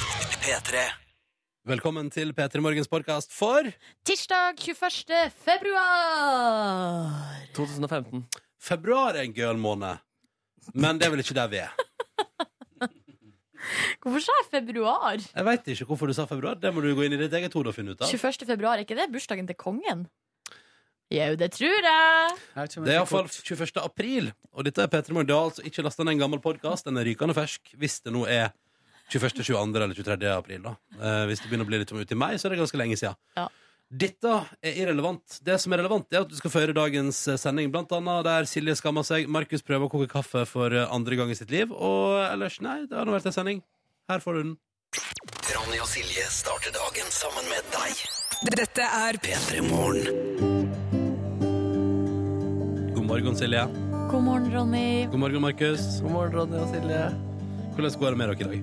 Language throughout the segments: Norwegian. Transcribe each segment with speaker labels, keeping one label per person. Speaker 1: P3.
Speaker 2: Velkommen til P3 Morgens podkast for
Speaker 3: Tirsdag 21. februar.
Speaker 4: 2015.
Speaker 2: februar er en gøyal måned. Men det er vel ikke der vi er.
Speaker 3: Hvorfor sa jeg februar?
Speaker 2: Jeg veit ikke hvorfor du sa februar. Det må du gå inn i ditt eget hode og finne ut av.
Speaker 3: 21. februar, er ikke det bursdagen til kongen? Jau, det tror jeg.
Speaker 2: Det er iallfall 21. april, og dette er P3 Morgen. Det er altså ikke lasta ned en gammel podkast. Den er rykende fersk hvis det nå er 21., 22. eller 23. april. da eh, Hvis det begynner å bli litt uti meg, så er det ganske lenge siden.
Speaker 3: Ja.
Speaker 2: Dette er irrelevant. Det som er relevant, er at du skal føre dagens eh, sending, blant annet der Silje skammer seg, Markus prøver å koke kaffe for eh, andre gang i sitt liv, og ellers, nei, det har nå vært en sending. Her får du den.
Speaker 1: Ronny og Silje starter dagen sammen med deg.
Speaker 5: Dette er
Speaker 1: P3 Morgen.
Speaker 2: God morgen, Silje.
Speaker 3: God morgen, Ronny.
Speaker 2: God morgen, Markus.
Speaker 4: God morgen, Ronny og Silje.
Speaker 2: Hvordan går det med dere i dag?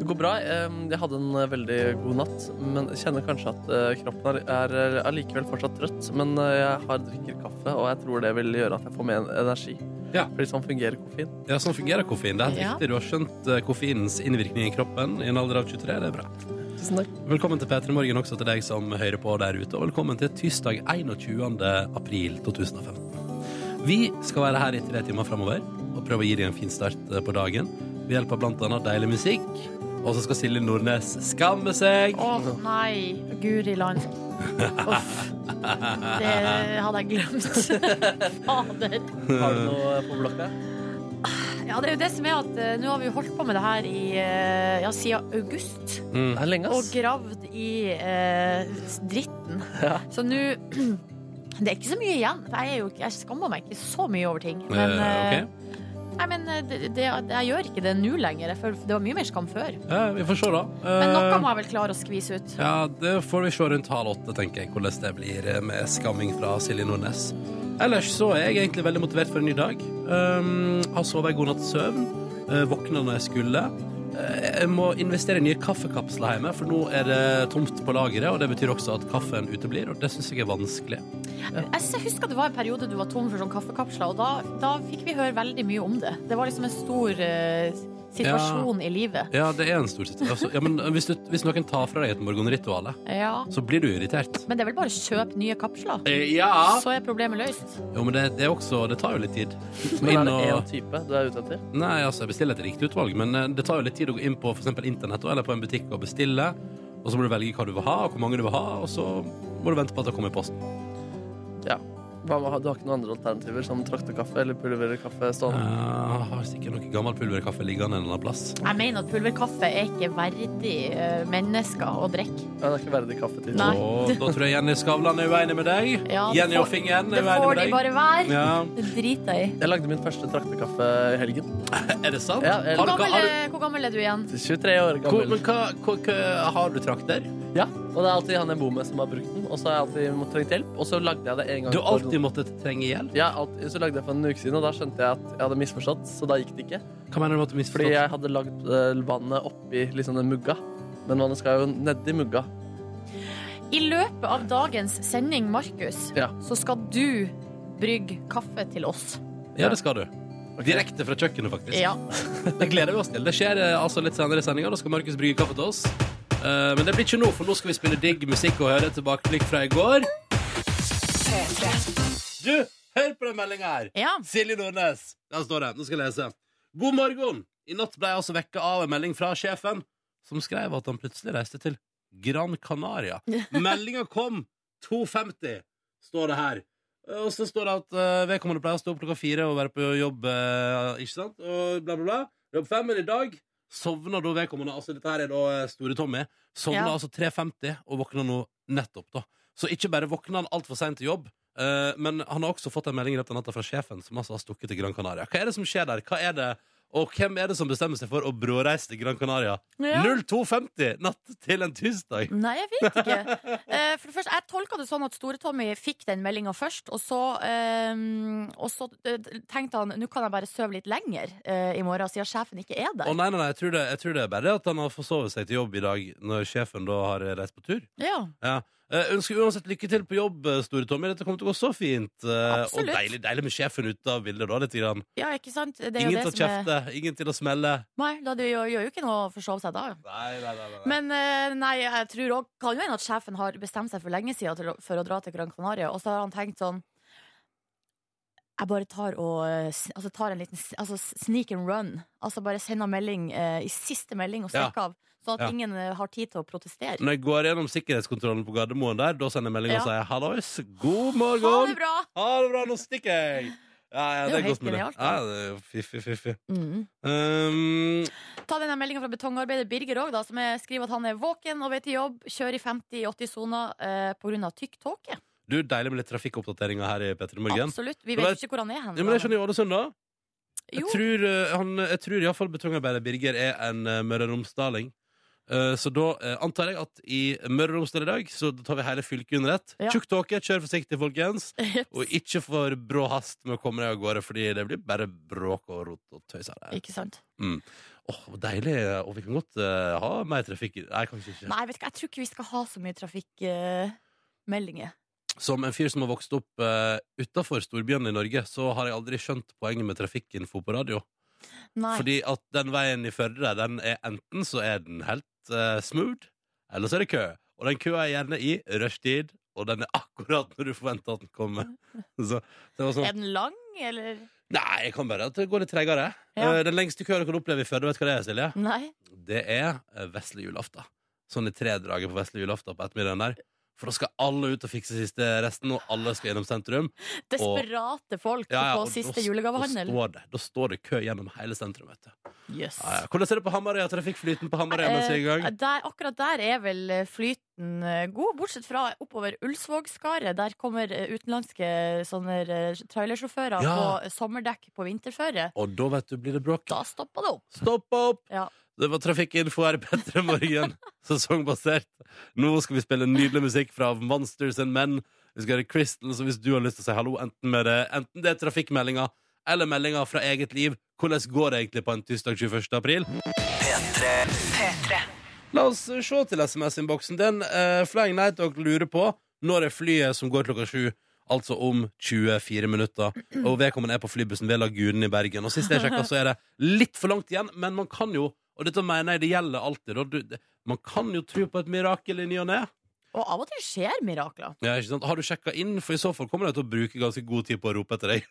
Speaker 4: Det går bra. Em, Jeg hadde en eh, veldig god natt, men jeg kjenner kanskje at eh, kroppen er- er eh, allikevel fortsatt trøtt. Men eh, jeg har drikker kaffe, og jeg tror det vil gjøre at jeg får mer energi.
Speaker 2: Ja.
Speaker 4: Fordi sånn fungerer koffein.
Speaker 2: Ja, Sånn fungerer koffein. Det er helt
Speaker 3: Ja.
Speaker 2: riktig. Du har skjønt eh, koffeinens innvirkning i kroppen i en alder av 23. Det er bra.
Speaker 4: Tusen takk.
Speaker 2: Velkommen til P3 Morgen også til deg som hører på der ute, og velkommen til tirsdag 21. april 2015. Vi skal være her i tre timer framover og prøve å gi deg en fin start eh, på dagen ved hjelp av blant annet deilig musikk. Og så skal Silje Nordnes skamme seg.
Speaker 3: Å nei, guri land. Uff. Det hadde jeg glemt. Fader.
Speaker 4: Har du noe eh, på blokka?
Speaker 3: Ja, det er jo det som er at eh, nå har vi jo holdt på med det her i, eh, ja, siden august.
Speaker 2: Mm.
Speaker 4: Det er lenge,
Speaker 3: og
Speaker 4: ass.
Speaker 3: gravd i eh, dritten.
Speaker 4: Ja.
Speaker 3: Så nå Det er ikke så mye igjen. for Jeg, er jo, ikke- jeg skammer meg ikke så mye over ting.
Speaker 2: Eh,
Speaker 3: Men, eh,
Speaker 2: ok.
Speaker 3: nei, men eh, det, det, jeg gjør ikke det nå lenger. Jeg føler, det var mye mer skam før.
Speaker 2: Ja, Eh, vi får se, da.
Speaker 3: Men
Speaker 2: Eh,
Speaker 3: noe må jeg vel klare å skvise ut.
Speaker 2: Ja, Det får vi se rundt halv åtte, tenker jeg, hvordan det blir eh, med skamming fra Silje Nordnes. Ellers så er jeg egentlig veldig motivert for en ny dag. Um, har sovet en god natts søvn. Uh, våkna når jeg skulle. Eh, Jeg må investere i nye kaffekapsler hjemme, for nå er det tomt på lageret. Og det betyr også at kaffen uteblir, og det syns jeg er vanskelig.
Speaker 3: Jeg s- husker det var en periode du var tom for sånn kaffekapsler, og da, da fikk vi høre veldig mye om det. Det var liksom en stor eh, situasjon i livet.
Speaker 2: Ja, det er en stor situasjon. Altså, ja, men hvis, du, hvis noen tar fra deg et morgenritual,
Speaker 3: Ja.
Speaker 2: så blir du irritert.
Speaker 3: Men det er vel bare å kjøpe nye kapsler,
Speaker 2: Eh, Ja.
Speaker 3: så er problemet løst.
Speaker 2: Jo, men det, det, er også, det tar jo litt tid.
Speaker 4: Men er
Speaker 2: Inn
Speaker 4: det
Speaker 2: og-
Speaker 4: én type du er ute etter?
Speaker 2: Nei, altså, jeg bestiller et riktig utvalg, men eh, det tar jo litt tid å gå inn på for eksempel internett eller på en butikk og bestille. Og så må du velge hva du vil ha, og hvor mange du vil ha, og så må du vente på at det kommer i posten.
Speaker 4: Hva, hva- du har ikke noen andre alternativer som traktekaffe eller sånn? pulverkaffe stående?
Speaker 2: Eh, har sikkert noe gammel pulverkaffe liggende en eller annen plass.
Speaker 3: Jeg mener at pulverkaffe er ikke verdig eh, mennesker å drikke.
Speaker 4: Ja, det er ikke verdig kaffe til.
Speaker 3: Nei.
Speaker 2: Og da tror jeg Jenny Skavlan er uenig med deg.
Speaker 3: Ja, det
Speaker 2: Jenny
Speaker 3: får-
Speaker 2: og Fingen
Speaker 3: Det
Speaker 2: er uenig
Speaker 3: får
Speaker 2: med
Speaker 3: de
Speaker 2: deg.
Speaker 3: bare være.
Speaker 2: Ja.
Speaker 3: Det driter jeg i.
Speaker 4: Jeg lagde min første traktekaffe i helgen.
Speaker 2: Er det sant?
Speaker 4: Ja, jeg-
Speaker 2: har,
Speaker 3: Hvor
Speaker 2: du,
Speaker 3: gammel, eh,
Speaker 2: har,
Speaker 3: er- hvor gammel er du igjen?
Speaker 4: 23 år
Speaker 2: hvor,
Speaker 4: gammel.
Speaker 2: men hva, hva, hva, har du trakter?
Speaker 4: Ja, og det er alltid han jeg bor med som har brukt den. Og så har jeg alltid måttet trengt hjelp. Og så lagde jeg det en gang
Speaker 2: Du har
Speaker 4: for-
Speaker 2: alltid måttet trenge hjelp.
Speaker 4: ja, alt- så lagde jeg for en uke siden, og da skjønte jeg at jeg hadde misforstått. Så da gikk det ikke.
Speaker 2: Hva mener du med at du
Speaker 4: Fordi
Speaker 2: misforstått?
Speaker 4: jeg hadde lagd eh, vannet oppi liksom den mugga. Men vannet skal jo nedi mugga.
Speaker 3: I løpet av dagens sending, Markus,
Speaker 4: Ja.
Speaker 3: så skal du brygge kaffe til oss.
Speaker 2: Ja, det skal du. Direkte fra kjøkkenet, faktisk.
Speaker 3: Ja.
Speaker 2: Det gleder vi oss til. Det skjer eh, altså litt senere i sendinga. Da skal Markus brygge kaffe til oss. Eh, men det blir ikke nå, for nå skal vi spille digg musikk og høre tilbakeblikk fra i går. Du, hør på den meldinga her!
Speaker 3: ja.
Speaker 2: Silje Nordnes. Der står det. Nå skal jeg lese. God morgen! I natt ble jeg altså vekka av en melding fra sjefen, som skrev at han plutselig reiste til Gran Canaria. Meldinga kom 2.50, står det her. Og så står det at eh, vedkommende pleier å stå opp klokka fire og være på jobb, eh, ikke sant? Og bla, bla, bla. Jobb fem, men i dag sovna da vedkommende Altså, dette her er da eh, Store Tommy. Sovna
Speaker 3: Ja.
Speaker 2: altså 3.50 og våkna nå nettopp, da. Så ikke bare våkna han altfor seint til jobb, eh, men han har også fått en melding i løpet av natta fra sjefen, som altså har stukket til Gran Canaria. Hva er det som skjer der? Hva er det? Og hvem er det som bestemmer seg for å bråreise til Gran Canaria?
Speaker 3: Ja.
Speaker 2: 02.50 natt til en tirsdag!
Speaker 3: Nei, jeg vet ikke. Eh, For det første, Jeg tolka det sånn at Store-Tommy fikk den meldinga først, og så, eh, og så eh, tenkte han nå kan jeg bare sove litt lenger eh, i morgen, siden sjefen ikke er
Speaker 2: Å
Speaker 3: der.
Speaker 2: nei, nei, nei, jeg tror, det, jeg tror det er bare det at han har forsovet seg til jobb i dag, når sjefen da har reist på tur.
Speaker 3: Ja.
Speaker 2: Ja. Eh, ønsker uansett lykke til på jobb, eh, Store Tommy. Dette kommer til å gå så fint. eh, og
Speaker 3: Absolutt.
Speaker 2: deilig, deilig med sjefen ute av bildet, da. Litt grann.
Speaker 3: Ja, ikke sant? Det er jo
Speaker 2: Ingen
Speaker 3: det
Speaker 2: til å
Speaker 3: som er-
Speaker 2: kjefte, ingen til å smelle.
Speaker 3: Nei, da det gjør, gjør jo ikke noe å forsove seg da.
Speaker 2: Nei, nei, nei, nei, nei.
Speaker 3: Men eh, nei, jeg tror også, kan jo hende at sjefen har bestemt seg for lenge siden til, å- for å dra til Gran Canaria, og så har han tenkt sånn jeg bare tar, og, eh, s- altså tar en liten s- altså s- sneak and run. Altså Bare send en melding eh, i siste melding og stikk av, sånn at
Speaker 2: Ja. Mm.
Speaker 3: ingen eh, har tid til å protestere.
Speaker 2: Når jeg går gjennom sikkerhetskontrollen på Gardermoen der, da sender jeg melding og
Speaker 3: Ja.
Speaker 2: sier hallois, god morgen.
Speaker 3: Ha det bra!
Speaker 2: Ha det bra, nå stikker jeg! Ja, ja,
Speaker 3: Det
Speaker 2: det
Speaker 3: er
Speaker 2: er
Speaker 3: jo
Speaker 2: godt mulig.
Speaker 3: helt genialt,
Speaker 2: Ja,
Speaker 3: da.
Speaker 2: det er jo fiffig, fiffig.
Speaker 3: Mm.
Speaker 2: Um,
Speaker 3: Ta denne meldinga fra betongarbeider Birger òg, som er- skriver at han er våken og vei til jobb. Kjører i 50-80-sona eh, pga. tykk tåke.
Speaker 2: du, deilig med litt trafikkoppdateringer her i P3 Morgen.
Speaker 3: Absolutt. Vi
Speaker 2: Det
Speaker 3: vet
Speaker 2: var-
Speaker 3: jo ikke hvor han er hen.
Speaker 2: Ja, men jeg skjønner i Ålesund, da. Jeg
Speaker 3: Jo.
Speaker 2: tror, eh, han, jeg tror iallfall betongarbeider Birger er en eh, Møre og Romsdaling. Eh, så da eh, antar jeg at i Møre og Romsdal i dag så tar vi hele fylket under ett.
Speaker 3: Ja.
Speaker 2: Tjukk tåke, kjør forsiktig, folkens.
Speaker 3: Jeps.
Speaker 2: Og ikke for brå hast med å komme deg av gårde, Fordi det blir bare bråk og rot og tøys her. Åh,
Speaker 3: Ikke sant?
Speaker 2: deilig. Og vi kan godt eh, ha mer trafikk. Nei, kanskje ikke.
Speaker 3: Nei, vet du hva, jeg tror ikke vi skal ha så mye trafikkmeldinger.
Speaker 2: Som en fyr som har vokst opp uh, utafor storbyene i Norge, så har jeg aldri skjønt poenget med trafikkinfo på radio.
Speaker 3: Nei.
Speaker 2: Fordi at den veien i Førde der, den er enten så er den helt eh, smooth, eller så er det kø. Og den køa er gjerne i rushtid, og den er akkurat når du forventer at den kommer. Så det var sånn
Speaker 3: Er den lang, eller?
Speaker 2: Nei, jeg kan bare at det går litt tregere.
Speaker 3: Ja.
Speaker 2: Eh, den lengste køa du kan oppleve i Førde, vet du hva det er, Silje?
Speaker 3: Nei.
Speaker 2: Det er eh, vesle julaften. Sånn i tredraget på vesle julaften på ettermiddagen der. For da skal alle ut og fikse siste resten, og alle skal gjennom sentrum.
Speaker 3: Desperate folk
Speaker 2: Ja, ja, og
Speaker 3: på
Speaker 2: da-
Speaker 3: siste
Speaker 2: Da
Speaker 3: julegavehandel.
Speaker 2: står, det, da står det kø gjennom hele sentrum. vet du.
Speaker 3: Jøss.
Speaker 2: Ja, ja. Hvordan er det på Hamarøya? Trafikkflyten på Hamarøya mens vi er i
Speaker 3: Eh,
Speaker 2: gang?
Speaker 3: der, akkurat der er vel eh, flyten eh, god, bortsett fra oppover Ulsvågskaret. Der kommer eh, utenlandske sånne eh, trailersjåfører
Speaker 2: Ja.
Speaker 3: på sommerdekk på vinterføre.
Speaker 2: Og da vet du blir det bråk.
Speaker 3: Da stopper det opp.
Speaker 2: Stopp opp!
Speaker 3: Ja.
Speaker 2: Det var trafikkinfo her i Petter Morgen, sesongbasert. Nå skal vi spille nydelig musikk fra Monsters and Men. Vi skal høre Crystal, så hvis du har lyst til å si hallo, enten, med det, enten det er trafikkmeldinga eller meldinga fra eget liv, hvordan går det egentlig på en tirsdag 21. april? La oss eh, se til SMS-innboksen. Den uh, Flying Night dere lurer på når er flyet som går klokka sju. Altså om 24 minutter. Og vedkommende er på flybussen ved Lagunen i Bergen. Og sist jeg sjekka, så er det litt for langt igjen, men man kan jo Og dette mener jeg det gjelder alltid. Og du, det, man kan jo tro på et mirakel i ny og ne.
Speaker 3: Og av og til skjer mirakler.
Speaker 2: Ja, ikke sant? Har du sjekka inn? For i så fall kommer de til å bruke ganske god tid på å rope etter deg.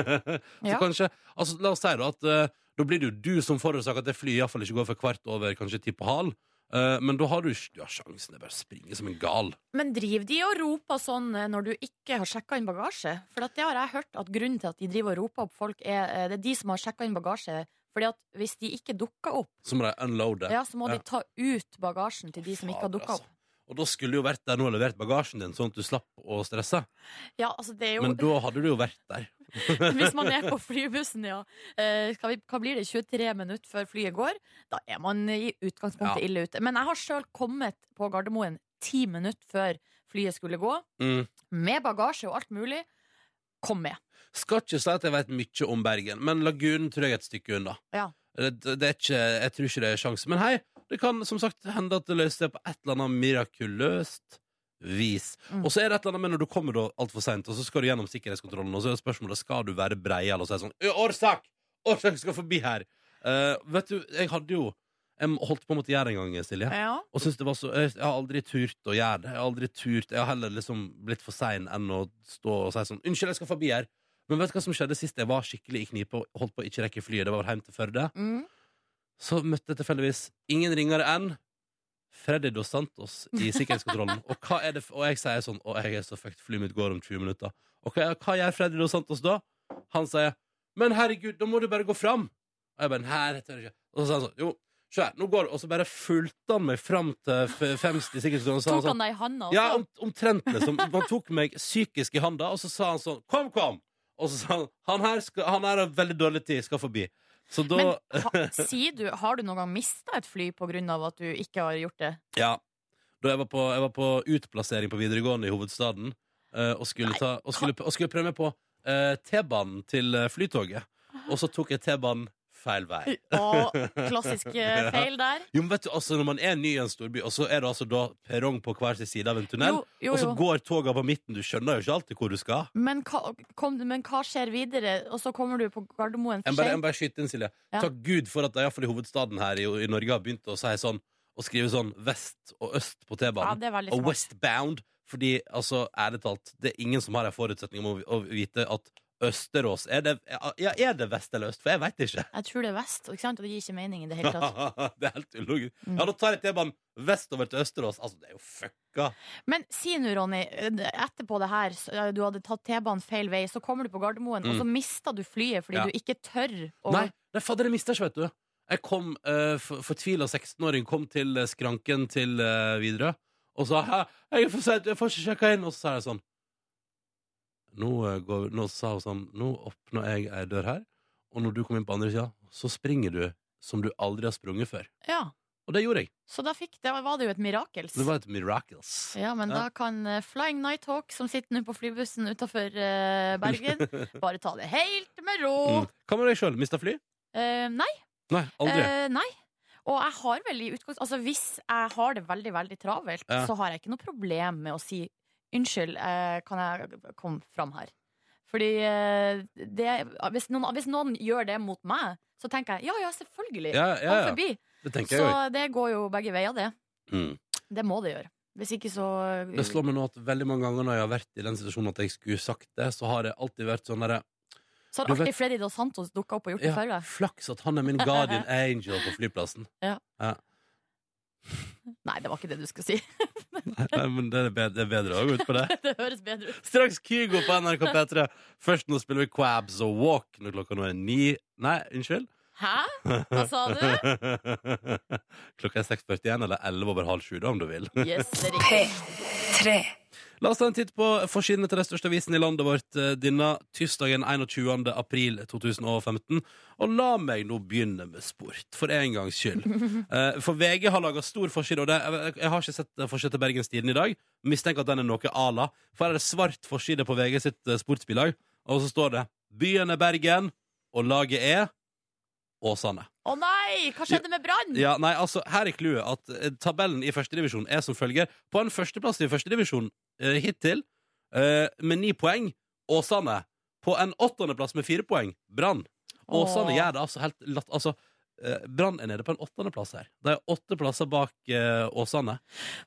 Speaker 2: så
Speaker 3: Ja.
Speaker 2: kanskje altså, La oss si da at eh, da blir det jo du som forårsaker at det flyet iallfall ikke går før kvart over kanskje ti på hal. Eh, men da har du, du har sjansen. Det er bare å springe som en gal.
Speaker 3: Men driver de og roper sånn eh, når du ikke har sjekka inn bagasje? For at det har jeg hørt at grunnen til at de driver og roper opp folk, er eh, det er de som har sjekka inn bagasje. Fordi at hvis de ikke dukker opp,
Speaker 2: Så må de unloade.
Speaker 3: ja, så må
Speaker 2: Ja.
Speaker 3: de ta ut bagasjen til de som ikke har
Speaker 2: Fader,
Speaker 3: dukka opp.
Speaker 2: altså. Og da skulle du jo vært der nå og levert bagasjen din, sånn at du slapp å stresse.
Speaker 3: Ja, altså det er jo
Speaker 2: Men da hadde du jo vært der.
Speaker 3: Hvis man er på flybussen, ja. Eh, skal vi, hva blir det, 23 minutter før flyet går? Da er man i utgangspunktet
Speaker 2: Ja.
Speaker 3: ille ute. Men jeg har sjøl kommet på Gardermoen ti minutter før flyet skulle gå,
Speaker 2: Mm.
Speaker 3: med bagasje og alt mulig. Kom med.
Speaker 2: Skal ikke si at jeg vet mye om Bergen, men Lagunen tror jeg er et stykke unna.
Speaker 3: Ja.
Speaker 2: Det, det er ikke, jeg tror ikke det er sjanse. Men hei, det kan som sagt hende at det løser seg på et eller annet mirakuløst vis.
Speaker 3: Mm.
Speaker 2: Og så er det et eller annet med når du kommer da altfor seint, og så skal du gjennom sikkerhetskontrollen, og så er spørsmålet skal du være breial, og så er det sånn «Ø, Årsak! Årsak skal forbi her! Eh, vet du, jeg hadde jo Jeg holdt på mot gjær en gang, Silje.
Speaker 3: Ja.
Speaker 2: Og synes det var så Jeg har aldri turt å gjøre det. Jeg har aldri turt Jeg har heller liksom blitt for sein enn å stå og si sånn 'Unnskyld, jeg skal forbi her'. Men vet du hva som skjedde sist jeg var skikkelig i knipe og holdt på å ikke rekke flyet? Det var vel hjem til Førde.
Speaker 3: Mm.
Speaker 2: Så møtte jeg tilfeldigvis ingen ringere enn Freddy Dos Santos i sikkerhetskontrollen. og, hva er det, f- og jeg sier sånn Å, jeg er så fucked, flyet mitt går om 20 minutter. Og hva, hva gjør Freddy Dos Santos da? Han sier Men herregud, da må du bare gå fram. Og jeg bare Nei, det tør jeg ikke. Og så sa han sånn Jo, se her, nå går det. Og så bare fulgte han meg fram til f- femst i sikkerhetskontrollen. og så sa
Speaker 3: Tok
Speaker 2: sånn,
Speaker 3: han deg i altså? handa også?
Speaker 2: ja, om, omtrent liksom Han tok meg psykisk i handa Og så sa han sånn, kom, kom Og så sa han, han her, skal, han her har veldig dårlig tid Skal forbi Så da,
Speaker 3: Men ha, sier du, har du noen gang mista et fly på grunn av at du ikke har gjort det?
Speaker 2: ja Da jeg var på, jeg var på utplassering på videregående i hovedstaden eh, Og skulle, ta,
Speaker 3: Ah.
Speaker 2: og skulle, og skulle prøve meg på eh, T-banen til eh, flytoget Og så tok jeg T-banen feil vei.
Speaker 3: Og klassisk eh, feil der.
Speaker 2: Jo, men vet du, altså Når man er ny i en storby, og så er det altså da perrong på hver sin side av en tunnel,
Speaker 3: Jo, jo,
Speaker 2: og så
Speaker 3: jo.
Speaker 2: går toga på midten, du skjønner jo ikke alltid hvor du skal.
Speaker 3: Men hva, kom, men hva skjer videre? Og så kommer du på Gardermoen
Speaker 2: Jeg
Speaker 3: for
Speaker 2: må bare, jeg må
Speaker 3: sent.
Speaker 2: bare skyter inn, Silje.
Speaker 3: Ja.
Speaker 2: Takk Gud for at de i hvert fall i hovedstaden her i, i Norge har begynt å si sånn Å skrive sånn vest og øst på
Speaker 3: Ja,
Speaker 2: T-banen.
Speaker 3: det er veldig
Speaker 2: og
Speaker 3: smart.
Speaker 2: westbound, fordi altså, ærlig talt, det er ingen som har en forutsetning om å, å vite at Østerås Er det, ja, er det vest eller øst? For jeg veit ikke.
Speaker 3: Jeg tror det er vest, ikke sant? og det gir ikke mening i det hele tatt.
Speaker 2: det er helt ulogisk.
Speaker 3: Mm.
Speaker 2: Ja, da tar jeg T-banen vestover til Østerås. Altså, det er jo fucka.
Speaker 3: Men si nå, Ronny, etterpå det her, så- du hadde tatt T-banen feil vei, så kommer du på Gardermoen, og
Speaker 2: Mm.
Speaker 3: så mister du flyet fordi
Speaker 2: Ja.
Speaker 3: du ikke tør å
Speaker 2: Nei, nei fader, jeg mister ikke, vet du. Jeg kom uh, fortvila 16-åring, kom til eh, skranken til eh, Widerøe og sa Hæ, jeg, er for sent, jeg får ikke sjekka inn. Og så sa jeg sånn nå, eh, går, nå sa hun sånn Nå åpner jeg ei dør her, og når du kommer inn på andre sida, så springer du som du aldri har sprunget før.
Speaker 3: Ja.
Speaker 2: Og det gjorde jeg.
Speaker 3: Så da fikk, det var det jo et mirakels.
Speaker 2: Det var et miracles.
Speaker 3: Ja, men
Speaker 2: Ja.
Speaker 3: da kan eh, Flying Nighthawk, som sitter nå på flybussen utafor Bergen, bare ta det helt med ro.
Speaker 2: Mm. Hva med deg sjøl? Mista fly?
Speaker 3: Eh, nei.
Speaker 2: Nei, aldri.
Speaker 3: eh, nei. Og jeg har vel i utgangs... Altså, hvis jeg har det veldig, veldig travelt,
Speaker 2: Ja.
Speaker 3: så har jeg ikke noe problem med å si unnskyld, eh, kan jeg komme fram her? Fordi eh, det, hvis, noen, hvis noen gjør det mot meg, så tenker jeg ja, ja, selvfølgelig.
Speaker 2: ja, ja,
Speaker 3: Kom
Speaker 2: ja.
Speaker 3: forbi.
Speaker 2: Det tenker
Speaker 3: altså, Så
Speaker 2: jeg òg.
Speaker 3: det går jo begge veier, det.
Speaker 2: Mm.
Speaker 3: Det må det gjøre. Hvis ikke så
Speaker 2: Det slår meg nå at veldig mange ganger når jeg har vært i den situasjonen at jeg skulle sagt det, så har det alltid vært sånn derre
Speaker 3: Så har
Speaker 2: Du vet-
Speaker 3: alltid Freddy Dos Santos dukka opp og gjort det før.
Speaker 2: ja,
Speaker 3: da.
Speaker 2: Flaks at han er min guardian angel på flyplassen.
Speaker 3: Nei, det var ikke det du skulle si.
Speaker 2: Nei, men det er bedre, det er bedre å gå ut på det.
Speaker 3: det høres bedre ut.
Speaker 2: Straks Kygo på NRK P3. Først nå spiller vi Quabs og Walk når klokka nå er ni Nei, unnskyld.
Speaker 3: Hæ? Hva sa du?
Speaker 2: Klokka er 6.41 eller 11 over halv sju, da, om du vil.
Speaker 3: Yes, det er riktig.
Speaker 2: La oss ta en titt på forsidene til den største avisen i landet vårt eh, denne tirsdagen 21. april 2015. Og la meg nå begynne med sport, for en gangs skyld. Eh, For VG har laga stor forside, og det, jeg- jeg har ikke sett eh, forsiden til Bergens Tidende i dag. Mistenker at den er noe à la. For her er det svart forside på VG sitt eh, sportsbilag, og så står det 'Byen er Bergen, og laget er Åsane'.
Speaker 3: Å nei! Hva skjedde med Brann?
Speaker 2: Ja, nei, altså, her er clouet at eh, tabellen i førstedivisjon er som følger. På en førsteplass i førstedivisjon eh, hittil, eh, med ni poeng, Åsane. På en åttendeplass med fire poeng, Brann. Åsane
Speaker 3: Åh.
Speaker 2: gjør det altså helt latt... Altså, eh, Brann er nede på en åttendeplass her. De er åtte plasser bak eh, Åsane.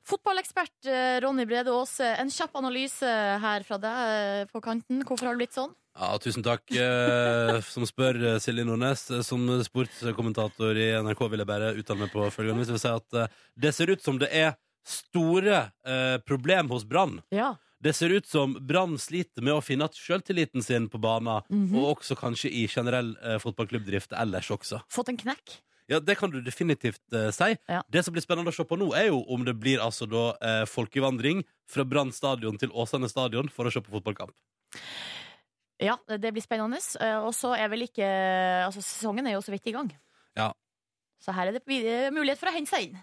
Speaker 3: Fotballekspert eh, Ronny Brede Aase, en kjapp analyse her fra deg eh, på kanten. Hvorfor har det blitt sånn?
Speaker 2: Ja, tusen takk eh, som spør eh, Silje Nordnes. Eh, Som sportskommentator i NRK vil jeg bare uttale meg på følgende. vis. Jeg vil si at eh, det ser ut som det er store eh, problem hos Brann.
Speaker 3: Ja.
Speaker 2: Det ser ut som Brann sliter med å finne at selvtilliten sin på banen,
Speaker 3: Mhm.
Speaker 2: og også kanskje i generell eh, fotballklubbdrift ellers også.
Speaker 3: Fått en knekk?
Speaker 2: Ja, Det kan du definitivt eh, si.
Speaker 3: Ja.
Speaker 2: Det som blir spennende å se på nå, er jo om det blir altså da eh, folkevandring fra Brann stadion til Åsane stadion for å se på fotballkamp.
Speaker 3: Ja, det blir spennende. Eh, Og så er vel ikke Altså, sesongen er jo så vidt i gang.
Speaker 2: Ja.
Speaker 3: Så her er det eh, mulighet for å hente seg inn.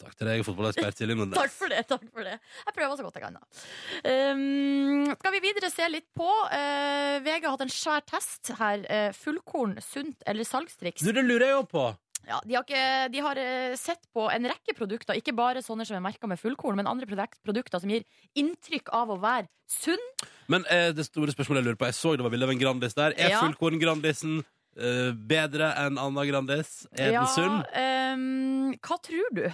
Speaker 2: Takk til deg, fotballekspert Silje Nordnes.
Speaker 3: Takk for det. takk for det Jeg prøver så godt jeg kan. da um, Skal vi videre se litt på eh, VG har hatt en svær test her. eh, fullkorn, sunt eller salgstriks?
Speaker 2: Du, det lurer jeg jo på.
Speaker 3: Ja, de har, ikke, de har eh, sett på en rekke produkter, ikke bare sånne som er merka med fullkorn, men andre produk- produkter som gir inntrykk av å være sunn.
Speaker 2: Men eh, det store spørsmålet jeg lurer på, jeg så det var bilde av en Grandis der. Er
Speaker 3: Ja.
Speaker 2: fullkorn Grandisen eh, bedre enn Anna Grandis? Er
Speaker 3: Ja,
Speaker 2: den sunn?
Speaker 3: ehm, hva tror du?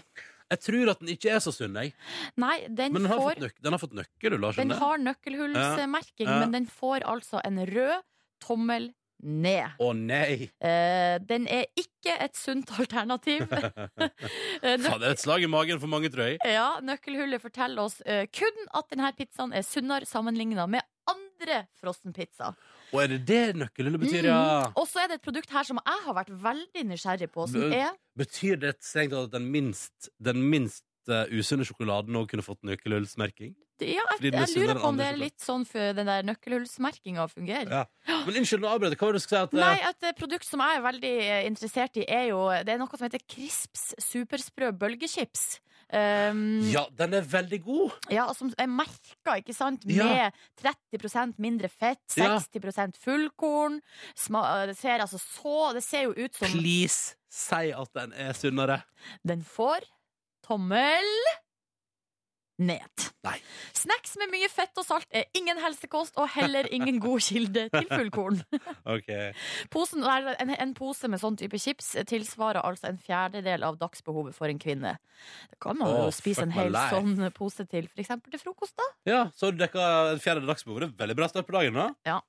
Speaker 2: Jeg tror at den ikke er så sunn, jeg.
Speaker 3: Nei, den
Speaker 2: Men den har
Speaker 3: får
Speaker 2: fått, nøk den har fått nøkkel, Lars.
Speaker 3: Den
Speaker 2: skjønner jeg.
Speaker 3: har nøkkelhullsmerking,
Speaker 2: Ja, ja.
Speaker 3: men den får altså en rød tommel ned.
Speaker 2: Å nei!
Speaker 3: Eh, den er ikke et sunt alternativ. Eh, nøk
Speaker 2: Faen, det er et slag i magen for mange, tror jeg.
Speaker 3: ja, nøkkelhullet forteller oss eh, kun at denne pizzaen er sunnere sammenligna med andre frossenpizza.
Speaker 2: Og er det det nøkkelhullet betyr, ja?
Speaker 3: Og så er det et produkt her som jeg har vært veldig nysgjerrig på, som
Speaker 2: Bø-
Speaker 3: er
Speaker 2: Betyr det strengt tatt at den minst, den minst eh, usunne sjokoladen nå kunne fått nøkkelhullsmerking?
Speaker 3: Ja,
Speaker 2: Blir det
Speaker 3: jeg, jeg lurer
Speaker 2: sunnere
Speaker 3: på om det
Speaker 2: andre
Speaker 3: er litt sånn for den der nøkkelhullsmerkinga fungerer.
Speaker 2: Ja. Men unnskyld, nå avbrøt jeg. Hva var det du skulle si? At,
Speaker 3: Nei,
Speaker 2: eh,
Speaker 3: et eh, produkt som jeg er veldig eh, interessert i, er jo Det er noe som heter Crisps supersprø bølgechips. Um, ja.
Speaker 2: Ja, den er veldig god.
Speaker 3: og som er merka, ikke sant, med
Speaker 2: Ja.
Speaker 3: 30 mindre fett,
Speaker 2: Ja.
Speaker 3: 60 fullkorn. Sma eh, det ser altså så Det ser jo ut som
Speaker 2: Please, si at den er sunnere.
Speaker 3: Den får tommel ned.
Speaker 2: Nei.
Speaker 3: Snacks med mye fett og salt er ingen helsekost og heller ingen god kilde til fullkorn.
Speaker 2: Ok.
Speaker 3: Posen, nei, en, en pose med sånn type chips tilsvarer altså en fjerdedel av dagsbehovet for en kvinne. Da kan man
Speaker 2: Åh,
Speaker 3: jo spise
Speaker 2: fuck
Speaker 3: en
Speaker 2: my
Speaker 3: hel
Speaker 2: life.
Speaker 3: sånn pose til f.eks. til frokost, da.
Speaker 2: Ja, så har du dekka en fjerde dagsbehov. Det er veldig bra start på dagen, da.
Speaker 3: Ja.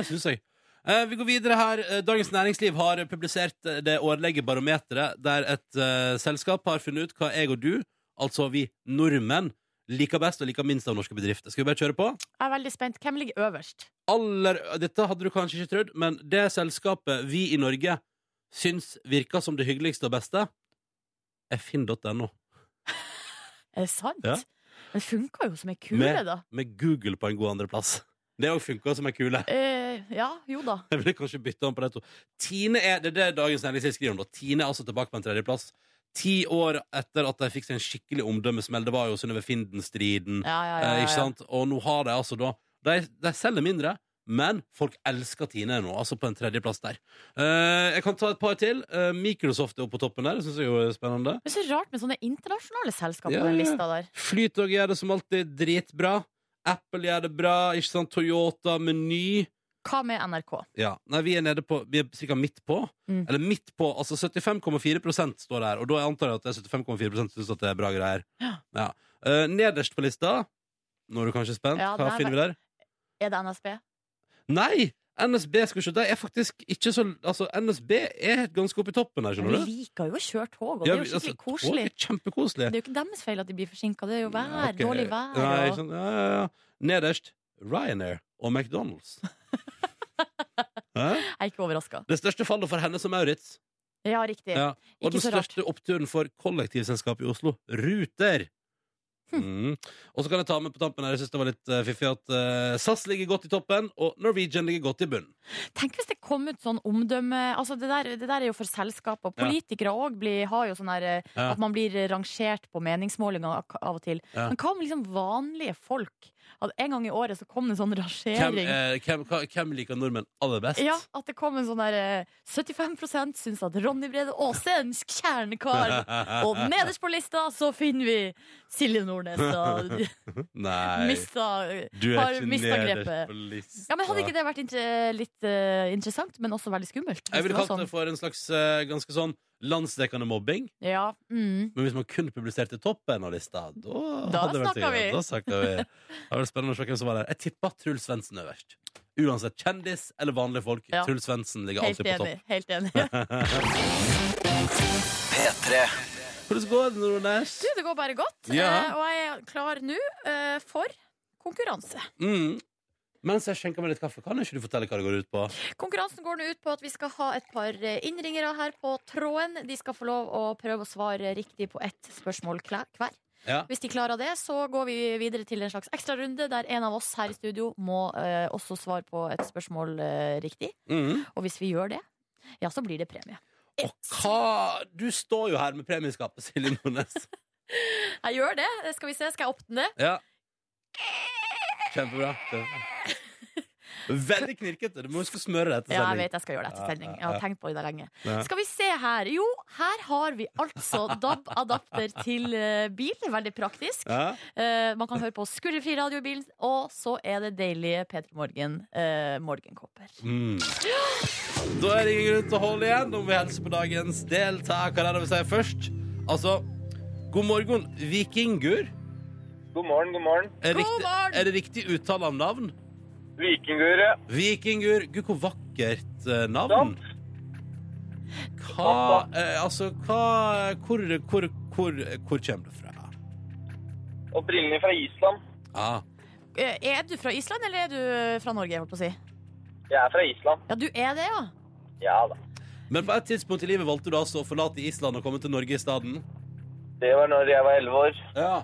Speaker 2: det syns jeg. Eh, vi går videre her. Eh, Dagens Næringsliv har publisert eh, det årlige barometeret der et eh, selskap har funnet ut hva jeg og du, altså vi nordmenn, liker best og liker minst av norske bedrifter. Skal vi bare kjøre på?
Speaker 3: Jeg er veldig spent. Hvem ligger øverst?
Speaker 2: aller Dette hadde du kanskje ikke trodd, men det selskapet vi i Norge syns virker som det hyggeligste og beste, er finn.no.
Speaker 3: Er det sant?
Speaker 2: Ja.
Speaker 3: Den funka jo som ei kule,
Speaker 2: Med-
Speaker 3: da.
Speaker 2: Med Google på en god andreplass. Det òg funka som ei kule.
Speaker 3: Eh, ja, jo da.
Speaker 2: Jeg ville kanskje bytte om på de to. Tine er det er det Dagens Næringsliv skriver om. da Tine er altså tilbake på en tredjeplass. Ti år etter at de fikk seg en skikkelig omdømmesmell. Det var jo Synnøve Finden-striden.
Speaker 3: Ja, ja, ja,
Speaker 2: Eh,
Speaker 3: ja,
Speaker 2: ikke
Speaker 3: ja.
Speaker 2: sant? Og nå har de altså da De, de selger mindre, men folk elsker Tine nå, altså på en tredjeplass der. Eh, jeg kan ta et par til. Eh, Microsoft er oppe på toppen der, det syns jeg jo er spennende.
Speaker 3: Det er så rart med sånne internasjonale selskap
Speaker 2: Ja,
Speaker 3: på den
Speaker 2: ja.
Speaker 3: lista der.
Speaker 2: Flytog gjør det som alltid dritbra. Apple gjør det bra, ikke sant? Toyota, Meny
Speaker 3: Hva med NRK?
Speaker 2: ja. Nei, vi er nede på Vi er cirka midt på.
Speaker 3: Mm.
Speaker 2: Eller midt på, altså 75,4 står det her, og da antar jeg at det er 75,4 syns at det er bra greier.
Speaker 3: Ja.
Speaker 2: Eh, nederst på lista Nå er du kanskje spent.
Speaker 3: Ja,
Speaker 2: Hva
Speaker 3: der-
Speaker 2: finner vi der?
Speaker 3: Er det NSB?
Speaker 2: Nei! NSB skal ikke, de er faktisk ikke så Altså, NSB er ganske oppe i toppen her,
Speaker 3: Men
Speaker 2: skjønner
Speaker 3: vi
Speaker 2: du.
Speaker 3: liker jo å kjøre tog, og
Speaker 2: Ja,
Speaker 3: det er
Speaker 2: vi-
Speaker 3: jo skikkelig
Speaker 2: altså,
Speaker 3: koselig.
Speaker 2: tog er Kjempekoselig.
Speaker 3: Det er jo ikke deres feil at de blir forsinka, det er jo vær,
Speaker 2: Ja, ok.
Speaker 3: dårlig vær.
Speaker 2: Nei,
Speaker 3: og-
Speaker 2: ikke sant? ja, ja, ja. Nederst Ryanair og McDonald's. Hæ?
Speaker 3: Jeg er ikke overraska.
Speaker 2: det største fallet for henne som Maurits.
Speaker 3: Ja, riktig.
Speaker 2: Ja. Og
Speaker 3: Ikke
Speaker 2: den
Speaker 3: så rart.
Speaker 2: største oppturen for kollektivselskapet i Oslo, Ruter.
Speaker 3: Hm.
Speaker 2: Mm. Og så kan jeg ta med på tampen her, jeg synes det var litt eh, fiffig at eh, SAS ligger godt i toppen, og Norwegian ligger godt i bunnen.
Speaker 3: Tenk hvis det kom ut sånn omdømme Altså, det der, det der er jo for selskaper. Politikere òg har jo sånn her eh,
Speaker 2: Ja.
Speaker 3: At man blir rangert på meningsmålinger ak- av og til.
Speaker 2: Ja.
Speaker 3: Men hva om liksom vanlige folk? At en gang i året så kom det en sånn
Speaker 2: Hvem,
Speaker 3: rangering.
Speaker 2: eh, hvem, hva- hvem liker nordmenn aller best?
Speaker 3: Ja, At det kom en sånn der eh, 75 syns at Ronny Brede Aase er en kjernekar. Og nederst på lista så finner vi Silje Nordnes. Da.
Speaker 2: Nei,
Speaker 3: Mista,
Speaker 2: du er
Speaker 3: har
Speaker 2: ikke
Speaker 3: mista
Speaker 2: nederst
Speaker 3: grepet.
Speaker 2: på lista.
Speaker 3: Ja, men Hadde ikke det vært inter litt eh, interessant, men også veldig skummelt? hvis
Speaker 2: Jeg ville
Speaker 3: det var
Speaker 2: kalt det
Speaker 3: sånn?
Speaker 2: for en slags eh, ganske sånn landsdekkende mobbing.
Speaker 3: ja, mm.
Speaker 2: Men hvis man kun publiserte toppen av lista, da,
Speaker 3: Da
Speaker 2: hadde det vært
Speaker 3: snakker
Speaker 2: sikkert.
Speaker 3: vi.
Speaker 2: Da snakker vi. Det var spennende å se hvem som var der. Jeg tippa Truls Svendsen øverst. Uansett kjendis eller vanlige folk.
Speaker 3: Ja.
Speaker 2: Truls Svendsen ligger
Speaker 3: Helt
Speaker 2: alltid på
Speaker 3: enig.
Speaker 2: topp.
Speaker 3: Helt enig.
Speaker 1: P3.
Speaker 2: Hvordan går det, Nordnes?
Speaker 3: Du, det går bare godt.
Speaker 2: Ja.
Speaker 3: eh, og jeg er klar nå eh, for konkurranse.
Speaker 2: Mm. Mens jeg skjenker meg litt kaffe, kan ikke du fortelle hva det går ut på?
Speaker 3: Konkurransen går nå ut på at vi skal ha et par eh, innringere her på tråden. De skal få lov å prøve å svare riktig på ett spørsmål kla- hver.
Speaker 2: Ja.
Speaker 3: Hvis de klarer det, så går vi videre til en slags ekstrarunde der en av oss her i studio må eh, også svare på et spørsmål eh, riktig.
Speaker 2: Mm.
Speaker 3: Og hvis vi gjør det, ja, så blir det premie.
Speaker 2: Og hva Du står jo her med premieskapet, Silje Nordnes.
Speaker 3: Jeg gjør det. Eh, Skal vi se, skal jeg åpne det?
Speaker 2: Ja. Kjempebra. Kjempebra. Veldig knirkete. Du må huske å smøre det etter
Speaker 3: Ja, jeg
Speaker 2: sending.
Speaker 3: vet jeg skal gjøre det etter
Speaker 2: Ja,
Speaker 3: sending.
Speaker 2: ja,
Speaker 3: Jeg har
Speaker 2: ja.
Speaker 3: tenkt på det der lenge.
Speaker 2: Ja.
Speaker 3: Skal vi se her. Jo, her har vi altså DAB-adapter til eh, bil. Veldig praktisk.
Speaker 2: Ja.
Speaker 3: Eh, man kan høre på skurrefri radio i bilen, og så er det deilige P3 Morgen eh, morgenkåper.
Speaker 2: Mm. Da er det ingen grunn til å holde igjen om vi hilser på dagens deltakere. Det vil si først Altså, god morgen, vikingur.
Speaker 5: God morgen, god morgen.
Speaker 2: Er,
Speaker 3: God
Speaker 2: riktig,
Speaker 3: morgen!
Speaker 2: er det riktig uttale av navn?
Speaker 5: Vikingur, ja.
Speaker 2: Vikingur. Gud, hvor vakkert eh, navn.
Speaker 5: Sant.
Speaker 2: Hva eh, Altså, hva Hvor, hvor, hvor, hvor kommer du fra?
Speaker 5: Opprinnelig fra Island.
Speaker 2: Ah.
Speaker 3: Eh, er du fra Island, eller er du fra Norge? holdt på å si?
Speaker 5: Jeg er fra Island.
Speaker 3: Ja, du er det, ja.
Speaker 5: Ja da.
Speaker 2: Men på et tidspunkt i livet valgte du altså å forlate Island og komme til Norge i stedet?
Speaker 5: Det var når jeg var 11 år.
Speaker 2: Ja.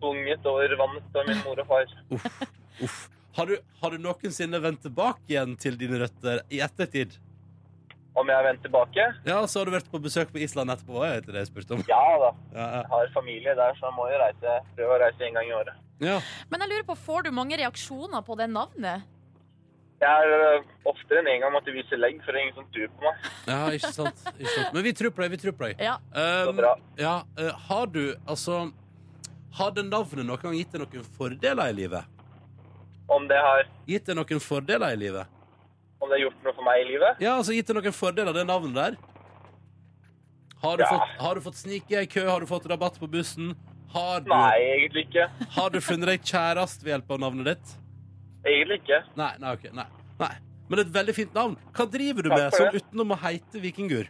Speaker 5: tvunget over vannet av min mor og far.
Speaker 2: Uff, uff. Har du, har du noensinne vendt tilbake igjen til dine røtter i ettertid?
Speaker 5: Om jeg har vendt tilbake?
Speaker 2: Ja, så har du vært på besøk på Island etterpå, var jo etter det jeg spurte om.
Speaker 5: Ja da.
Speaker 2: Ja, ja.
Speaker 5: Jeg har familie der, så jeg må jo reise, prøve å reise en gang i året.
Speaker 2: ja.
Speaker 3: Men jeg lurer på, får du mange reaksjoner på det navnet?
Speaker 5: Jeg er øh, oftere enn en gang måtte vise legg, for det er ingen som tror på meg.
Speaker 2: ja ikke, sant. ikke sant. Men vi tror på deg, vi tror på deg.
Speaker 3: Ja.
Speaker 2: Um,
Speaker 5: Så bra.
Speaker 2: ja, eh, har du, altså Har det navnet noen gang gitt deg noen fordeler i livet?
Speaker 5: Om det har,
Speaker 2: Gitt deg noen fordeler i livet?
Speaker 5: om det har gjort noe for meg i livet?
Speaker 2: Ja, altså gitt deg noen fordeler det navnet der Har du,
Speaker 5: Ja.
Speaker 2: fått, har du fått snike i ei kø? Har du fått rabatt på bussen? Har du,
Speaker 5: Nei, egentlig ikke.
Speaker 2: har du funnet deg kjærest ved hjelp av navnet ditt?
Speaker 5: Egentlig ikke.
Speaker 2: Nei, nei, ok, nei, nei Men et veldig fint navn Hva driver du
Speaker 5: Takk
Speaker 2: med
Speaker 5: for
Speaker 2: sånn
Speaker 5: det.
Speaker 2: utenom å heite vikingur?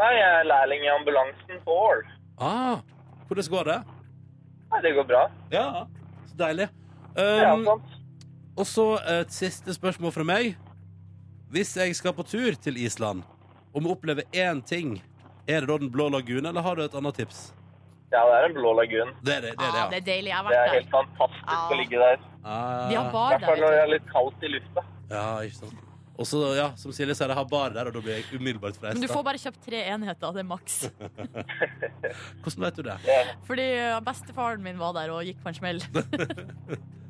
Speaker 5: Nei, jeg er lærling i ambulansen på Ål.
Speaker 2: Ah, hvordan går det?
Speaker 5: Nei, det går bra.
Speaker 2: Ja, så deilig
Speaker 5: Det er
Speaker 2: um,
Speaker 5: sånn. sant.
Speaker 2: Og så et siste spørsmål fra meg Hvis jeg skal på tur til Island Og må oppleve én ting Er det da den blå lagunen, eller har du et annet tips?
Speaker 5: Ja, det er en blå lagun.
Speaker 2: Det er det, det, er det
Speaker 3: Ah,
Speaker 2: ja.
Speaker 3: det er deilig. Jeg har
Speaker 5: Det er
Speaker 3: vært
Speaker 5: helt
Speaker 3: der.
Speaker 5: fantastisk
Speaker 3: Ah.
Speaker 5: å ligge der.
Speaker 2: Ah,
Speaker 3: De har
Speaker 5: I
Speaker 3: bar
Speaker 5: hvert fall
Speaker 3: der.
Speaker 5: når det
Speaker 3: vet
Speaker 5: er litt kaldt i lufta.
Speaker 2: Ja, ikke sant. Og så, ja, som Silje sier, jeg har bar der, og da blir jeg umiddelbart
Speaker 3: du.
Speaker 2: freist.
Speaker 3: Men du får bare kjøpt tre enheter, det er maks.
Speaker 2: Hvordan vet du det?
Speaker 3: Fordi ja, bestefaren min var der og gikk på en smell.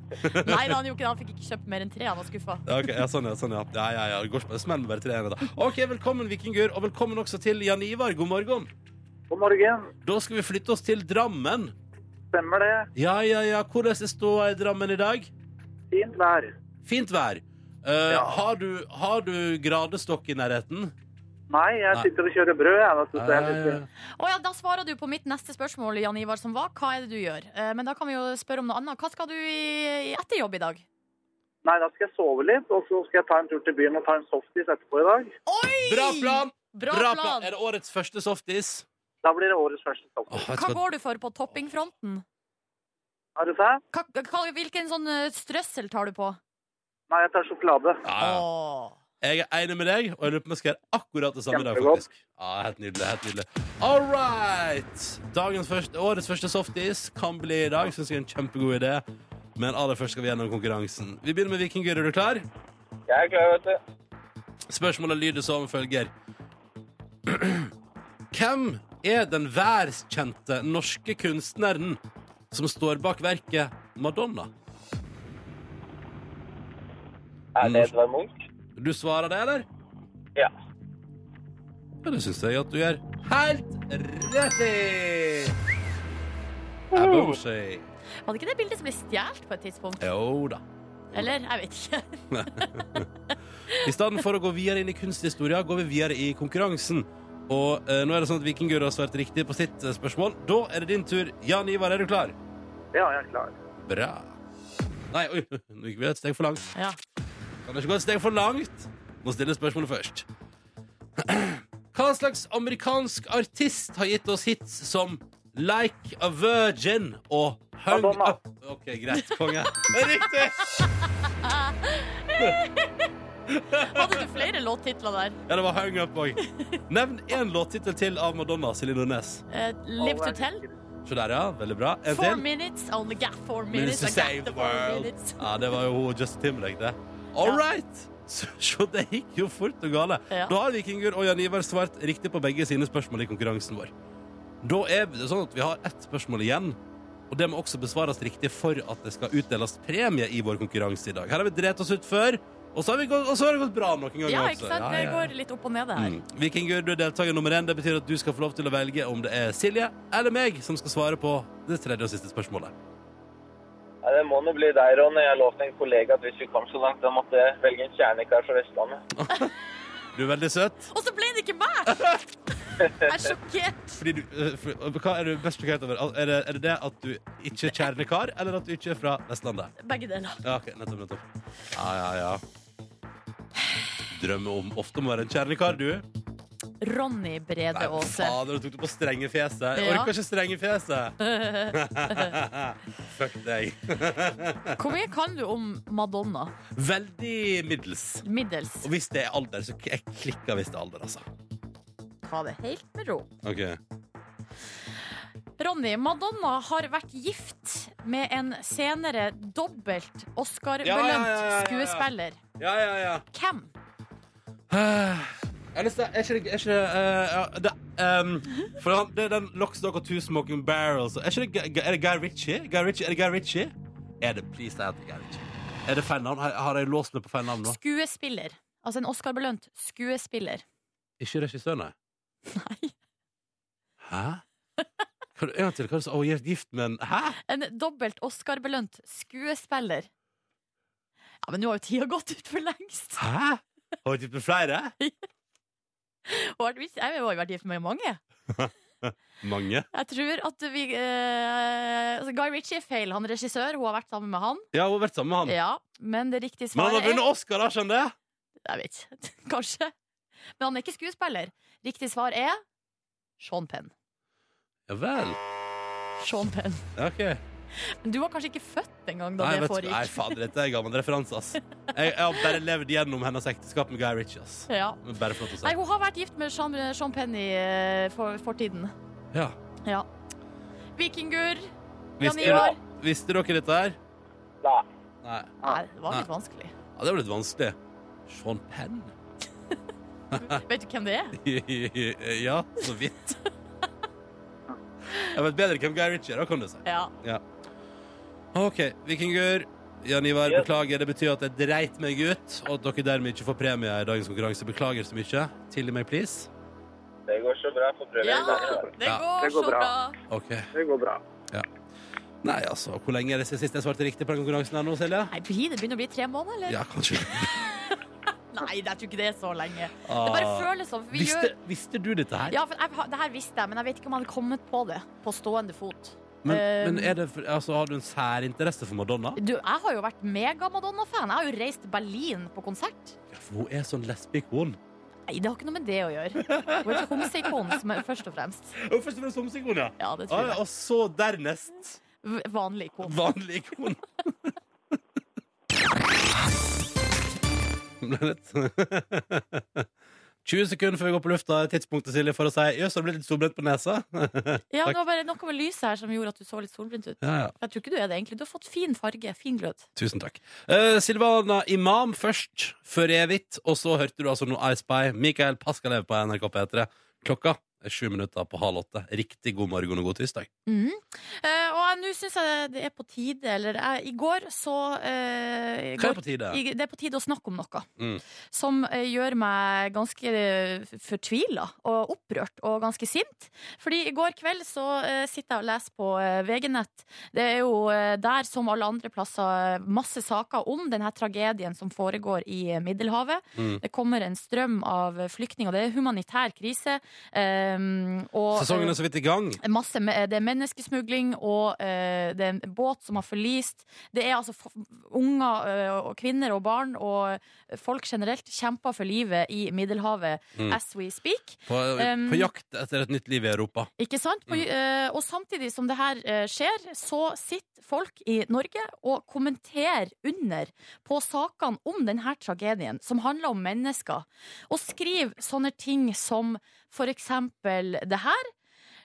Speaker 3: Nei, han gjorde ikke det. Han fikk ikke kjøpt mer enn tre, han var skuffa.
Speaker 2: Ja, ok, ja, sånn, ja, sånn, ja. Ja, ja, ja. Det går ikke det smeller bare til det ene, da. Ok, velkommen, vikingur, og velkommen også til Jan Ivar. God morgen.
Speaker 5: God morgen.
Speaker 2: Da skal vi flytte oss til Drammen.
Speaker 5: Stemmer det.
Speaker 2: Ja, ja, ja. Hvordan er ståa i Drammen i dag?
Speaker 5: Fint vær.
Speaker 2: Fint vær. Eh, har, du, har du gradestokk i nærheten? Eh,
Speaker 5: Nei, jeg
Speaker 2: Nei.
Speaker 5: sitter og kjører brød. Jeg,
Speaker 3: Å ja, da svarer du på mitt neste spørsmål, Jan Ivar, som var hva er det du gjør? Eh, Men da kan vi jo spørre om noe annet. Hva skal du i, i etter jobb i dag?
Speaker 5: Nei, da skal jeg sove litt, og så skal jeg ta en tur til byen og ta en softis etterpå i dag.
Speaker 3: Oi!
Speaker 2: Bra plan!
Speaker 3: Bra
Speaker 2: Bra
Speaker 3: plan.
Speaker 2: plan. Er det årets første softis?
Speaker 5: Da blir det årets første softis.
Speaker 2: Åh, vet du
Speaker 3: Hva
Speaker 2: hva?
Speaker 3: går du for på toppingfronten?
Speaker 5: Er det sant?
Speaker 3: Hva, hva, hvilken sånn eh, strøssel tar du på?
Speaker 5: Nei, jeg tar sjokolade.
Speaker 2: Ja, ja.
Speaker 3: Åh.
Speaker 2: Jeg er enig med deg, og jeg lurer på om jeg skal gjøre akkurat det samme i dag,
Speaker 5: Kjempegodt.
Speaker 2: faktisk. Ja, helt nydelig, helt nydelig. All right! Dagens første, årets første softis kan bli i dag. Syns jeg er en kjempegod idé. Men aller først skal vi gjennom konkurransen. Vi begynner med Vikingur. Er du klar?
Speaker 5: Jeg er klar, vet du.
Speaker 2: Spørsmålet lyder som følger. Hvem er den verdenskjente norske kunstneren som står bak verket Madonna?
Speaker 5: Er det Edvard Munch?
Speaker 2: Du svarer det, eller?
Speaker 5: Ja.
Speaker 2: Ja, det syns jeg at du gjør helt rett i. Aboshay.
Speaker 3: Var det ikke det bildet som ble stjålet på et tidspunkt?
Speaker 2: Jo da.
Speaker 3: Eller? Jeg vet ikke.
Speaker 2: I stedet for å gå videre inn i kunsthistoria, går vi videre i konkurransen. Og eh, nå er det sånn at Vikingur har svart riktig på sitt eh, spørsmål. Da er det din tur. Jan Ivar, er du klar?
Speaker 5: Ja, jeg er klar.
Speaker 2: Bra. Nei, oi, nå gikk vi et steg for langt.
Speaker 3: Ja.
Speaker 2: Kan ikke gå et steg for langt? Må stille spørsmålet først. Hva slags amerikansk artist har gitt oss hits som Like a Virgin og Hung
Speaker 5: Madonna.
Speaker 2: Up? Ok, greit, konge. Det er Riktig!
Speaker 3: Hadde du flere låttitler der?
Speaker 2: Ja, det var Hung Up òg. Nevn én låttittel til av Madonna, Silje Nordnes.
Speaker 3: Eh, live to tell?
Speaker 2: Se der, ja. Veldig bra. En
Speaker 3: Four
Speaker 2: til.
Speaker 3: minutes, only got four
Speaker 2: Minutes
Speaker 3: minutes.
Speaker 2: to
Speaker 3: I got
Speaker 2: save
Speaker 3: the
Speaker 2: the
Speaker 3: four
Speaker 2: world.
Speaker 3: minutes.
Speaker 2: Ja, det var jo Justin Timberlake, det. All
Speaker 3: Ja.
Speaker 2: right! Så, så det gikk jo fort og gale.
Speaker 3: Ja.
Speaker 2: Da har Vikingur og Jan Ivar svart riktig på begge sine spørsmål i konkurransen vår. Da er det sånn at vi har ett spørsmål igjen, og det må også besvares riktig for at det skal utdeles premie i vår konkurranse i dag. Her har vi drept oss ut før, og så har, vi gått, og så har det gått bra noen ganger.
Speaker 3: Ja,
Speaker 2: også. Ja,
Speaker 3: ikke sant? Det
Speaker 2: altså. ja, ja.
Speaker 3: går litt opp og ned, det her.
Speaker 2: Mm. Vikingur, du er deltaker nummer én. Det betyr at du skal få lov til å velge om det er Silje eller meg som skal svare på det tredje og siste spørsmålet.
Speaker 5: Nei, det må nå bli deg, Ronny. Jeg lovte en kollega at hvis vi kom så langt, da måtte jeg velge en kjernekar fra Vestlandet.
Speaker 2: Du er veldig søt.
Speaker 3: Og så ble det ikke meg! Jeg er sjokkert.
Speaker 2: Fordi du, øh, for, øh, hva er du best sjokkert over? Al- Er det, er det det at du ikke er kjernekar, eller at du ikke er fra Vestlandet?
Speaker 3: Begge deler.
Speaker 2: Ja, ok, nettopp, nettopp. Ja, ja, ja. Drømmer om ofte om å være en kjernekar, du.
Speaker 3: Ronny Brede
Speaker 2: Nei,
Speaker 3: Aase.
Speaker 2: fader, du tok det på strenge fjeset. Jeg
Speaker 3: Ja.
Speaker 2: orker ikke strenge fjeset. Fuck deg.
Speaker 3: Hvor mye kan du om Madonna?
Speaker 2: Veldig middels.
Speaker 3: Middels.
Speaker 2: Og hvis det er alder, så k- jeg klikker hvis det er alder, altså.
Speaker 3: Ta det helt med ro.
Speaker 2: Ok.
Speaker 3: Ronny, Madonna har vært gift med en senere dobbelt Oscar-belønt
Speaker 2: Ja, ja, ja, ja, ja, ja.
Speaker 3: skuespiller.
Speaker 2: Ja, ja, ja.
Speaker 3: Hvem?
Speaker 2: Jeg har lyst til Ah. Er ikke det, er ikke det, eh, ja, det ehm, For han, det er den Lockstock og Two Smoking Barrels Er, ikke det, Gu- er det Guy Ritchie? Guy Ritchie? Er det Guy Ritchie? Er det Please, det heter Guy Ritchie. Er det feil navn? Har, har jeg låst meg på feil navn nå?
Speaker 3: Skuespiller. Altså en Oscar-belønt skuespiller.
Speaker 2: Ikke regissør, nei.
Speaker 3: Nei.
Speaker 2: Hæ? Hva, en gang til. Hva er det som Å, jeg er gift med en Hæ?
Speaker 3: En dobbelt Oscar-belønt skuespiller. Ja, men nå har jo tida gått ut for lengst.
Speaker 2: Hæ? Har du gift med flere?
Speaker 3: Og har vært gift- Jeg har jo vært gift med mange.
Speaker 2: Mange.
Speaker 3: Jeg tror at vi eh, altså Guy Ritchie er feil. Han er regissør, hun har vært sammen med han.
Speaker 2: Ja, hun har vært sammen med han.
Speaker 3: Ja, Men det riktige
Speaker 2: Men han
Speaker 3: svaret
Speaker 2: har vunnet Oscar, da, skjønner jeg.
Speaker 3: Jeg vet ikke. Kanskje. Men han er ikke skuespiller. Riktig svar er Sean Penn.
Speaker 2: Ja vel.
Speaker 3: Sean Penn.
Speaker 2: Ja, OK.
Speaker 3: Men du var kanskje ikke født engang da
Speaker 2: Nei,
Speaker 3: det
Speaker 2: vet du- nei
Speaker 3: foregikk.
Speaker 2: fader, dette er gammel referanse, ass. Jeg, jeg har bare levd gjennom hennes ekteskap med Guy Ritchie, ass.
Speaker 3: Ja.
Speaker 2: Men Bare flott å
Speaker 3: Nei,
Speaker 2: se.
Speaker 3: hun har vært gift med Sean, Sean Penn i eh, for, fortiden.
Speaker 2: Ja.
Speaker 3: Ja. Vikingur. Jan
Speaker 2: Visste,
Speaker 3: Ivar.
Speaker 2: dere- visste dere dette her?
Speaker 5: Nei.
Speaker 2: Nei.
Speaker 3: Nei, det var litt vanskelig.
Speaker 2: Ja, det var litt vanskelig. Sean Penn?
Speaker 3: Vet du hvem det er?
Speaker 2: ja, så vidt. Jeg vet bedre hvem Guy Ritchie er, da kan du si.
Speaker 3: Ja.
Speaker 2: OK, vikingur. Jan Ivar,
Speaker 5: Yes.
Speaker 2: beklager. Det betyr at jeg dreit meg ut, og at dere dermed ikke får premie i dagens konkurranse. Beklager så mye. Tilgi meg, please.
Speaker 5: Det går så bra. Får prøve
Speaker 3: ja
Speaker 5: en gang.
Speaker 3: det
Speaker 2: Ja.
Speaker 3: går
Speaker 6: Det går
Speaker 3: så
Speaker 6: bra.
Speaker 3: bra.
Speaker 2: OK.
Speaker 6: Det går bra.
Speaker 2: Nei, altså, hvor lenge er det sist jeg svarte riktig på den konkurransen her nå, Silje?
Speaker 3: Nei, blir det begynner å bli tre måneder, eller?
Speaker 2: Ja, kanskje.
Speaker 3: Nei, jeg tror ikke det er så lenge.
Speaker 2: Ah.
Speaker 3: Det bare føles sånn. for Vi
Speaker 2: visste,
Speaker 3: gjør...
Speaker 2: visste du dette her?
Speaker 3: Ja, for jeg, har- det her visste jeg, men jeg vet ikke om jeg hadde kommet på det på stående fot.
Speaker 2: Men,
Speaker 3: Eh,
Speaker 2: men er det, for- altså, har du en særinteresse for Madonna?
Speaker 3: Du, jeg har jo vært mega-Madonna-fan. Jeg har jo reist til Berlin på konsert.
Speaker 2: Ja, for hun er sånn lesbikon.
Speaker 3: Nei, det har ikke noe med det å gjøre. Hun er et homseikon, som er først og fremst.
Speaker 2: Hun er først og fremst homseikon, ja.
Speaker 3: Ja, det
Speaker 2: Ah,
Speaker 3: tror
Speaker 2: ja,
Speaker 3: jeg.
Speaker 2: og så dernest
Speaker 3: V- Vanlig ikon.
Speaker 2: vanlig ikon. Det ble litt 20 sekunder før vi går på lufta, er tidspunktet Silje, for å si jøss, har du blitt litt solbrent på nesa?
Speaker 3: Ja, det var bare noe med lyset her som gjorde at du så litt solbrent ut.
Speaker 2: Ja, ja.
Speaker 3: Jeg tror ikke du er det, egentlig. Du har fått fin farge. Fin glød.
Speaker 2: Tusen takk. Eh, Silvana Imam først, før evigt, og så hørte du altså noe I Spy. Mikael Paskalev på NRK P3. Klokka er sju minutter på halv åtte. Riktig god morgen og god tirsdag.
Speaker 3: Mhm. Eh, og jeg- nå syns jeg det er på tide, eller jeg, I går så eh, i
Speaker 2: Hva er
Speaker 3: går,
Speaker 2: på tide?
Speaker 3: i, Det er på tide å snakke om noe
Speaker 2: Mm.
Speaker 3: som eh, gjør meg ganske eh, fortvila og opprørt og ganske sint. Fordi i går kveld så eh, sitter jeg og leser på eh, VG-nett. Det er jo eh, der, som alle andre plasser, eh, masse saker om denne tragedien som foregår i eh, Middelhavet.
Speaker 2: Mm.
Speaker 3: Det kommer en strøm av eh, flyktninger. Det er humanitær krise. eh, og,
Speaker 2: Sesongen er så vidt i gang.
Speaker 3: Masse, me- eh, det er menneskesmugling, og eh, det er en båt som har forlist. Det er altså f- unger eh, og kvinner og barn og folk generelt kjemper for livet i Middelhavet
Speaker 2: Mm.
Speaker 3: as we speak.
Speaker 2: På,
Speaker 3: Um,
Speaker 2: på jakt etter et nytt liv i Europa.
Speaker 3: Ikke sant? På, eh, og samtidig som det her eh, skjer, så sitter folk i Norge og kommenterer under på sakene om denne tragedien, som handler om mennesker, og skriver sånne ting som for eksempel det her.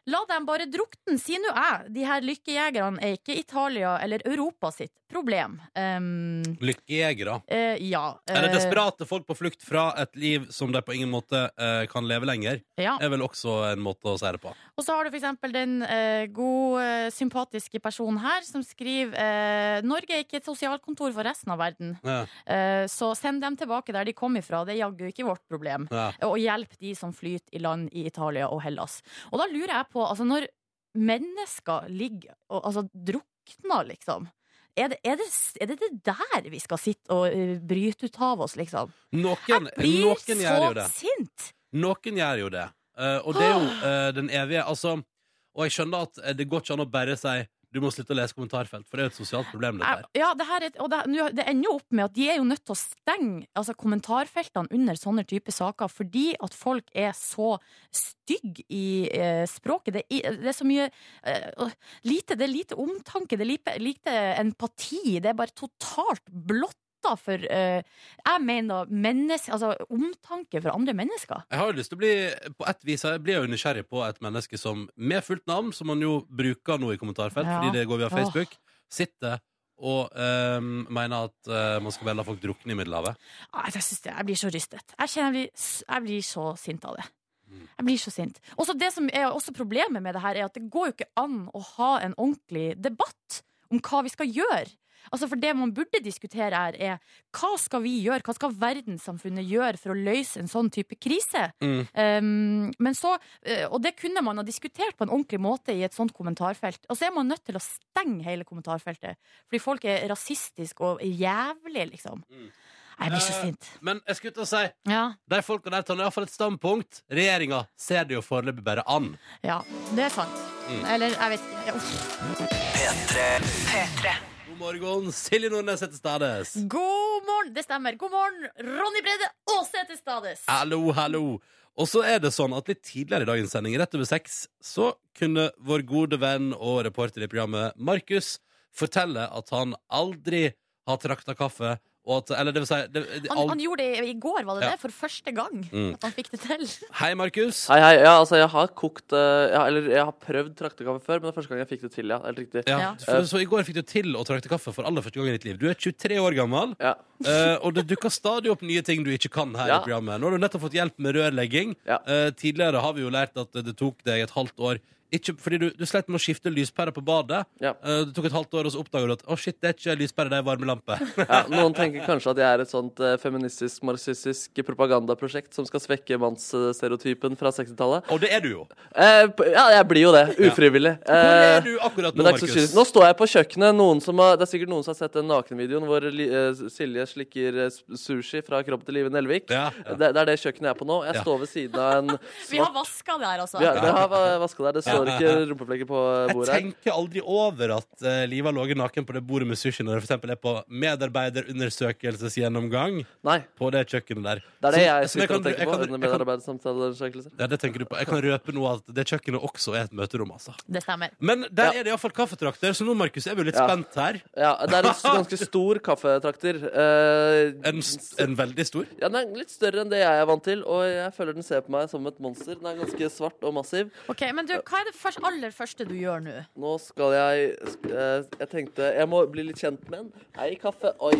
Speaker 3: La dem bare drukne, sier nå jeg. De her lykkejegerne er ikke Italia eller Europa sitt problem. Um,
Speaker 2: Lykkejegere.
Speaker 3: eh, ja.
Speaker 2: Eller
Speaker 3: eh,
Speaker 2: desperate folk på flukt fra et liv som de på ingen måte eh, kan leve lenger.
Speaker 3: Ja.
Speaker 2: Er vel også en måte å si det på.
Speaker 3: Og så har du for eksempel den eh, god, eh, sympatiske personen her som skriver eh, Norge er ikke et sosialkontor for resten av verden,
Speaker 2: Ja,
Speaker 3: eh, så send dem tilbake der de kom ifra. Det er jaggu ikke vårt problem.
Speaker 2: ja.
Speaker 3: Og hjelp de som flyter i land i Italia og Hellas. Og da lurer jeg på, altså når mennesker ligger og altså, drukner, liksom er det, er, det, er det det der vi skal sitte og eh, bryte ut av oss, liksom?
Speaker 2: Noen,
Speaker 3: Jeg blir
Speaker 2: Sånn, noen gjør jo
Speaker 3: så
Speaker 2: det.
Speaker 3: sint!
Speaker 2: Noen gjør jo det. Eh, og det er jo eh, den evige altså, Og jeg skjønner at eh, det går ikke an å bare si du må slutte å lese kommentarfelt, for det er jo et sosialt problem. dette her.
Speaker 3: Ja, det, her er, et- og det, nå- det ender jo opp med at de er jo nødt til å stenge altså, kommentarfeltene under sånne typer saker fordi at folk er så stygge i eh, språket. Det, er i- det er så mye eh, og lite, Det er lite omtanke, det er lite, lite empati. Det er bare totalt blått utafor Jeg mener menneske, altså, omtanke for andre mennesker.
Speaker 2: Jeg har jo lyst til å bli På et vis jeg blir jeg jo nysgjerrig på et menneske som med fullt navn, som man jo bruker nå i kommentarfelt
Speaker 3: Ja.
Speaker 2: fordi det går via
Speaker 3: Åh.
Speaker 2: Facebook, sitter og ehm, mener at eh, man skal bare la folk drukne i Middelhavet.
Speaker 3: Ah, Jeg, synes det, jeg blir så rystet. Jeg kjenner jeg blir, s- jeg blir så sint av det. Jeg blir så sint. Også det som er også problemet med det her, er at det går jo ikke an å ha en ordentlig debatt om hva vi skal gjøre. Altså for Det man burde diskutere, her er hva skal vi gjøre, hva skal verdenssamfunnet gjøre for å løse en sånn type krise?
Speaker 2: Mm.
Speaker 3: Um, men så, eh, og det kunne man ha diskutert på en ordentlig måte i et sånt kommentarfelt. Og så er man nødt til å stenge hele kommentarfeltet, fordi folk er rasistiske og jævlige, liksom.
Speaker 2: Mm.
Speaker 3: Jeg blir så
Speaker 2: Eh,
Speaker 3: sint.
Speaker 2: Men jeg skulle til å si
Speaker 3: Ja,
Speaker 2: de folka der tar nå iallfall et standpunkt. Regjeringa ser det jo foreløpig bare an.
Speaker 3: ja det er sant.
Speaker 2: Mm.
Speaker 3: Eller, jeg vet ikke. Uff.
Speaker 2: God morgen, Silje Nordnes heter Stades.
Speaker 3: God morgen! Det stemmer. God morgen, Ronny Brede Aase til stades.
Speaker 2: Hallo, hallo. Og så er det sånn at litt tidligere i dagens sending, rett over seks, så kunne vår gode venn og reporter i programmet, Markus, fortelle at han aldri har trakta kaffe, og at Eller det vil si det, det,
Speaker 3: Han, han
Speaker 2: aldri,
Speaker 3: gjorde det i går, var det
Speaker 2: Ja.
Speaker 3: det? For første gang
Speaker 2: Mm.
Speaker 3: at han fikk det til.
Speaker 2: Hei, Markus.
Speaker 4: Hei, hei. Ja, altså, jeg har kokt eh, jeg har, Eller jeg har prøvd traktekaffe før, men det er første gang jeg fikk det til, ja. Helt riktig.
Speaker 2: Ja,
Speaker 3: Ja.
Speaker 2: for, så I går fikk du til å trakte kaffe for aller første gang i ditt liv. Du er 23 år gammel,
Speaker 4: Ja.
Speaker 2: eh, og det dukker stadig opp nye ting du ikke kan her.
Speaker 4: Ja.
Speaker 2: i programmet Nå har du nettopp fått hjelp med rørlegging.
Speaker 4: Ja.
Speaker 2: Eh, tidligere har vi jo lært at det tok deg et halvt år. Ikke fordi du, du slet med å skifte lyspære på badet.
Speaker 4: Ja.
Speaker 2: Eh, det tok et halvt år, og så oppdaga du at å shit, det er ikke lyspære, det er varmelampe.
Speaker 4: Ja, noen tenker kanskje at jeg er et sånt eh, feministisk, marxistisk propagandaprosjekt som skal svekke mannsstereotypen fra 60-tallet.
Speaker 2: og det er du jo.
Speaker 4: Eh, p- ja, jeg blir jo det. Ufrivillig.
Speaker 2: Hvor
Speaker 4: Eh,
Speaker 2: er du akkurat nå,
Speaker 4: men det er ikke så
Speaker 2: Markus?
Speaker 4: kynisk. Nå står jeg på kjøkkenet. Noen som har, det er sikkert noen som har sett den nakenvideoen hvor li, eh, Silje slikker eh, s- sushi fra kroppen til Live Nelvik.
Speaker 2: Ja, ja.
Speaker 4: Det, det er det kjøkkenet jeg er på nå. Jeg
Speaker 2: Ja.
Speaker 4: står ved siden av en
Speaker 3: Vi har vaska det her, altså.
Speaker 4: Vi har, det har va- vaska der. Det står ikke rumpeflekker på eh,
Speaker 2: Jeg
Speaker 4: bordet. her.
Speaker 2: tenker aldri over at uh, Liva har ligget naken på det bordet med sushi når det for eksempel er på medarbeiderundersøkelsesgjennomgang
Speaker 4: Nei.
Speaker 2: på det kjøkkenet der.
Speaker 4: Det er det jeg
Speaker 2: Som- som
Speaker 4: sitter
Speaker 2: kan-
Speaker 4: og
Speaker 2: Altså, jeg
Speaker 4: tenker på
Speaker 2: kan-
Speaker 4: under
Speaker 2: jeg kan-
Speaker 4: medarbeidersamtaleundersøkelser.
Speaker 2: Ja, det tenker du på. Jeg kan røpe nå at det kjøkkenet også er et møterom, altså.
Speaker 3: Det stemmer.
Speaker 2: Men der
Speaker 4: Ja.
Speaker 2: er det iallfall kaffetrakter, så nå, Markus, er vi jo litt
Speaker 4: Ja.
Speaker 2: spent her.
Speaker 4: Ja, det er en s- ganske stor kaffetrakter. Eh,
Speaker 2: En, st- en veldig stor.
Speaker 4: ja, den er litt større enn det jeg er vant til, og jeg føler den ser på meg som et monster. Den er ganske svart og massiv.
Speaker 3: Ok, Men du, hva er det først, aller første du gjør nå?
Speaker 4: Nå skal jeg sk- eh, Jeg tenkte jeg må bli litt kjent med den. Hei, kaffe. Oi.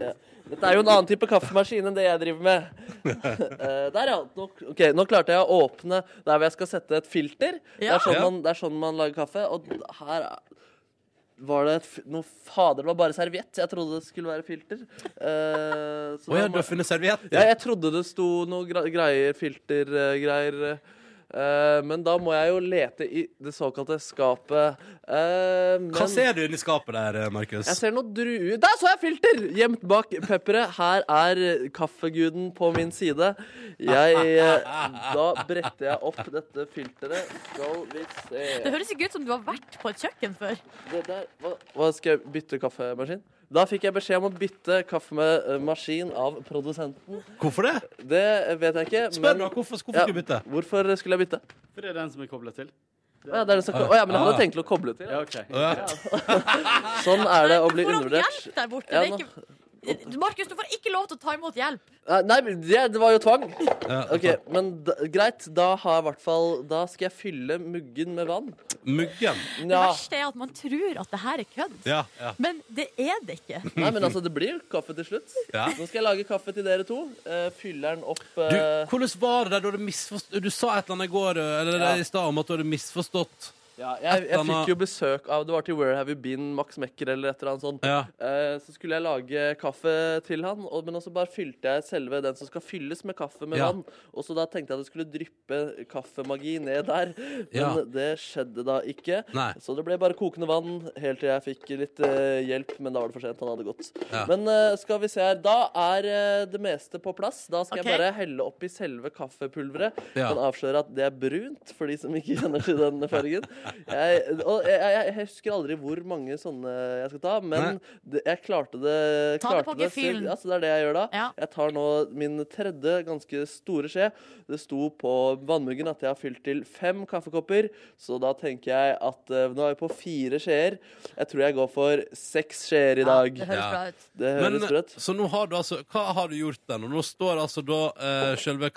Speaker 4: Ja. Dette er jo en annen type kaffemaskin enn det jeg driver med. Eh, Der, ja. Nå, ok, nå klarte jeg å åpne der hvor jeg skal sette et filter. Det,
Speaker 3: Ja.
Speaker 4: er sånn
Speaker 2: Ja.
Speaker 4: man, det er sånn man lager kaffe. Og d- her er- var det et f- noe Fader, det var bare serviett. Jeg trodde det skulle være filter. Eh, så
Speaker 2: Å ja,
Speaker 4: da
Speaker 2: du har
Speaker 4: må-
Speaker 2: funnet serviett?
Speaker 4: ja, jeg trodde det sto noe gra- greier, filtergreier. eh, men da må jeg jo lete i det såkalte skapet. Eh, men
Speaker 2: Hva ser du inni skapet der, eh, Markus?
Speaker 4: Jeg ser noen druer Der så jeg filter! Gjemt bak pepperet. Her er eh, kaffeguden på min side. Jeg eh, Da bretter jeg opp dette filteret. Skal vi se
Speaker 3: Det høres ikke ut som du har vært på et kjøkken før.
Speaker 4: det der, hva, hva skal jeg bytte kaffemaskin? Da fikk jeg beskjed om å bytte kaffemaskin av produsenten.
Speaker 2: Hvorfor det?
Speaker 4: Det vet jeg ikke.
Speaker 2: Spør da, hvorfor, hvorfor
Speaker 4: Ja.
Speaker 2: skal du bytte?
Speaker 4: Hvorfor skulle jeg bytte?
Speaker 6: For det er den som er koblet til.
Speaker 4: Å ja, det er det som,
Speaker 2: Ah.
Speaker 4: Å ja, men jeg
Speaker 2: Ah.
Speaker 4: hadde tenkt å koble til.
Speaker 6: Ja, OK.
Speaker 2: Å ja.
Speaker 4: Sånn er det å
Speaker 3: Du
Speaker 4: bli
Speaker 3: får
Speaker 4: undervurdert.
Speaker 3: hjelp der borte. det
Speaker 4: Ja,
Speaker 3: er ikke... Markus, du får ikke lov til å ta imot hjelp.
Speaker 4: Eh, Nei, men det, det var jo tvang.
Speaker 2: Ja,
Speaker 4: Ok, Men da, greit, da har jeg i hvert fall Da skal jeg fylle muggen med vann.
Speaker 2: Muggen.
Speaker 3: Det
Speaker 4: Ja.
Speaker 3: verste er at man tror at det her er kødd.
Speaker 2: Ja, ja.
Speaker 3: Men det er det ikke.
Speaker 4: Nei, men altså, det blir kaffe til slutt.
Speaker 2: Ja.
Speaker 4: Nå skal jeg lage kaffe til dere to. Eh, fyller den opp
Speaker 2: Du,
Speaker 4: eh,
Speaker 2: hvordan var det der du hadde misforstått Du sa et eller annet i går eh, eller
Speaker 4: Ja.
Speaker 2: i stad om at du hadde misforstått.
Speaker 4: ja, jeg, jeg
Speaker 2: Anna-
Speaker 4: fikk jo besøk av Det var til Where Have You Been, Max Mekker eller et eller annet sånt.
Speaker 2: Ja.
Speaker 4: Eh, Så skulle jeg lage kaffe til han, og, men også bare fylte jeg selve den som skal fylles med kaffe med
Speaker 2: Ja.
Speaker 4: vann. Og så da tenkte jeg det skulle dryppe kaffemagi ned der, men
Speaker 2: Ja.
Speaker 4: det skjedde da ikke.
Speaker 2: Nei.
Speaker 4: Så det ble bare kokende vann helt til jeg fikk litt eh, hjelp, men da var det for sent. Han hadde gått.
Speaker 2: Ja.
Speaker 4: Men eh, skal vi se her. Da er eh, det meste på plass. Da skal
Speaker 3: Ok.
Speaker 4: jeg bare helle oppi selve kaffepulveret.
Speaker 2: Ja.
Speaker 4: Kan avsløre at det er brunt, for de som ikke kjenner til den fargen. Jeg, og jeg, jeg, jeg husker aldri hvor mange sånne jeg skal ta, men
Speaker 2: Nei.
Speaker 4: det, jeg klarte det.
Speaker 3: Ta det
Speaker 4: klarte
Speaker 3: på
Speaker 4: selv.
Speaker 3: gefühlen.
Speaker 4: Ja, så det er det jeg gjør da.
Speaker 3: Ja.
Speaker 4: Jeg tar nå min tredje ganske store skje. Det sto på vannmuggen at jeg har fylt til fem kaffekopper, så da tenker jeg at eh, nå er vi på fire skjeer. Jeg tror jeg går for seks skjeer i dag.
Speaker 3: det høres
Speaker 2: Ja.
Speaker 3: bra ut.
Speaker 4: det
Speaker 2: Men,
Speaker 4: høres sprøtt.
Speaker 2: så nå har du altså Hva har du gjort der nå? Nå står altså da uh, selve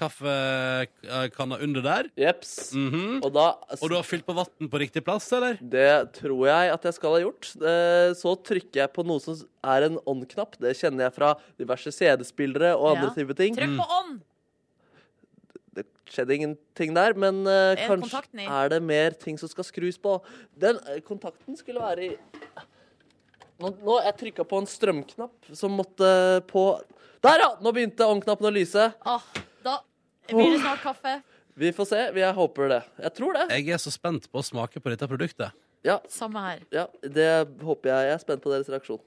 Speaker 2: kaffekanna under der.
Speaker 4: Jeps.
Speaker 2: Mhm.
Speaker 4: Og da
Speaker 2: Og du har fylt på vann på riktig plass, eller?
Speaker 4: Det tror jeg at jeg skal ha gjort. Eh, Så trykker jeg på noe som er en on-knapp. Det kjenner jeg fra diverse CD-spillere og andre
Speaker 3: Ja.
Speaker 4: type ting.
Speaker 3: Trykk på on!
Speaker 4: Det skjedde ingenting der, men eh,
Speaker 3: Er
Speaker 4: kanskje
Speaker 3: kontakten i?
Speaker 4: er det mer ting som skal skrus på. Den eh, kontakten skulle være i Nå, nå jeg trykka på en strømknapp som måtte på Der, ja! Nå begynte on-knappen å lyse.
Speaker 3: Ah, da blir det snart kaffe.
Speaker 4: Vi får se. Vi- Jeg håper det. Jeg tror det.
Speaker 2: Jeg er så spent på å smake på dette produktet.
Speaker 4: Ja,
Speaker 3: Samme her.
Speaker 4: ja det håper jeg. Jeg er spent på deres reaksjon.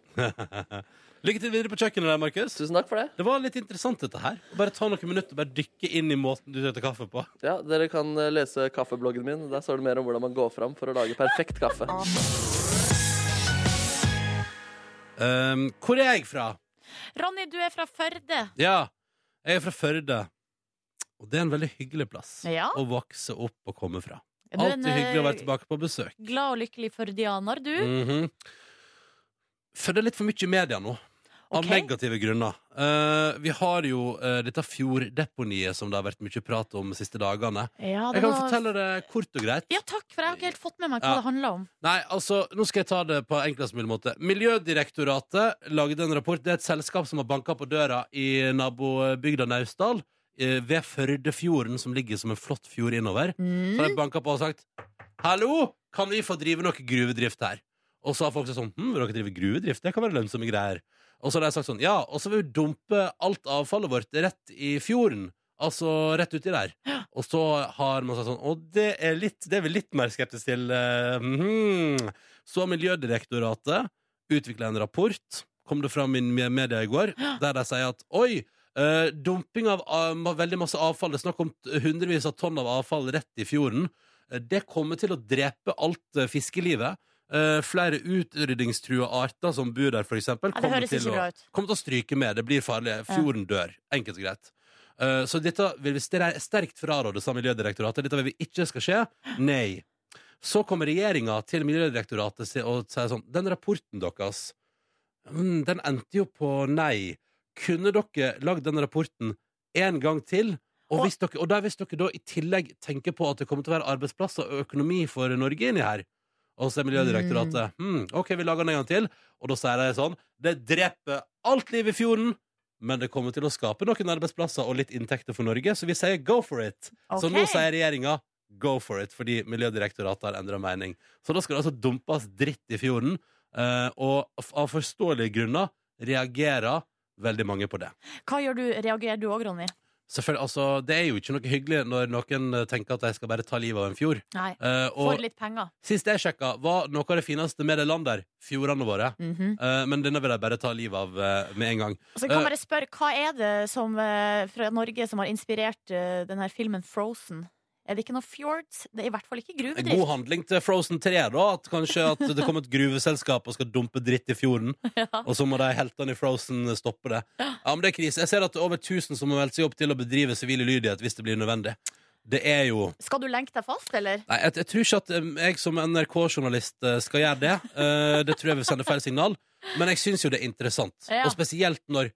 Speaker 2: Lykke til videre på kjøkkenet der, Markus.
Speaker 4: Tusen takk for det.
Speaker 2: Det var litt interessant, dette her. Bare ta noen minutter og bare dykke inn i måten du setter kaffe på.
Speaker 4: Ja, Dere kan eh, lese kaffebloggen min. Der står det mer om hvordan man går fram for å lage perfekt kaffe.
Speaker 2: Ehm, hvor er jeg fra?
Speaker 3: Ronny, du er fra Førde.
Speaker 2: Ja, jeg er fra Førde. Og det er en veldig hyggelig plass
Speaker 3: Ja.
Speaker 2: å vokse opp og komme fra.
Speaker 3: Er du en,
Speaker 2: Alltid hyggelig å være
Speaker 3: eh, Mm.
Speaker 2: tilbake på besøk.
Speaker 3: Glad og lykkelig førdianer, du.
Speaker 2: Mhm. Følger litt for mye i media nå, av
Speaker 3: Ok.
Speaker 2: negative grunner. Eh, vi har jo eh, dette fjorddeponiet som det har vært mye prat om de siste dagene.
Speaker 3: Ja,
Speaker 2: Jeg
Speaker 3: det
Speaker 2: kan
Speaker 3: var-
Speaker 2: fortelle det kort og greit.
Speaker 3: Ja, takk, for jeg har ikke helt fått med meg hva
Speaker 2: Ja.
Speaker 3: det handler om.
Speaker 2: Nei, altså, nå skal jeg ta det på enklest mulig måte. Miljødirektoratet lagde en rapport. Det er et selskap som har banka på døra i nabobygda Naustdal, eh, ved Førdefjorden, som ligger som en flott fjord innover. Så
Speaker 3: Mm.
Speaker 2: har de banka på og sagt Hallo, kan vi få drive noe gruvedrift her? Og så har folk sagt sånn Hm, vil dere drive gruvedrift? Det kan være lønnsomme greier. Og så har de sagt sånn Ja, og så vil vi dumpe alt avfallet vårt rett i fjorden. Altså rett uti der. Og så har man sagt sånn Og det er, litt, det er vi litt mer skeptisk til. eh, mhm». Så har Miljødirektoratet utvikla en rapport, kom det fram i me- media i går, der de sier at oi, eh, dumping av eh, ma- veldig masse avfall, det er snakk om t- hundrevis av tonn av avfall rett i fjorden, Eh, det kommer til å drepe alt eh, fiskelivet. Eh, flere utrydningstrua arter som bor der, for eksempel,
Speaker 3: Nei, det
Speaker 2: kommer
Speaker 3: høres
Speaker 2: til
Speaker 3: ikke
Speaker 2: å-
Speaker 3: bra ut.
Speaker 2: kommer til å stryke med. Det blir farlig. Fjorden dør. Enkelt og greit. Eh, Så dette vil vi stre- sterkt fraråde, sa Miljødirektoratet. Dette vil vi ikke skal skje. Nei. Så kommer regjeringa til Miljødirektoratet si- og sier sånn Den rapporten deres, mm, den endte jo på nei. Kunne dere lagd den rapporten en gang til? Og,
Speaker 3: Og-
Speaker 2: hvis dere, og da, hvis dere da i tillegg tenker på at det kommer til å være arbeidsplasser og økonomi for Norge inni her, og så er Miljødirektoratet «Hm, OK, vi lager den en gang til. Og da sier de sånn Det dreper alt liv i fjorden, men det kommer til å skape noen arbeidsplasser og litt inntekter for Norge, så vi sier go for it. Så
Speaker 3: Ok.
Speaker 2: nå sier regjeringa go for it, fordi Miljødirektoratet har endra mening. Så da skal det altså dumpes dritt i fjorden, eh, og f- av forståelige grunner reagerer veldig mange på det.
Speaker 3: Hva gjør du? Reagerer du òg, Ronny?
Speaker 2: Selvfølgelig, altså, Det er jo ikke noe hyggelig når noen eh, tenker at de skal bare ta livet av en fjord.
Speaker 3: Nei.
Speaker 2: Eh,
Speaker 3: Får
Speaker 2: og
Speaker 3: litt penger.
Speaker 2: sist jeg sjekka, var noe av det fineste med det landet der fjordene våre.
Speaker 3: Mhm.
Speaker 2: Eh, men denne vil jeg bare ta livet av eh, med en gang.
Speaker 3: Så jeg kan
Speaker 2: Eh.
Speaker 3: bare spørre, Hva er det som, eh, fra Norge som har inspirert eh, den her filmen Frozen? Er det ikke noe fjords? Det er i hvert fall ikke
Speaker 2: En god
Speaker 3: gruvedrift.
Speaker 2: handling til Frozen 3, da. At kanskje at det kommer et gruveselskap og skal dumpe dritt i fjorden. Og så må de heltene i Frozen stoppe det. Ja, men det er krise. Jeg ser at det er over 1000 som har meldt seg opp til å bedrive sivil ulydighet hvis det blir nødvendig. Det er jo
Speaker 3: Skal du lenke deg fast, eller?
Speaker 2: Nei, jeg, jeg tror ikke at um, jeg som NRK-journalist eh, skal gjøre det. Eh, det tror jeg vil sende feil signal. Men jeg syns jo det er interessant.
Speaker 3: Ja.
Speaker 2: Og spesielt når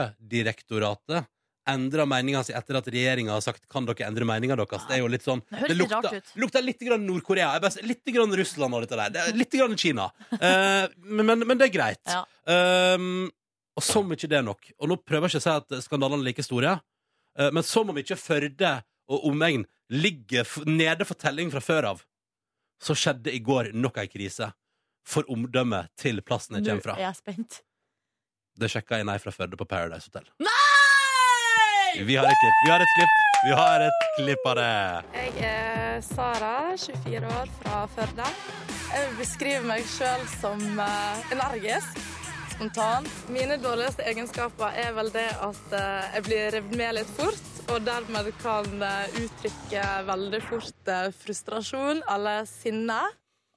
Speaker 2: Miljødirektoratet endrer meninga si etter at regjeringa har sagt 'kan dere endre meninga deres'. Det er jo litt sånn
Speaker 3: Det høres litt
Speaker 2: lukter,
Speaker 3: rart ut.
Speaker 2: lukter litt grann Nord-Korea. Jeg bare sier Litt grann Russland og dette der. Det er litt grann Kina. Eh, men, men, men det er greit.
Speaker 3: Ja.
Speaker 2: Um, og som ikke det er nok. Og nå prøver jeg ikke å si at skandalene er like store, eh, men som om ikke Førde og omegn ligger f nede for telling fra før av, så skjedde i går nok ei krise for omdømmet til plassen jeg kommer
Speaker 3: Nå er
Speaker 2: fra.
Speaker 3: jeg spent.
Speaker 2: Det sjekka jeg nei fra Førde på Paradise Hotel.
Speaker 3: Nei!
Speaker 2: Vi har et klipp. Vi har et klipp. Vi har et klipp av det.
Speaker 6: Jeg er Sara, 24 år, fra Førde. Jeg vil beskrive meg sjøl som eh, energisk, spontan. Mine dårligste egenskaper er vel det at eh, jeg blir revet med litt fort, og dermed kan eh, uttrykke veldig fort eh, frustrasjon eller sinne.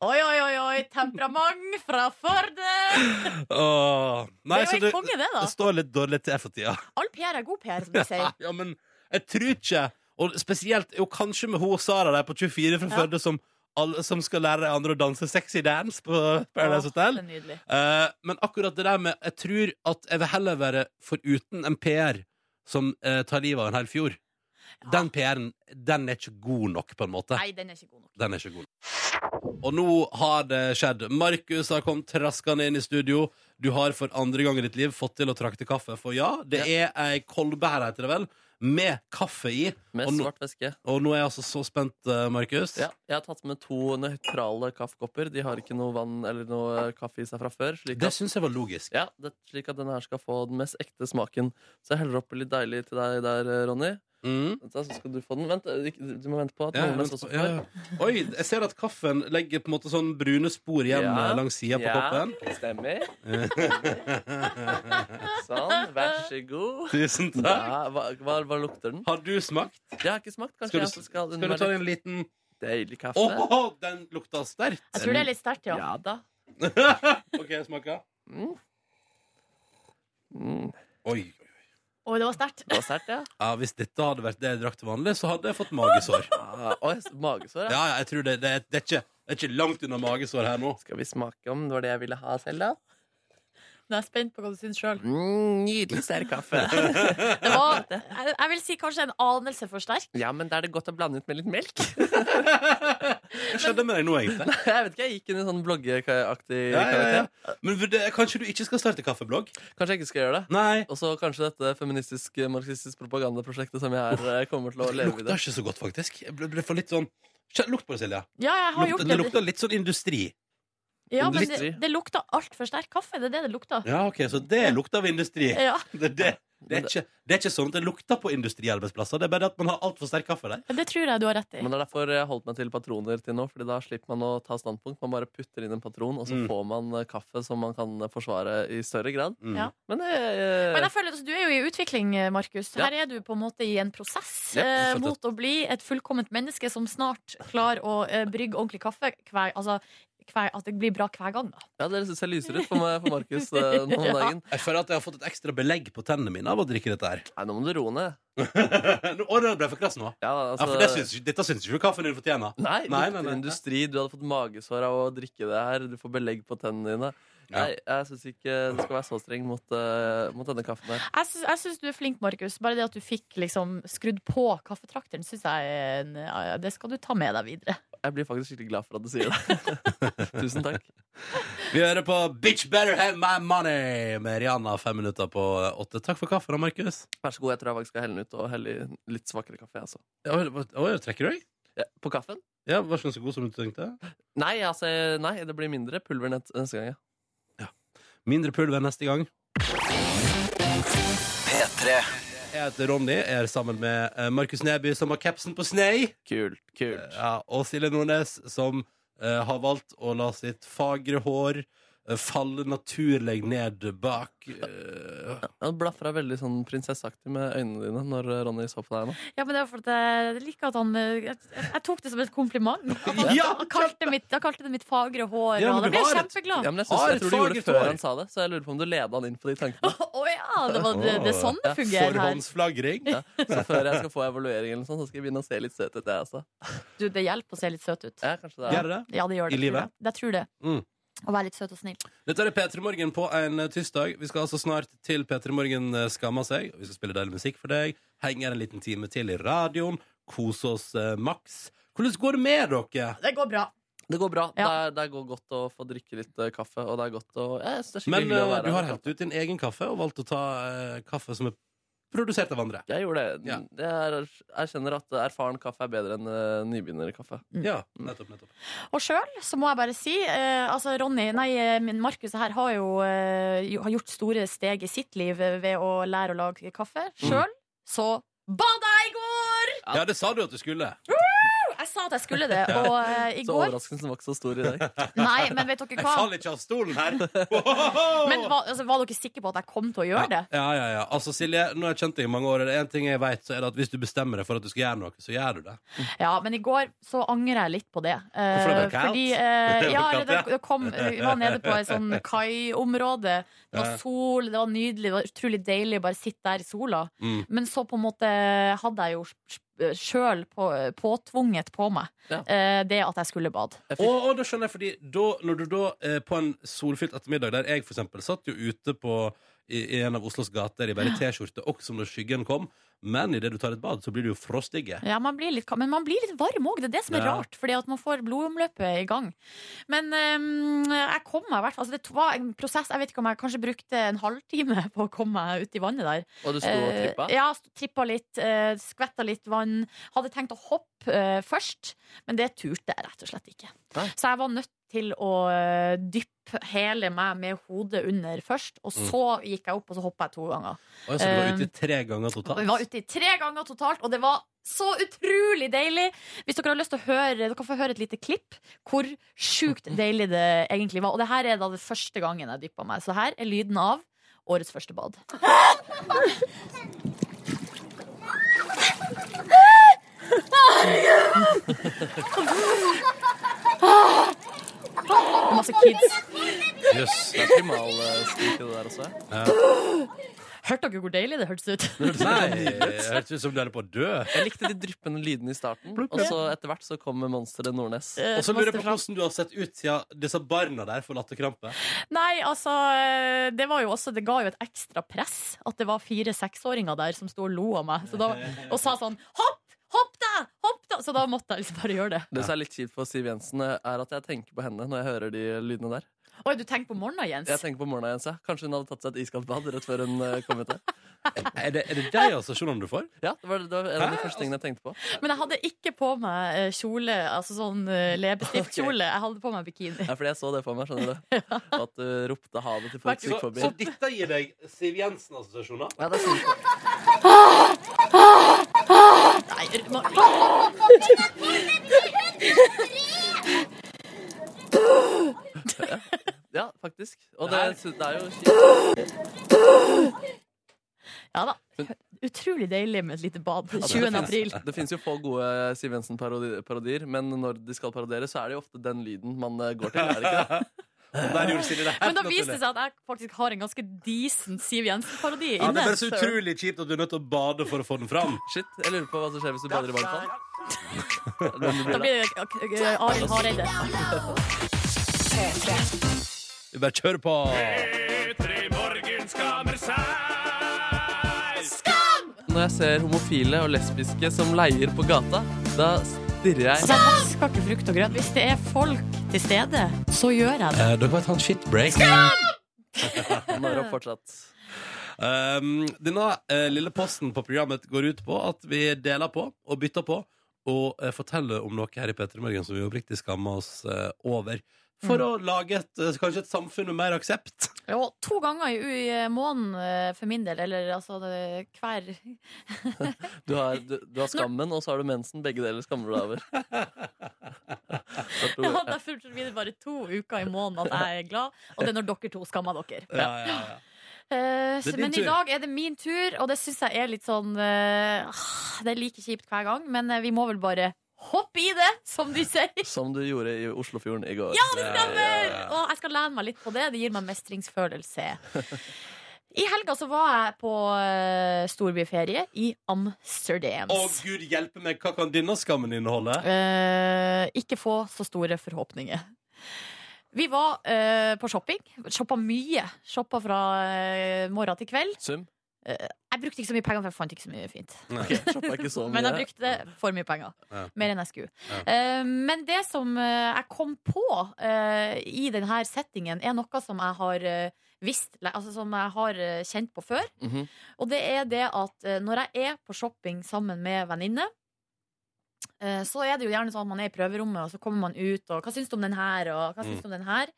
Speaker 3: Oi, oi, oi, oi, temperament fra Førde!
Speaker 2: Åh, nei,
Speaker 3: Det er
Speaker 2: så
Speaker 3: jo helt konge, det, da.
Speaker 2: det står litt dårlig til for tida.
Speaker 3: All PR er god PR, som de sier.
Speaker 2: ja, men jeg tror ikke Og spesielt jo kanskje med hun Sara der på 24 fra
Speaker 3: Ja.
Speaker 2: Førde som, alle, som skal lære de andre å danse sexy dance på Paradise
Speaker 3: Åh,
Speaker 2: Hotel.
Speaker 3: det er nydelig.
Speaker 2: Eh, men akkurat det der med Jeg tror at jeg vil heller være foruten en PR som eh, tar livet av en hel fjord. Den PR-en den er ikke god nok, på en måte.
Speaker 3: Nei, den er ikke god nok.
Speaker 2: Den er ikke god. Og nå har det skjedd. Markus har kommet traskende inn i studio. Du har for andre gang i ditt liv fått til å trakte kaffe. For ja, det er ei kolbe her, heter det vel, med kaffe i.
Speaker 4: Med
Speaker 2: Og nå-
Speaker 4: svart væske.
Speaker 2: Og nå er jeg altså så spent, eh, Markus.
Speaker 4: Ja, jeg har tatt med to nøytrale kaffekopper. De har ikke noe vann eller noe eh, kaffe i seg fra før. Slik
Speaker 2: Det
Speaker 4: at,
Speaker 2: syns jeg var logisk.
Speaker 4: ja, det, slik at denne her skal få den mest ekte smaken. Så jeg heller oppi litt deilig til deg der, eh, Ronny.
Speaker 2: Mm.
Speaker 4: Vent da, Så skal du få den. Vent, du- du må vente på at
Speaker 2: Ja,
Speaker 4: noen sånn
Speaker 2: men-
Speaker 4: mens også
Speaker 2: ja,
Speaker 4: får.
Speaker 2: ja. Oi, jeg ser at kaffen legger på en måte sånn brune spor igjen
Speaker 4: Ja.
Speaker 2: eh, langs sida på koppen.
Speaker 4: Stemmer. sånn, vær så god.
Speaker 2: Tusen takk.
Speaker 4: Ja, hva, hva, hva lukter den?
Speaker 2: Har du smakt?
Speaker 4: Jeg har ikke smakt. Kanskje
Speaker 2: Skal du,
Speaker 4: jeg også skal
Speaker 2: skal du ta en liten
Speaker 4: deilig kaffe?
Speaker 2: Åh, den lukta sterkt!
Speaker 3: Jeg tror det er litt sterkt, ja.
Speaker 4: ja da.
Speaker 2: OK, jeg smaker.
Speaker 4: Mm, det
Speaker 2: Oi.
Speaker 3: Oi, det var sterkt.
Speaker 4: var sært, ja.
Speaker 2: Ja, Hvis dette hadde vært det jeg drakk til vanlig, så hadde jeg fått magesår.
Speaker 4: Ah, Oi, magesår, ja.
Speaker 2: Ja, ja, jeg tror det, det, er- det, er ikke, det er ikke langt unna magesår her nå.
Speaker 4: Skal vi smake om det var det jeg ville ha selv, da?
Speaker 3: Nå er jeg spent på hva du syns sjøl.
Speaker 4: Mm, nydelig sterk kaffe.
Speaker 3: Det var, jeg jeg vil si kanskje en anelse for sterk.
Speaker 4: ja, men da er det godt å blande ut med litt melk.
Speaker 2: Hva skjedde med deg nå, egentlig?
Speaker 4: Jeg vet ikke, jeg gikk inn i sånn bloggeaktig
Speaker 2: Ja, ja,
Speaker 4: karakter.
Speaker 2: ja. Men vurder- kanskje du ikke skal starte kaffeblogg?
Speaker 4: Kanskje jeg ikke skal gjøre det.
Speaker 2: Nei.
Speaker 4: Og så kanskje dette feministisk-marxistisk propagandaprosjektet som jeg er, eh, kommer til å
Speaker 2: Det
Speaker 4: leve
Speaker 2: lukter
Speaker 4: videre.
Speaker 2: ikke så godt, faktisk. Jeg ble, ble for litt sånn Kjenn- Lukt på det, Silje.
Speaker 3: Ja, jeg har
Speaker 2: Lukter, det
Speaker 3: gjort det.
Speaker 2: lukter litt sånn industri.
Speaker 3: Ja, men
Speaker 4: litt-
Speaker 3: det, det lukta altfor sterk kaffe. Det er det det lukta.
Speaker 2: Ja, ok, Så det lukter av industri.
Speaker 3: Ja,
Speaker 2: Det, det, det, er ikke, det er ikke sånn at det lukter på industriarbeidsplasser. Det er bare at man har altfor sterk kaffe der.
Speaker 3: det tror jeg du har rett i.
Speaker 4: Men det er derfor jeg holdt meg til patroner til nå, Fordi da slipper man å ta standpunkt. Man bare putter inn en patron, og så
Speaker 2: Mm.
Speaker 4: får man eh, kaffe som man kan eh, forsvare i større grad.
Speaker 2: Mm.
Speaker 3: Ja.
Speaker 4: Men eh,
Speaker 3: Men jeg føler, altså, Du er jo i utvikling, eh, Markus.
Speaker 4: Ja.
Speaker 3: Her er du på en måte i en prosess
Speaker 2: Ja,
Speaker 3: eh,
Speaker 2: fortsatt.
Speaker 3: mot å bli et fullkomment menneske som snart klarer å eh, brygge ordentlig kaffe. Hver, altså, hver, at det blir bra hver gang, da.
Speaker 4: ja, dere syns jeg lyser ut for, meg, for Markus eh, nå om
Speaker 3: Ja.
Speaker 4: dagen.
Speaker 2: Jeg føler at jeg har fått et ekstra belegg på tennene mine av å drikke dette her.
Speaker 4: Nei, nå må du roe ned.
Speaker 2: Nå- Å, det ble for krass nå.
Speaker 4: Ja, altså,
Speaker 2: Ja, for det syns, dette syns ikke kaffen din fortjener.
Speaker 4: Nei,
Speaker 2: Altså- Nei, nei,
Speaker 4: lukter
Speaker 2: nei.
Speaker 4: industri. Du hadde fått magesår av å drikke det her. Du får belegg på tennene dine.
Speaker 2: Ja.
Speaker 4: Nei, jeg syns ikke du skal være så streng mot, eh, mot denne kaffen her.
Speaker 3: Jeg syns, jeg syns du er flink, Markus. Bare det at du fikk liksom, skrudd på kaffetrakteren, syns jeg er en- ja, ja, Det skal du ta med deg videre.
Speaker 4: Jeg blir faktisk skikkelig glad for at du sier det. Tusen takk.
Speaker 2: Vi hører på Bitch Better Have My Money med Rihanna fem minutter på åtte. Takk for kaffen, da, Markus.
Speaker 4: Vær så god, jeg tror jeg faktisk skal helle den ut og helle i litt svakere kaffe. Altså.
Speaker 2: Ja, hva- Oi, trekker du deg?
Speaker 4: Ja, på kaffen?
Speaker 2: Ja, Var ikke den så god som du tenkte?
Speaker 4: Nei, altså, nei, det blir mindre pulver nett- neste gang. Ja.
Speaker 2: Mindre pulver neste gang.
Speaker 1: P3.
Speaker 2: Jeg heter Ronny, jeg er sammen med eh, Markus Neby, som har capsen på snei. Eh,
Speaker 4: Kult, kult.
Speaker 2: Ja, og Silje Nordnes, som eh, har valgt å la sitt fagre hår eh, falle naturlig ned bak. eh,
Speaker 4: Du blafra veldig sånn prinsesseaktig med øynene dine når eh, Ronny så på deg nå.
Speaker 3: Ja, men det er fordi jeg liker at han eh, Jeg, jeg tok det som et kompliment. At han,
Speaker 2: Ja,
Speaker 3: han, kalte mitt, han kalte det mitt fagre hår.
Speaker 2: Ja,
Speaker 3: og
Speaker 2: men
Speaker 3: da
Speaker 2: du
Speaker 3: ble jeg
Speaker 2: har et-
Speaker 3: kjempeglad.
Speaker 4: Ja,
Speaker 3: Å
Speaker 4: men jeg,
Speaker 2: Har
Speaker 4: synes, jeg
Speaker 2: et
Speaker 4: tror du gjorde det
Speaker 2: fagert
Speaker 4: før
Speaker 2: hår.
Speaker 4: han sa det, så jeg lurer på om du leda han inn på de tankene.
Speaker 3: ja! Det, var, det, det er sånn det fungerer her.
Speaker 2: Forhåndsflagring.
Speaker 4: Ja. Så før jeg skal få evaluering, eller noe sånt, så skal jeg begynne å se litt søt ut. Jeg, altså.
Speaker 3: Du, det hjelper å se litt søt ut.
Speaker 4: ja, kanskje det er.
Speaker 2: Gjør det det?
Speaker 3: Ja, det gjør
Speaker 2: I
Speaker 3: det. tror
Speaker 2: livet?
Speaker 3: jeg. Jeg tror det.
Speaker 2: Mm.
Speaker 3: Å være litt søt og snill.
Speaker 2: Dette er P3 Morgen på en eh, tirsdag. Vi skal altså snart til P3 Morgen eh, skamma seg. Vi skal spille deilig musikk for deg. Henge her en liten time til i radioen. Kose oss eh, maks. Hvordan går det med dere?
Speaker 3: Det går bra.
Speaker 4: Det går bra.
Speaker 3: Ja.
Speaker 4: Det, er, det går godt å få drikke litt eh, kaffe. Og det er godt å ja, jeg synes det er skikkelig
Speaker 2: Men
Speaker 4: hyggelig å
Speaker 2: eh,
Speaker 4: være
Speaker 2: du har
Speaker 4: her. altså.
Speaker 2: helt ut din egen kaffe og valgt å ta eh, kaffe som er produsert av andre.
Speaker 4: Jeg gjorde det.
Speaker 2: Ja.
Speaker 4: det er, jeg kjenner at erfaren kaffe er bedre enn eh, nybegynnerkaffe.
Speaker 2: Ja,
Speaker 4: Mm.
Speaker 2: nettopp, nettopp.
Speaker 3: Og sjøl så må jeg bare si eh, Altså Ronny, nei, eh, min Markus her har jo eh, jo- har gjort store steg i sitt liv eh, ved å lære å lage kaffe. Sjøl så bada jeg i går!
Speaker 2: Ja, det sa du at du skulle.
Speaker 3: Jeg Jeg sa at jeg skulle det, og eh, i
Speaker 4: Så
Speaker 3: går
Speaker 4: overraskelsen var ikke så stor i dag.
Speaker 3: Nei, men vet dere
Speaker 2: Jeg
Speaker 3: hva?
Speaker 2: faller ikke av stolen her! Ohoho!
Speaker 3: Men var, altså, var dere sikre på at jeg kom til å gjøre det?
Speaker 2: Ja, ja, ja, ja. Altså, Silje, nå har jeg kjent deg i mange år. Er det én ting jeg vet, så er det at hvis du bestemmer deg for at du skal gjøre noe, så gjør du det.
Speaker 3: Ja, men i går så angrer jeg litt på det. Eh,
Speaker 2: Hvorfor det ble kaldt?
Speaker 3: fordi eh,
Speaker 2: Det ble
Speaker 3: ja,
Speaker 2: kaldt,
Speaker 3: det,
Speaker 2: ja.
Speaker 3: det kom, Vi var nede på et sånn kaiområde. Det
Speaker 2: Ja.
Speaker 3: var sol, det var nydelig, det var utrolig deilig å bare sitte der i sola.
Speaker 2: Mm.
Speaker 3: Men så på en måte hadde jeg jo sjøl på, påtvunget på meg
Speaker 4: Ja.
Speaker 3: eh, det at jeg skulle bade.
Speaker 4: Jeg
Speaker 2: Og,
Speaker 4: fikk,
Speaker 2: og da skjønner jeg, fordi da, når du da eh, på en solfylt ettermiddag, der jeg for eksempel satt jo ute på i, i en av Oslos gater i bare T-skjorte, også når skyggen kom, men idet du tar et bad, så blir du jo frostige.
Speaker 3: Ja, man blir litt, kald, men man blir litt varm òg. Det er det som er
Speaker 2: Ja.
Speaker 3: rart, fordi at man får blodomløpet i gang. Men eh, jeg kom meg i hvert fall. Altså, det var en prosess. Jeg vet ikke om jeg kanskje brukte en halvtime på å komme meg ut i vannet der.
Speaker 4: og du sto og
Speaker 3: Eh,
Speaker 4: trippa?
Speaker 3: Ja, st- trippa litt, eh, skvetta litt vann. Hadde tenkt å hoppe eh, først, men det turte jeg rett og slett ikke.
Speaker 4: Nei.
Speaker 3: Så jeg var nødt til å eh, dyppe hele meg med hodet under først, og
Speaker 4: Mm.
Speaker 3: så gikk jeg opp, og så hoppa jeg to ganger.
Speaker 2: Og jeg så du var
Speaker 3: Eh,
Speaker 2: ute tre ganger
Speaker 3: Og
Speaker 2: totalt.
Speaker 3: vi var ute i tre ganger totalt, og det var så utrolig deilig! Hvis dere har lyst til å høre Dere kan få høre et lite klipp hvor sjukt deilig det egentlig var. Og det her er da det første gangen jeg dyppa meg. Så her er lyden av årets første bad. Og masse kids.
Speaker 2: Yes.
Speaker 4: Det er primal eh, stil i det der også.
Speaker 3: Hørte dere hvor deilig det Eh, hørtes ut?
Speaker 2: Nei, det hørtes ut som du holder på å dø.
Speaker 4: Jeg likte de dryppende lydene i starten, og så etter hvert så kommer monsteret Nordnes.
Speaker 2: Og så lurer jeg på hvordan du har sett ut siden disse barna der får latterkrampe.
Speaker 3: Nei, altså eh, Det var jo også Det ga jo et ekstra press at det var fire seksåringer der som sto og lo av meg så da, og sa sånn Hopp! Hopp da! Hopp da! Så da måtte jeg liksom bare gjøre det.
Speaker 4: Det som er litt kjipt for Siv Jensen, eh, er at jeg tenker på henne når jeg hører de lydene der.
Speaker 3: Oi, du tenker på morgenen,
Speaker 4: Jeg
Speaker 3: Jens?
Speaker 4: tenker på morgenen Jens, ja. Kanskje hun hadde tatt seg et iskaldt bad rett før hun eh, kom ut der.
Speaker 2: Er det, er det deg assosiasjonene du får?
Speaker 4: Ja, det var, det var en av de
Speaker 2: Hæ?
Speaker 4: første tingene jeg tenkte på.
Speaker 3: Men jeg hadde ikke på meg eh, kjole, altså sånn eh, leppestiftkjole. Jeg hadde på meg bikini.
Speaker 4: Ja, fordi jeg så det for meg, skjønner du. At du ropte ha det til folk som
Speaker 2: Så,
Speaker 4: gikk forbi.
Speaker 2: så dette gir deg Siv Jensen-assosiasjoner?
Speaker 4: Ja, det er sånn.
Speaker 3: Nei, må,
Speaker 4: ja faktisk. Og det,
Speaker 2: Nei.
Speaker 4: det er jo kjipt.
Speaker 3: ja da. Utrolig deilig med et lite bad. 20. april.
Speaker 4: Det fins jo få gode Siv Jensen-parodier, men når de skal parodiere, så er det jo ofte den lyden man eh, går til. Er det ikke det?
Speaker 2: Og der gjorde Silje det helt
Speaker 3: Men da
Speaker 2: naturlig.
Speaker 3: viste det seg at jeg faktisk har en ganske decent Siv
Speaker 2: Ja,
Speaker 3: Jensen-parodi
Speaker 2: det
Speaker 3: inne.
Speaker 2: er bare så utrolig kjipt at du er nødt til å bade for å få den fram.
Speaker 4: Shit, jeg lurer på hva som skjer hvis du bader i varmtvann. Er det noen du
Speaker 3: Da
Speaker 4: blir da?
Speaker 3: blir det eh, Arild Hareide.
Speaker 2: Vi bare kjører på.
Speaker 4: Når jeg ser homofile og lesbiske som leier på gata, da stirrer jeg
Speaker 3: Jeg vasker ikke frukt og grønt. Hvis det er folk til stede, så gjør jeg det.
Speaker 2: Eh, dere må ta en shitbreak.
Speaker 4: når opp fortsatt.
Speaker 2: Um, denne eh, lille posten på programmet går ut på at vi deler på og bytter på og eh, forteller om noe her i P3 Morgen som vi oppriktig skammer oss eh, over. For å lage et, eh, kanskje et samfunn med mer aksept.
Speaker 3: Og to ganger i, u- i måneden eh, for min del, eller altså det- hver
Speaker 4: Du har, du, du har skammen, og så har du mensen. Begge deler skammer du deg over. Jeg tror-
Speaker 3: ja, Derfor blir det bare to uker i måneden at jeg er glad, og det er når dere to skammer dere.
Speaker 2: Ja, ja, ja.
Speaker 3: Eh,
Speaker 2: Det er din
Speaker 3: men i
Speaker 2: tur.
Speaker 3: dag er det min tur, og det syns jeg er litt sånn eh, ah, Det er like kjipt hver gang, men eh, vi må vel bare hoppe i det, som de sier.
Speaker 4: Som du gjorde i Oslofjorden i går.
Speaker 3: Ja, det stemmer! Og jeg skal lene meg litt på det. Det gir meg mestringsfølelse. I helga så var jeg på eh, storbyferie i Amsterdam.
Speaker 2: Å, gud hjelpe meg, hva kan denne skammen inneholde?
Speaker 3: Eh, ikke få så store forhåpninger. Vi var eh, på shopping. Shoppa mye. Shoppa fra eh, morgen til kveld.
Speaker 4: Sum?
Speaker 3: Jeg brukte ikke så mye penger, for jeg fant ikke så mye fint.
Speaker 4: Ok, shoppa ikke så mye.
Speaker 3: Men jeg brukte for mye penger.
Speaker 2: Ja.
Speaker 3: Mer enn jeg skulle.
Speaker 2: Ja.
Speaker 3: Eh, men det som eh, jeg kom på eh, i denne settingen, er noe som jeg har eh, visst, le- altså som jeg har eh, kjent på før.
Speaker 4: Mhm.
Speaker 3: Og det er det at eh, når jeg er på shopping sammen med venninne, eh, så er det jo gjerne sånn at man er i prøverommet, og så kommer man ut, og hva syns du om den her, og hva
Speaker 2: Mm.
Speaker 3: syns du om den her?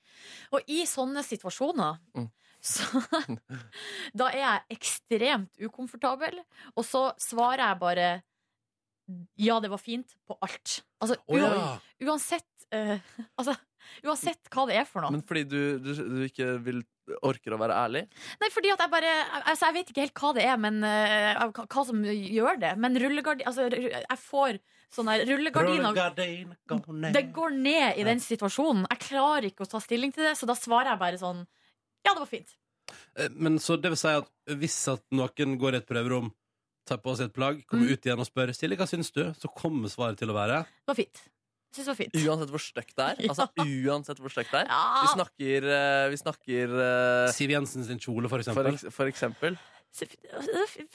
Speaker 3: Og i sånne situasjoner
Speaker 4: Mm.
Speaker 3: så Da er jeg ekstremt ukomfortabel, og så svarer jeg bare ja, det var fint på alt. Altså,
Speaker 2: Å ja.
Speaker 3: ua- uansett eh, Altså, uansett hva det er for noe.
Speaker 4: Men fordi du, du, du ikke vil, orker å være ærlig?
Speaker 3: Nei, fordi at jeg bare Altså, jeg vet ikke helt hva det er, men eh, hva- hva som gjør det. Men rullegardin Altså, ru- jeg får sånn der rullegardiner
Speaker 2: Rullegardin, gå ned.
Speaker 3: Det går ned i den situasjonen. Jeg klarer ikke å ta stilling til det, så da svarer jeg bare sånn Ja, det var fint.
Speaker 2: Eh, Men så det vil si at hvis at noen går i et prøverom, tar på seg et plagg, kommer
Speaker 3: Mm.
Speaker 2: ut igjen og spør Silje, hva syns du? Så kommer svaret til å være
Speaker 3: Det var fint. Jeg syns det var fint.
Speaker 4: Uansett hvor stygt det er? Altså, uansett hvor stygt det er? Vi
Speaker 3: Ja,
Speaker 4: snakker, eh, vi snakker eh,
Speaker 2: Siv Jensen sin kjole, for
Speaker 4: for,
Speaker 2: eksempel.
Speaker 4: eks- for eksempel
Speaker 3: så fint.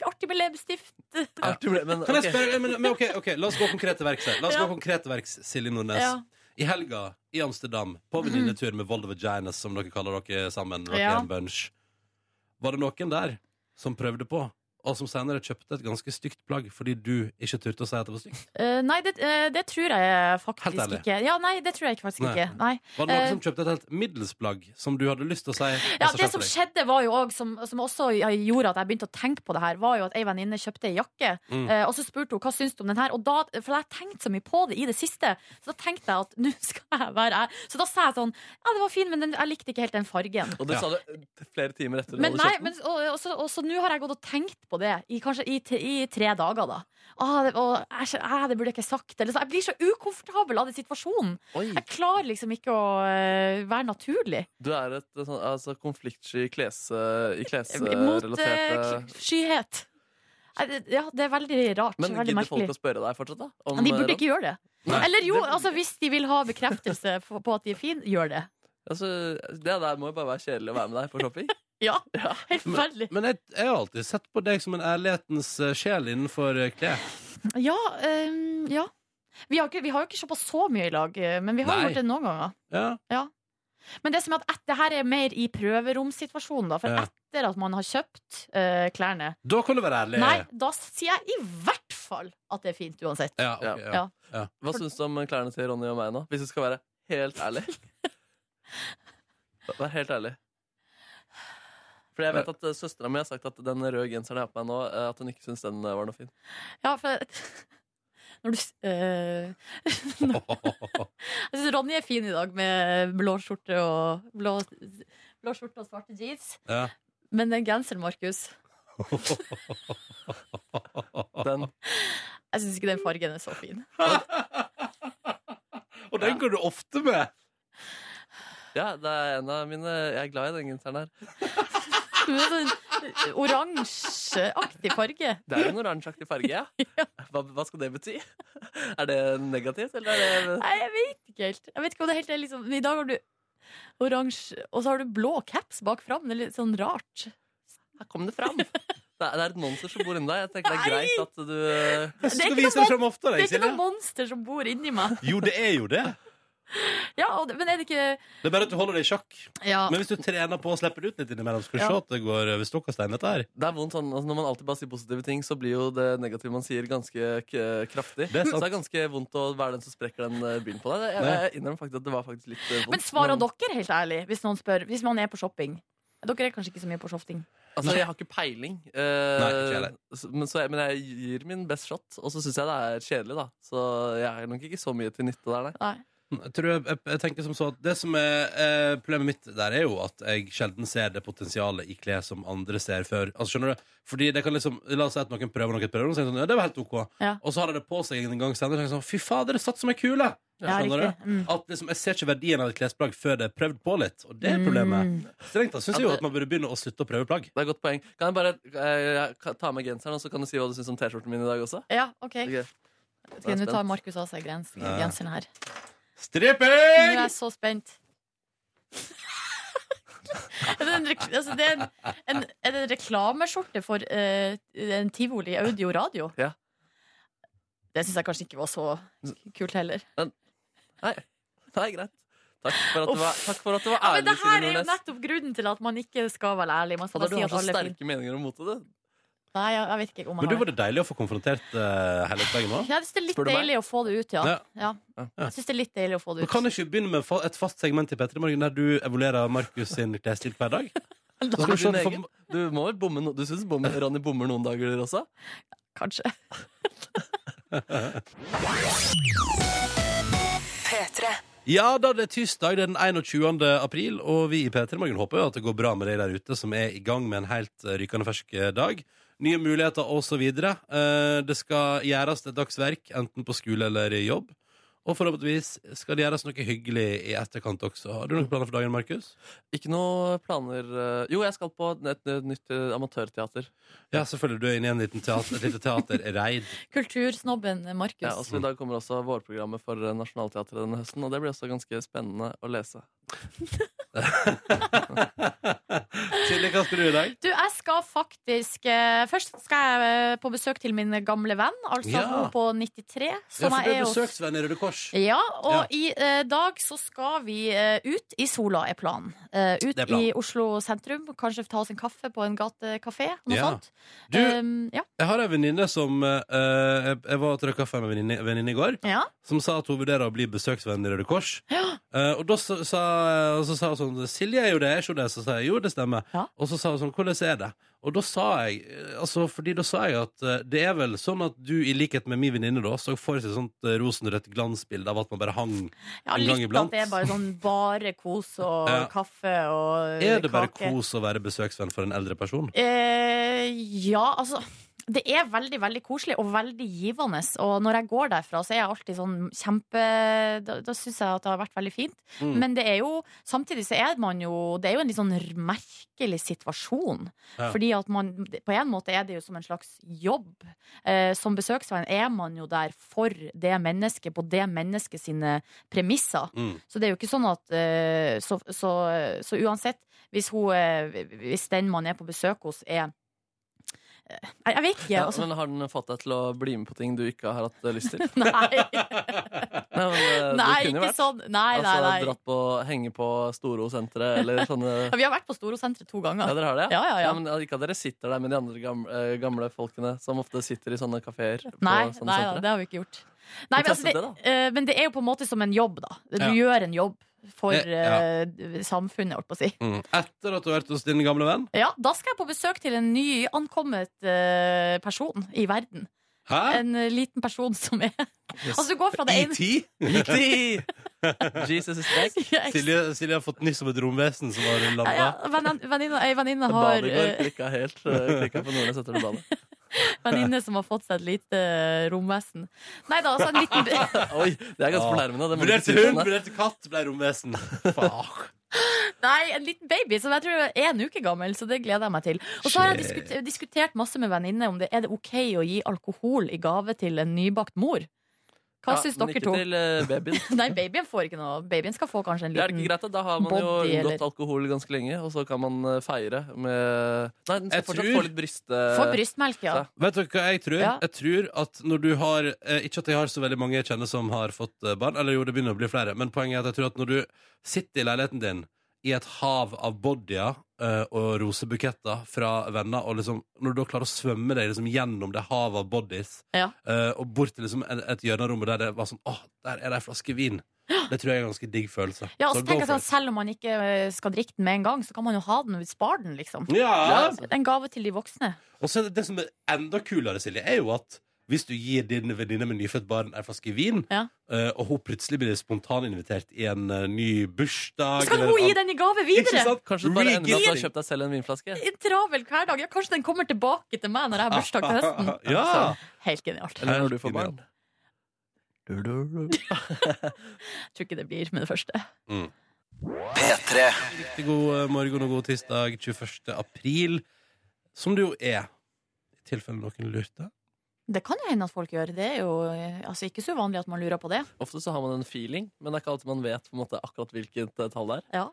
Speaker 3: Artig med leppestift.
Speaker 4: Ja. Artig ble- men,
Speaker 2: Kan jeg
Speaker 4: ok.
Speaker 2: spørre, men, men ok, ok, La oss gå konkret til verks her. La oss
Speaker 3: Ja.
Speaker 2: gå konkret til verks, Silje Nordnes.
Speaker 3: Ja.
Speaker 2: I helga i Amsterdam, på venninnetur med Vold og Vaginas, som dere kaller dere sammen. Dere
Speaker 3: Ja.
Speaker 2: er en bunch. Var det noen der som prøvde på, og som senere kjøpte et ganske stygt plagg fordi du ikke turte å si at det var stygt?
Speaker 3: Eh, nei, det, eh, det tror jeg
Speaker 2: Helt
Speaker 3: faktisk
Speaker 2: ærlig.
Speaker 3: ikke. Ja, nei, det tror jeg ikke faktisk
Speaker 2: Nei.
Speaker 3: ikke. Nei.
Speaker 2: Var det noen
Speaker 3: Eh.
Speaker 2: som kjøpte et helt middels plagg som du hadde lyst til å si? og
Speaker 3: Ja,
Speaker 2: så
Speaker 3: det
Speaker 2: kjøpte
Speaker 3: som
Speaker 2: Altså, deg?
Speaker 3: skjedde, var jo også, som, som også gjorde at jeg begynte å tenke på det her, var jo at ei venninne kjøpte ei jakke.
Speaker 2: Mm.
Speaker 3: eh, og så spurte hun hva syns du om den her. Og da, for jeg har tenkt så mye på det i det siste, så da tenkte jeg at nå skal jeg være jeg. Så da sa jeg sånn Ja, det var fin, men den, jeg likte ikke helt den fargen.
Speaker 4: Og det
Speaker 2: Ja.
Speaker 4: sa du eh, flere timer etter du
Speaker 3: Men
Speaker 4: hadde
Speaker 3: nei,
Speaker 4: kjøpt den.
Speaker 3: men, og, og, så, og så nå har jeg gått og tenkt på det i kanskje i, tre- i tre dager, da. Ah, det, og, æsj, æ, det burde jeg ikke sagt. Eller, så, jeg blir så ukomfortabel av den situasjonen.
Speaker 4: Oi,
Speaker 3: Jeg klarer liksom ikke å eh, være naturlig.
Speaker 4: du er et eh, sånn, altså, konfliktsky kles, eh, i
Speaker 3: Mot eh,
Speaker 4: klesrelaterte
Speaker 3: kl- skyhet. Nei, det- Ja, det er veldig rart.
Speaker 4: Men
Speaker 3: veldig
Speaker 4: gidder folk
Speaker 3: merkelig.
Speaker 4: å spørre deg fortsatt, da? Om,
Speaker 3: Men de burde
Speaker 4: eh,
Speaker 3: ikke gjøre det.
Speaker 2: Nei.
Speaker 3: Eller jo,
Speaker 4: Det-
Speaker 3: altså hvis de vil ha bekreftelse på på at de er fine, gjør det.
Speaker 4: altså, Det der må jo bare være kjedelig å være med deg på shopping.
Speaker 3: Ja,
Speaker 4: Ja.
Speaker 3: helt forferdelig.
Speaker 2: Men jeg, jeg har alltid sett på deg som en ærlighetens eh, sjel innenfor eh, klær.
Speaker 3: Ja, ehm, ja. Vi har, ikke, vi har jo ikke shoppa så mye i lag, eh, men vi har
Speaker 2: Nei.
Speaker 3: gjort det noen ganger.
Speaker 2: Ja.
Speaker 3: Men det som er at et, det her er mer i prøveromssituasjonen, da. For
Speaker 2: Ja.
Speaker 3: etter at man har kjøpt eh, klærne
Speaker 2: Da kan du være ærlig.
Speaker 3: Nei, da sier jeg i hvert fall at det er fint uansett.
Speaker 2: Ja, ok, ja.
Speaker 3: Ja.
Speaker 4: Hva syns du om klærne til Ronny og meg nå? Hvis du skal være helt ærlig. Vær helt ærlig. Fordi jeg vet at Søstera mi har sagt at den røde genseren jeg har på meg nå, eh, at hun ikke syns den eh, var noe fin.
Speaker 3: Ja, for når du, s- eh, jeg syns Ronny er fin i dag med blå skjorte og, blå, blå skjorte og svarte jeans.
Speaker 2: ja.
Speaker 3: Men den genseren, Markus
Speaker 4: Den,
Speaker 3: Jeg syns ikke den fargen er så fin.
Speaker 2: Og den går du ofte med.
Speaker 4: ja, det er en av mine Jeg er glad i den genseren her.
Speaker 3: Men det er sånn Oransjeaktig farge.
Speaker 4: Det er en oransjeaktig farge, ja. Hva, hva skal det bety? Er det negativt, eller er det
Speaker 3: Nei, jeg vet ikke helt. Jeg vet ikke om det helt er liksom I dag har du oransje, og så har du blå caps bak fram. Det er litt sånn rart.
Speaker 4: Her kom det fram! Det er, det er et monster som bor inni deg. Jeg tenker det er greit at du eh,
Speaker 2: Jeg synes
Speaker 3: Det er
Speaker 2: du
Speaker 3: ikke
Speaker 2: viser
Speaker 3: noe
Speaker 2: deg frem ofte,
Speaker 3: Det
Speaker 2: deg,
Speaker 3: er ikke
Speaker 2: Silje.
Speaker 3: noe monster som bor inni meg.
Speaker 2: Jo, det er jo det.
Speaker 3: Ja, og det, men er det ikke
Speaker 2: Det er bare at du holder det i sjakk.
Speaker 3: ja.
Speaker 2: Men hvis du trener på å slippe det ut litt innimellom, skal du se
Speaker 3: Ja.
Speaker 2: at det går over stokk og stein, dette her.
Speaker 4: Det er vondt sånn, altså Når man alltid bare sier positive ting, så blir jo det negative man sier, ganske k kraftig.
Speaker 2: Det er sant.
Speaker 4: Så det er ganske vondt å være den som sprekker den eh, byllen på deg. Jeg, jeg innrømmer faktisk at det var faktisk litt eh, vondt.
Speaker 3: Men svarer dere helt ærlig hvis noen spør? Hvis man er på shopping? Dere er kanskje ikke så mye på shopping.
Speaker 4: Altså, jeg har ikke peiling. eh,
Speaker 2: ikke jeg heller.
Speaker 4: så- men, så jeg, men jeg gir min best shot, og så syns jeg det er kjedelig, da. Så jeg er nok ikke så mye til nytte der, nei.
Speaker 3: Nei.
Speaker 2: Jeg, tror jeg, jeg, jeg tenker som så at Det som er eh, problemet mitt der, er jo at jeg sjelden ser det potensialet i klær som andre ser før. Altså, skjønner du? Fordi det kan liksom, La oss si at noen prøver noe, prøver noe, og så er det sånn, ja, det var helt OK.
Speaker 3: Ja.
Speaker 2: Og så har de det på seg en gang senere, og tenker sånn Fy fader, det satt som ei kule!
Speaker 3: Ja,
Speaker 2: Skjønner
Speaker 3: riktig.
Speaker 2: du?
Speaker 3: Mm.
Speaker 2: At liksom, Jeg ser ikke verdien av et klesplagg før det er prøvd på litt. Og det er
Speaker 3: Mm.
Speaker 2: problemet. Strengt tatt syns jeg jo at man burde begynne å slutte å prøve plagg.
Speaker 4: Det er et godt poeng. Kan jeg bare eh, jeg- ta med genseren, og så kan du si hva du syns om T-skjorten min i dag også?
Speaker 3: Ja, OK.
Speaker 4: Ok.
Speaker 3: Ok, Nå tar Markus av seg grens, genseren her. Nå er
Speaker 2: Stripping!
Speaker 3: jeg så spent. Er det, en, rek- altså det er, en, en, er det en reklameskjorte for eh, en tivoli audio radio?
Speaker 4: Ja.
Speaker 3: Det syns jeg kanskje ikke var så kult heller.
Speaker 4: Nei, nei greit. Takk for at du var, takk for at du var
Speaker 3: Ja, men
Speaker 4: ærlig,
Speaker 3: det her
Speaker 4: Silje
Speaker 3: er jo
Speaker 4: Nordnes.
Speaker 3: nettopp grunnen til at man ikke skal være ærlig. Man skal
Speaker 4: Hadde
Speaker 3: bare
Speaker 4: du
Speaker 3: si
Speaker 4: har
Speaker 3: at
Speaker 4: så
Speaker 3: alle er fine.
Speaker 4: sterke meninger om motet, du.
Speaker 3: Nei, jeg, jeg vet ikke om
Speaker 2: Men
Speaker 3: jeg
Speaker 2: du,
Speaker 3: har
Speaker 2: var det deilig å få konfrontert eh, hele opplegget med?
Speaker 3: Jeg synes det er litt
Speaker 4: Spør du meg?
Speaker 3: deilig å få det ut, ja.
Speaker 2: Ja.
Speaker 3: ja.
Speaker 2: Ja.
Speaker 3: Jeg synes det er litt deilig å få det
Speaker 2: Men
Speaker 3: ut.
Speaker 2: kan du ikke begynne med fa- et fast segment i P3 Morgen der du evaluerer Markus sin klesstil hver dag? Så skal du se
Speaker 4: Du,
Speaker 2: at du
Speaker 4: din egen?
Speaker 2: får-
Speaker 4: du må vel bomme no Du syns Ronny bommer noen dager også?
Speaker 3: Kanskje.
Speaker 2: Ja da, det er tirsdag, det er den 21. april, og vi i P3 Morgen håper jo at det går bra med de der ute som er i gang med en helt eh, rykende fersk eh, dag. Nye muligheter osv. Eh, Det skal gjøres et dagsverk, enten på skole eller i jobb. Og forhåpentligvis skal det gjøres noe hyggelig i etterkant også. Har du noen planer for dagen, Markus?
Speaker 4: Ikke noe planer eh, Jo, jeg skal på et, et nytt eh, amatørteater.
Speaker 2: Ja, selvfølgelig. Du er inne i en liten teater, et lite teaterreid.
Speaker 3: Kultursnobben eh, Markus.
Speaker 4: Ja,
Speaker 2: altså.
Speaker 4: også I dag kommer også vårprogrammet for eh, Nationaltheatret denne høsten, og det blir også ganske spennende å lese.
Speaker 2: Silje, hva skal du i dag?
Speaker 3: Du, jeg skal faktisk eh, Først skal jeg eh, på besøk til min gamle venn, altså
Speaker 2: Ja.
Speaker 3: hun på 93.
Speaker 2: Ja,
Speaker 3: Som
Speaker 2: for du
Speaker 3: jeg
Speaker 2: er
Speaker 3: er hos.
Speaker 2: besøksvenn i Røde Kors.
Speaker 3: Ja, og i eh, dag så skal vi eh, ut i sola, er planen. Eh, ut
Speaker 2: Det er planen.
Speaker 3: i Oslo sentrum. Kanskje ta oss en kaffe på en gatekafé. Noe
Speaker 2: Ja.
Speaker 3: sånt.
Speaker 2: Du,
Speaker 3: Um, ja.
Speaker 2: jeg har ei venninne som eh, jeg, jeg var og trøkka kaffe med en venninne- venninne i går.
Speaker 3: ja.
Speaker 2: som sa at hun vurderer å bli besøksvenn i Røde Kors. Eh, og da så, sa, og så sa hun sånn 'Silje er jo det, er ikke hun det?' Så sa jeg jo, det stemmer.
Speaker 3: Ja.
Speaker 2: Og så sa hun sånn 'Hvordan er det?' Og da sa jeg eh, altså, fordi da sa jeg at eh, det er vel sånn at du, i likhet med min venninne, da, så får seg et sånt eh, rosenrødt glansbilde av at man bare hang
Speaker 3: ja
Speaker 2: en gang
Speaker 3: litt
Speaker 2: iblant.
Speaker 3: at det er bare sånn bare kos og
Speaker 2: Ja.
Speaker 3: kaffe og
Speaker 2: Er det bare
Speaker 3: kake.
Speaker 2: kos å være besøksvenn for en eldre person?
Speaker 3: Eh, ja, altså det er veldig veldig koselig og veldig givende. Og når jeg går derfra, så er jeg alltid sånn kjempe Da, da syns jeg at det har vært veldig fint.
Speaker 2: Mm.
Speaker 3: Men det er jo samtidig så er man jo Det er jo en litt sånn r- merkelig situasjon.
Speaker 2: Ja.
Speaker 3: Fordi at man På en måte er det jo som en slags jobb. Eh, som besøksvenn er man jo der for det mennesket, på det mennesket sine premisser.
Speaker 2: Mm.
Speaker 3: Så det er jo ikke sånn at eh, Så, så, så uansett, hvis, hun, eh, hvis den man er på besøk hos, er eh, Jeg, jeg vet ikke,
Speaker 4: Ja,
Speaker 3: altså.
Speaker 4: men Har den fått deg til å bli med på ting du ikke har hatt eh, lyst til?
Speaker 3: Nei,
Speaker 4: Nei, men, eh,
Speaker 3: nei
Speaker 4: du kunne jo
Speaker 3: ikke
Speaker 4: vært
Speaker 3: sånn. Nei, nei,
Speaker 4: Altså,
Speaker 3: nei.
Speaker 4: dratt på, henge på Storo-senteret eller sånne
Speaker 3: Ja, Vi har vært på Storosenteret to
Speaker 4: Ja,
Speaker 3: ganger.
Speaker 4: dere har det?
Speaker 3: Ja, ja, ja.
Speaker 4: men Ikke at dere sitter der med de andre gamle, eh, gamle folkene som ofte sitter i sånne kafeer.
Speaker 3: Nei,
Speaker 4: på sånne
Speaker 3: nei
Speaker 4: sentre.
Speaker 3: det har vi ikke gjort. Nei, men,
Speaker 4: testet
Speaker 3: altså, det,
Speaker 4: det,
Speaker 3: eh, men det er jo på en måte som en jobb, da. Du
Speaker 2: Ja.
Speaker 3: gjør en jobb for
Speaker 2: Det- ja.
Speaker 3: eh, samfunnet, holdt på å si.
Speaker 2: Mm. Etter at du har vært hos din gamle venn?
Speaker 3: Ja, da skal jeg på besøk til en ny ankommet eh, person i verden.
Speaker 2: Hæ?
Speaker 3: En eh, liten person som er Altså, du går fra det ene
Speaker 2: IT? IT!
Speaker 4: Jesus is back.
Speaker 3: Ja, eks-
Speaker 2: Silje, Silje har fått nyss om et romvesen som har
Speaker 3: ja,
Speaker 2: landa.
Speaker 3: ja, vennen- venninna- Ei venninne har
Speaker 4: Badegård
Speaker 3: eh,
Speaker 4: klikka helt. eh, Klikka på Nordnes etter det badet.
Speaker 3: venninne som har fått seg et lite eh, romvesen. Nei da, altså en liten
Speaker 4: Oi, det er
Speaker 2: Ah.
Speaker 4: ganske fornærmende. Det må du ikke
Speaker 2: Vurderte
Speaker 4: si
Speaker 2: hund,
Speaker 4: sånn, da.
Speaker 2: vurderte katt, ble romvesen. Fuck.
Speaker 3: Nei, en liten baby som jeg tror er en uke gammel, så det gleder jeg meg til. Og så har jeg
Speaker 2: Shit.
Speaker 3: diskutert, diskutert masse med venninne om det er det OK å gi alkohol i gave til en nybakt mor. Hva
Speaker 4: Ja,
Speaker 3: syns
Speaker 4: men
Speaker 3: dere
Speaker 4: ikke
Speaker 3: to?
Speaker 4: til eh, babyen.
Speaker 3: Nei, babyen får ikke noe. Babyen skal få kanskje en
Speaker 4: Ja, Er det
Speaker 3: liten
Speaker 4: ikke greit at Da har man jo
Speaker 3: Body, eller?
Speaker 4: unngått alkohol ganske lenge, og så kan man eh, feire med Nei, den skal
Speaker 2: Jeg
Speaker 4: fortsatt
Speaker 2: tror-
Speaker 4: få litt bryst...
Speaker 3: Få
Speaker 4: eh,
Speaker 3: brystmelk, ja.
Speaker 4: Ja.
Speaker 2: Vet dere hva jeg tror?
Speaker 3: Ja.
Speaker 2: Jeg tror at når du har eh, Ikke at jeg har så veldig mange jeg kjenner som har fått eh, barn, eller jo, det begynner å bli flere, men poenget er at jeg tror at når du sitter i leiligheten din i et hav av bodyer eh, og rosebuketter fra venner, og liksom når du da klarer å svømme deg liksom gjennom det havet av bodies
Speaker 3: Ja.
Speaker 2: eh, og bort til liksom et, et hjørne av rommet der det var sånn Åh, der er det ei flaske vin. Det tror jeg er en ganske digg følelse.
Speaker 3: Ja, og
Speaker 2: Så
Speaker 3: så
Speaker 2: go
Speaker 3: tenker jeg
Speaker 2: for
Speaker 3: sånn, Selv om man ikke eh, skal drikke den med en gang, så kan man jo ha den og spare den. liksom
Speaker 2: it. ja.
Speaker 3: En gave til de voksne.
Speaker 2: Og så er det det som er enda kulere, Silje, er jo at hvis du gir din venninne med nyfødt barn en flaske vin,
Speaker 3: Ja.
Speaker 2: eh, og hun plutselig blir spontaninvitert i en eh, ny bursdag
Speaker 3: Skal
Speaker 2: eller
Speaker 3: hun gi
Speaker 2: en
Speaker 3: den i gave
Speaker 2: annen- Ikke
Speaker 3: videre?
Speaker 2: sant?
Speaker 4: Kanskje du bare ender med at du har
Speaker 2: Regifting.
Speaker 4: kjøpt deg selv en vinflaske?
Speaker 3: I en travel hverdag. Ja, kanskje den kommer tilbake til meg når jeg har bursdag til høsten.
Speaker 2: Ja!
Speaker 3: Helt genialt.
Speaker 4: Eller når du får barn?
Speaker 3: Jeg tror ikke det blir med det første.
Speaker 1: P3.
Speaker 2: Riktig god eh, morgen og god tirsdag 21. april, som det jo er. I tilfelle noen lurte.
Speaker 3: Det kan jo hende at folk gjør. Det er jo eh, altså, ikke så uvanlig at man lurer på det.
Speaker 4: Ofte så har man en feeling, men det er ikke alltid man vet på en måte akkurat hvilket eh, tall det er.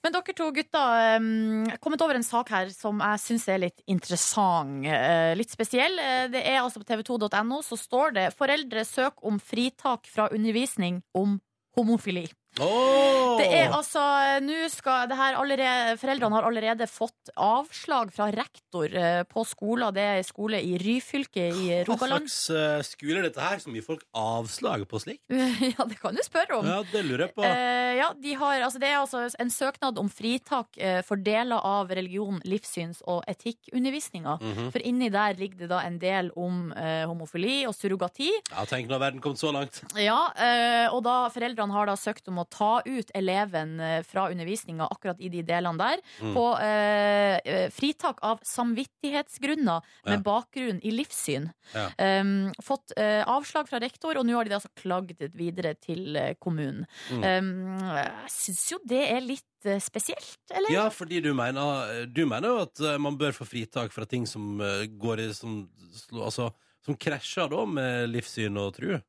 Speaker 3: Men dere to gutter, um, kommet over en sak her som jeg syns er litt interessant. eh, litt spesiell. Eh, Det er altså på tv2.no så står det 'Foreldre søk om fritak fra undervisning om homofili'.
Speaker 2: Åh!
Speaker 3: Det er altså, nå skal det her allerede, Foreldrene har allerede fått avslag fra rektor eh, på skoler. Det er en skole i Ryfylke i
Speaker 2: Hva
Speaker 3: Rogaland.
Speaker 2: slags eh, skole er dette her som gir folk avslag på slikt?
Speaker 3: Ja, det kan du spørre om.
Speaker 2: Ja, det lurer jeg på.
Speaker 3: Eh, ja, de har, altså, det er altså en søknad om fritak eh, for deler av religion, livssyns- og etikkundervisninga.
Speaker 2: Mhm.
Speaker 3: For inni der ligger det da en del om eh, homofili og surrogati.
Speaker 2: Ja, Tenk når verden kom så langt.
Speaker 3: Ja, eh, og da foreldrene har da søkt om å ta ut eleven eh, fra undervisninga akkurat i de delene der,
Speaker 2: Mm.
Speaker 3: på eh, eh, fritak av samvittighetsgrunner med
Speaker 2: Ja.
Speaker 3: bakgrunn i livssyn.
Speaker 2: Ja.
Speaker 3: Um, fått eh, avslag fra rektor, og nå har de da altså klagd videre til eh, kommunen.
Speaker 2: Mm.
Speaker 3: Um, jeg syns jo det er litt eh, spesielt, eller?
Speaker 2: Ja, fordi du mener, du mener jo at eh, man bør få fritak fra ting som eh, går i som, slo- altså, som krasjer da med livssyn og tru.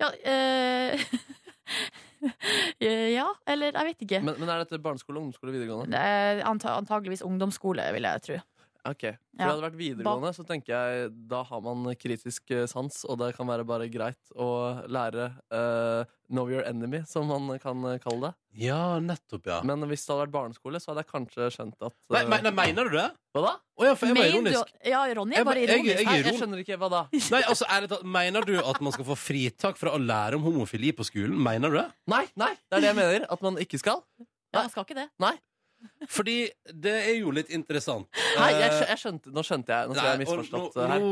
Speaker 3: Ja, eh, ja eller jeg vet ikke.
Speaker 4: Men, men er dette barneskole, ungdomsskole, videregående?
Speaker 3: Eh, anta antageligvis ungdomsskole, vil jeg tro.
Speaker 4: Ok, For det hadde vært videregående, så tenker jeg da har man kritisk eh, sans, og det kan være bare greit å lære eh, know your enemy, som man kan eh, kalle det.
Speaker 2: Ja, nettopp, ja.
Speaker 4: Men hvis det hadde vært barneskole, så hadde jeg kanskje skjønt at
Speaker 2: Nei,
Speaker 4: eh,
Speaker 2: men- nei, mener du det?
Speaker 4: Hva da?
Speaker 2: Å ja, for jeg var
Speaker 3: Mener du-
Speaker 2: ironisk.
Speaker 3: Ja, Ronny
Speaker 2: Jeg
Speaker 3: er bare
Speaker 2: bare- jeg-
Speaker 3: ironisk.
Speaker 2: jeg-
Speaker 4: Nei,
Speaker 2: ironisk.
Speaker 4: jeg skjønner ikke. Hva da?
Speaker 2: Nei, altså, ærlig talt, Mener du at man skal få fritak fra å lære om homofili på skolen? Mener du det?
Speaker 4: Nei, nei, det er det jeg mener. At man ikke skal.
Speaker 3: Ja, han skal ikke det.
Speaker 2: Fordi det er jo litt interessant.
Speaker 4: Nei, jeg,
Speaker 2: Eh,
Speaker 4: skjø- jeg skjønte, Nå skjønte jeg. Nå tror jeg jeg
Speaker 2: nei, og
Speaker 4: misforstått
Speaker 2: nå-
Speaker 4: eh, her.
Speaker 2: nå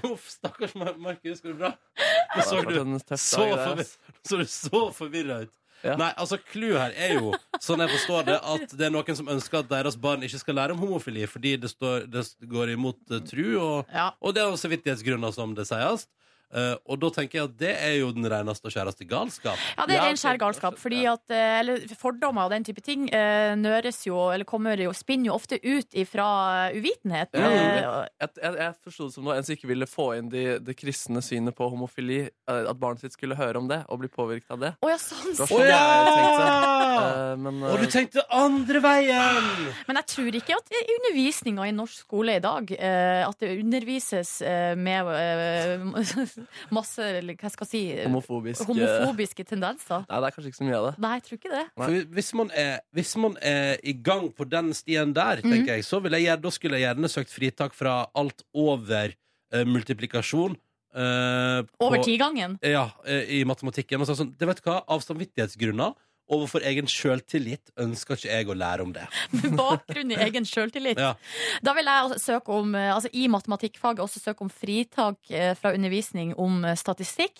Speaker 2: sta- Uff, stakkars Mar- Markus, går det bra? Nå
Speaker 4: Det
Speaker 2: så
Speaker 4: har
Speaker 2: du
Speaker 4: vært en tøff
Speaker 2: så
Speaker 4: dag, eh, det,
Speaker 2: forvirra
Speaker 4: ass.
Speaker 2: så, du så forvirra ut.
Speaker 4: Ja.
Speaker 2: Nei, altså Clouet her er jo, sånn jeg forstår det, at det er noen som ønsker at deres barn ikke skal lære om homofili fordi det, står, det går imot eh, tru, og,
Speaker 3: Ja.
Speaker 2: og det er jo samvittighetsgrunner, som det sies. Eh, og da tenker jeg at det er jo den reneste og skjæreste galskap.
Speaker 3: Ja, det er
Speaker 4: Ja,
Speaker 3: ren skjær
Speaker 4: ok,
Speaker 3: galskap.
Speaker 4: forstått,
Speaker 3: Fordi at, eh, eller fordommer og den type ting eh, nøres jo, eller kommer jo, spinner jo ofte ut ifra eh, uvitenhet.
Speaker 4: Ja,
Speaker 3: Eh,
Speaker 4: ja.
Speaker 3: og-
Speaker 4: Jeg, jeg, jeg forsto det som noe en som ikke ville få inn de, det kristne synet på homofili. eh, At barnet sitt skulle høre om det og bli påvirket av det.
Speaker 3: Å ja, sånn.
Speaker 4: Det var
Speaker 2: Å
Speaker 4: sånn jeg tenkte.
Speaker 2: ja!
Speaker 4: Eh, men
Speaker 2: Ah! Og du
Speaker 4: eh,
Speaker 2: tenkte andre veien!
Speaker 3: Men jeg tror ikke at undervisninga i norsk skole i dag eh, At det undervises eh, med eh, masse eller hva skal jeg si eh,
Speaker 4: homofobisk eh,
Speaker 3: homofobiske tendenser.
Speaker 4: Nei, det er kanskje ikke så mye av det.
Speaker 3: Nei, jeg tror ikke det.
Speaker 4: Nei.
Speaker 2: For hvis man, er, hvis man er i gang på den stien der,
Speaker 4: Mhm.
Speaker 2: tenker jeg, så vil jeg, gjerne- da skulle jeg gjerne søkt fritak fra alt over eh, multiplikasjon. eh,
Speaker 3: Over
Speaker 2: på-
Speaker 3: tigangen.
Speaker 2: Ja, eh, i matematikken. Og så, er det sånn, det vet du hva, Av samvittighetsgrunner overfor egen sjøltillit ønsker ikke jeg å lære om det.
Speaker 3: med bakgrunn i egen sjøltillit.
Speaker 2: Ja.
Speaker 3: Da vil jeg altså søke om, eh, altså i matematikkfaget også søke om fritak eh, fra undervisning om eh, statistikk,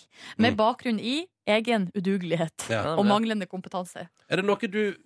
Speaker 2: Mm.
Speaker 3: med bakgrunn i egen udugelighet
Speaker 2: Ja.
Speaker 4: Ja,
Speaker 3: og
Speaker 4: men-
Speaker 3: manglende kompetanse.
Speaker 2: Er det noe du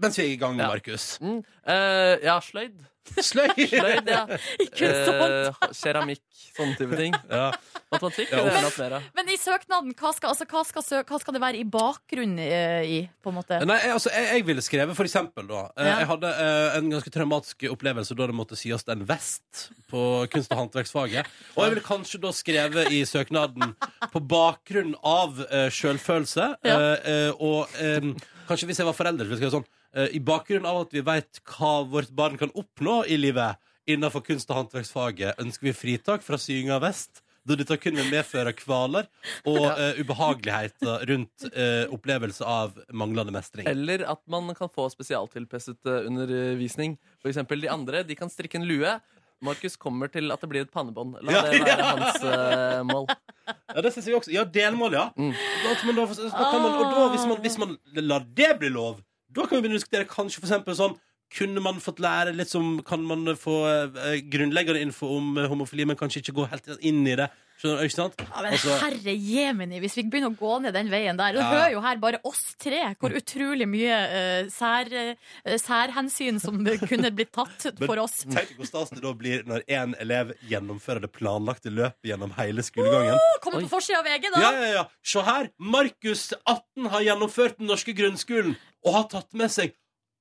Speaker 2: Mens vi er i gang,
Speaker 4: Ja.
Speaker 2: Markus.
Speaker 4: Mm, eh, ja, sløyd.
Speaker 2: Sløy!
Speaker 4: Sløyd, ja.
Speaker 3: Ikke sant?
Speaker 4: Eh, keramikk, sånne type ting.
Speaker 2: ja.
Speaker 4: Matematikk
Speaker 2: Ja,
Speaker 4: vil jeg gjerne hatt mer av.
Speaker 3: Men i søknaden, hva skal, altså, hva skal, sø hva skal det være i bakgrunn eh, i, på en måte?
Speaker 2: Nei, jeg, altså, jeg, jeg ville skrevet for eksempel da eh,
Speaker 3: Ja.
Speaker 2: Jeg hadde eh, en ganske traumatisk opplevelse Da det måtte syes en vest På kunst- og håndverksfaget Og jeg ville kanskje da skrevet i søknaden På bakgrunn av eh, selvfølelse
Speaker 3: Ja.
Speaker 2: eh, eh, Og eh, kanskje hvis jeg var forelder så ville jeg skrevet sånn eh, I bakgrunn av at vi vet hva vårt barn kan oppnå i livet Innenfor kunst- og håndverksfaget Ønsker vi fritak fra sying av vest da dette kun vil medføre kvaler og eh, ubehageligheter rundt eh, opplevelse av manglende mestring.
Speaker 4: Eller at man kan få spesialtilpasset eh, undervisning. For eksempel de andre, de kan strikke en lue. Markus kommer til at det blir et pannebånd. La
Speaker 2: Ja.
Speaker 4: det være hans eh, mål.
Speaker 2: Ja, det synes jeg også. Ja, delmål, ja.
Speaker 4: Mm.
Speaker 2: Da, men da, så kan man, og da, hvis man, hvis man lar det bli lov, da kan vi begynne å diskutere kanskje for eksempel sånn kunne man fått lære litt som Kan man få eh, grunnleggende info om eh, homofili, men kanskje ikke gå helt inn i det? Skjønner du, ikke sant?
Speaker 3: Ja, men
Speaker 2: Altså-
Speaker 3: herre jemini, hvis vi begynner å gå ned den veien der Du
Speaker 2: Ja. Mm.
Speaker 3: hører jo her bare oss tre hvor utrolig mye eh, sær, eh, særhensyn som kunne blitt tatt for oss.
Speaker 2: Tenk hvor stas det da blir når én elev gjennomfører det planlagte løpet gjennom hele skolegangen.
Speaker 3: Kommer
Speaker 4: Oi.
Speaker 3: på forsida av VG, da!
Speaker 2: Ja, ja, ja. Se her. Markus 18 har gjennomført den norske grunnskolen og har tatt med seg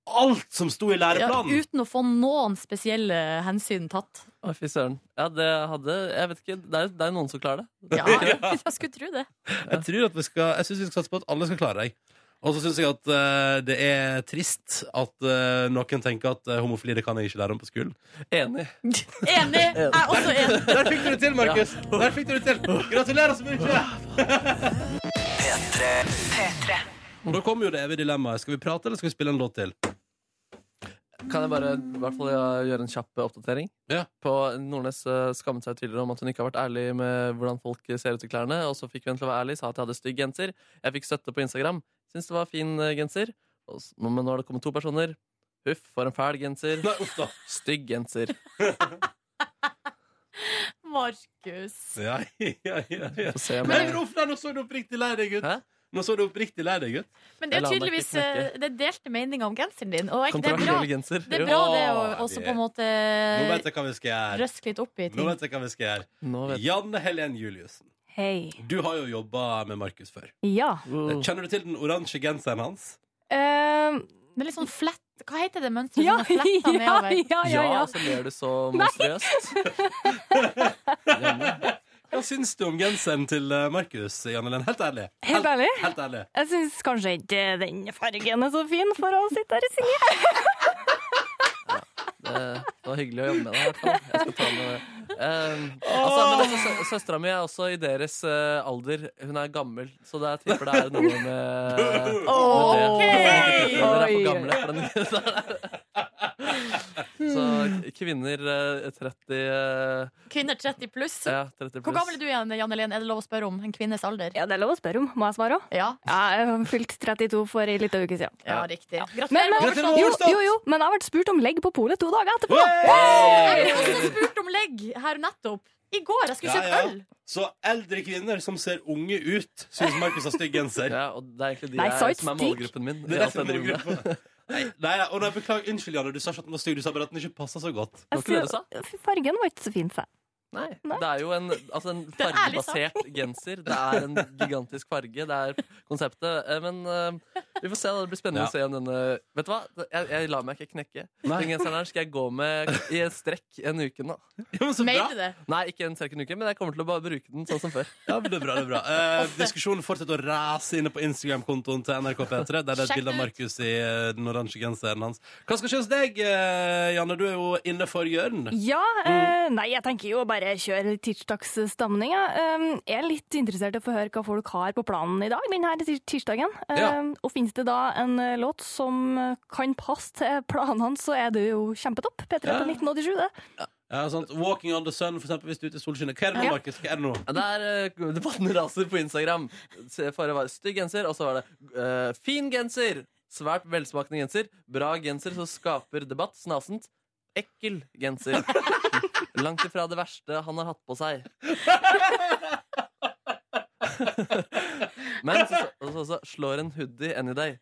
Speaker 2: alt som sto i
Speaker 3: Ja,
Speaker 2: læreplanen.
Speaker 3: uten å få noen spesielle hensyn tatt.
Speaker 4: Å, fy søren. Ja, det hadde Jeg vet ikke. Det er, det er noen som klarer det.
Speaker 3: Ja, jeg skulle tro det.
Speaker 2: Jeg tror at vi skal Jeg synes vi skal satse på at alle skal klare deg. Og så syns jeg at eh, det er trist at eh, noen tenker at eh, homofili det kan jeg ikke lære om på skolen.
Speaker 4: Enig.
Speaker 3: Enig! Jeg er også enig.
Speaker 2: Der fikk du det til, Markus! Der fikk du det til. Gratulerer så mye! Og da kommer jo det evige dilemmaet. Skal vi prate, eller skal vi spille en låt til?
Speaker 4: Kan jeg bare i hvert fall gjøre en kjapp eh, oppdatering?
Speaker 2: Ja.
Speaker 4: På Nordnes eh, skammet seg tidligere om at hun ikke har vært ærlig med hvordan folk eh, ser ut i klærne. Og så fikk hun til å være ærlig, sa at jeg hadde stygg genser. Jeg fikk støtte på Instagram. Syns det var fin eh, genser. Og s- Men nå har det kommet to personer. Huff, for en fæl genser.
Speaker 2: Nei, uff da.
Speaker 4: Stygg genser.
Speaker 3: Markus.
Speaker 2: Ja, ja, ja, ja.
Speaker 4: Få se om
Speaker 2: Men
Speaker 4: jeg
Speaker 2: uff da, nå så du oppriktig lei deg ut.
Speaker 4: Hæ?
Speaker 2: Nå så du oppriktig lei deg ut.
Speaker 3: Men det er
Speaker 4: Jeg lar meg
Speaker 3: tydeligvis
Speaker 4: ikke knekke.
Speaker 3: eh, det er delte meninger om genseren din. Og er ikke det er bra,
Speaker 4: Kontroversiell
Speaker 3: det,
Speaker 4: genser.
Speaker 3: er
Speaker 4: Jo,
Speaker 3: bra det å
Speaker 2: Å,
Speaker 3: også
Speaker 2: det-
Speaker 3: på en måte
Speaker 2: Nå vet jeg hva vi skal gjøre.
Speaker 3: røske litt opp Eh, i
Speaker 2: Nå
Speaker 3: ting.
Speaker 2: vet jeg hva vi skal gjøre.
Speaker 4: Nå vet jeg.
Speaker 2: Janne Helen Juliussen,
Speaker 3: Hei.
Speaker 2: du har jo jobba med Markus før.
Speaker 7: Ja.
Speaker 4: Wow.
Speaker 2: Kjenner du til den oransje genseren hans?
Speaker 7: Eh,
Speaker 3: Det er litt sånn flett Hva heter det mønsteret
Speaker 7: ja,
Speaker 3: som er fletta
Speaker 7: ja,
Speaker 3: nedover?
Speaker 7: ja, ja, ja.
Speaker 4: Ja, så ler du så monstrøst. Janne.
Speaker 2: Hva syns du om genseren til eh, Markus, Janne Helen? Helt ærlig.
Speaker 7: Helt ærlig?
Speaker 2: Helt ærlig.
Speaker 3: Eh,
Speaker 7: Jeg syns kanskje ikke den fargen er så fin for å sitte her og synge.
Speaker 4: Det Eh, det var hyggelig å jobbe med deg. i hvert fall. Jeg skal ta med um, altså, men altså, sø- Søstera mi er også i deres eh, alder. Hun er gammel, så det er tipper det er noe med, med det. Kvinner er for gamle for den Så kvinner eh, 30 eh,
Speaker 3: Kvinner 30 pluss.
Speaker 4: Ja, 30 pluss.
Speaker 3: Hvor gammel er du igjen, Janne Helen? Er det lov å spørre om en kvinnes alder?
Speaker 7: Ja, det er lov å spørre om. Må jeg svare òg?
Speaker 3: Ja,
Speaker 7: Ja, jeg har fylt 32 for ei lita uke siden.
Speaker 3: ja riktig.
Speaker 7: Men,
Speaker 3: Gratulerer med
Speaker 7: men,
Speaker 2: Gratulerer med
Speaker 7: jo,
Speaker 2: overstått!
Speaker 7: jo, jo, men jeg ble spurt om legg på polet to dager etterpå.
Speaker 3: Jeg
Speaker 2: Hey!
Speaker 3: ble også spurt om legg her nettopp. I går. Jeg skulle
Speaker 2: Ja,
Speaker 3: kjøpe
Speaker 2: ja.
Speaker 3: øl.
Speaker 2: Så eldre kvinner som ser unge ut, syns Markus har stygg genser.
Speaker 4: Ja, og det er egentlig de
Speaker 7: Nei,
Speaker 4: jeg-
Speaker 7: så
Speaker 4: som er
Speaker 7: stikk.
Speaker 4: målgruppen min.
Speaker 2: Det
Speaker 4: i
Speaker 2: er det
Speaker 4: alt jeg
Speaker 2: som er
Speaker 4: driver med.
Speaker 2: målgruppa. Nei, nei, og nei, beklager, Unnskyld, Janne. Du sa ikke at den var stygg, du sa bare at den ikke passa så godt.
Speaker 7: Jeg
Speaker 4: Hva var det du
Speaker 7: sier- Fargen var ikke så fin, sa jeg.
Speaker 4: Nei.
Speaker 7: Nei.
Speaker 4: Det er jo en, altså en
Speaker 3: er ærlig sak.
Speaker 4: fargebasert genser. Det er en gigantisk farge. Det er konseptet. Eh, Men eh, vi får se. da. Det blir spennende
Speaker 2: Ja.
Speaker 4: å se om denne Vet du hva? Jeg, jeg lar meg ikke knekke.
Speaker 2: Nei.
Speaker 4: Den genseren her skal jeg gå med i en strekk en uke nå.
Speaker 2: Ja, men så bra.
Speaker 3: Mente det.
Speaker 4: Nei, ikke en strekk en uke, men jeg kommer til å bare bruke den sånn som før.
Speaker 2: Ja, men det er bra, det er bra. Eh, diskusjonen fortsetter å rase inne på Instagram-kontoen til NRK P3. Der det er et
Speaker 3: Sjekk
Speaker 2: bilde av
Speaker 3: det ut.
Speaker 2: Markus i eh, den oransje genseren hans. Hva skal skje hos deg, eh, Janne? Du er jo inne for Jørn.
Speaker 7: Ja, eh, nei, jeg tenker jo bare kjøre tirsdagsstamning. Ja. Um, jeg er litt interessert i å få høre hva folk har på planen i dag, denne tir- tirsdagen.
Speaker 2: Ja.
Speaker 7: Um, og finnes det da en eh, låt som eh, kan passe til planene, så er det jo kjempetopp. P3
Speaker 2: Ja.
Speaker 7: på 1987, det.
Speaker 2: Ja, sant? Walking on the sun, for eksempel, hvis du er ute i solskinnet. Hva er det nå,
Speaker 7: Ja.
Speaker 2: Markus? Hva er det nå?
Speaker 4: Ja, Der eh, debatten raser på Instagram. Se, Forrige var det stygg genser, og så var det eh, fin genser. Svært velsmakende genser. Bra genser som skaper debatt. Snasent. Ekkel genser. Langt ifra det verste han har hatt på seg. Men så, så, så, så slår en hoodie any day.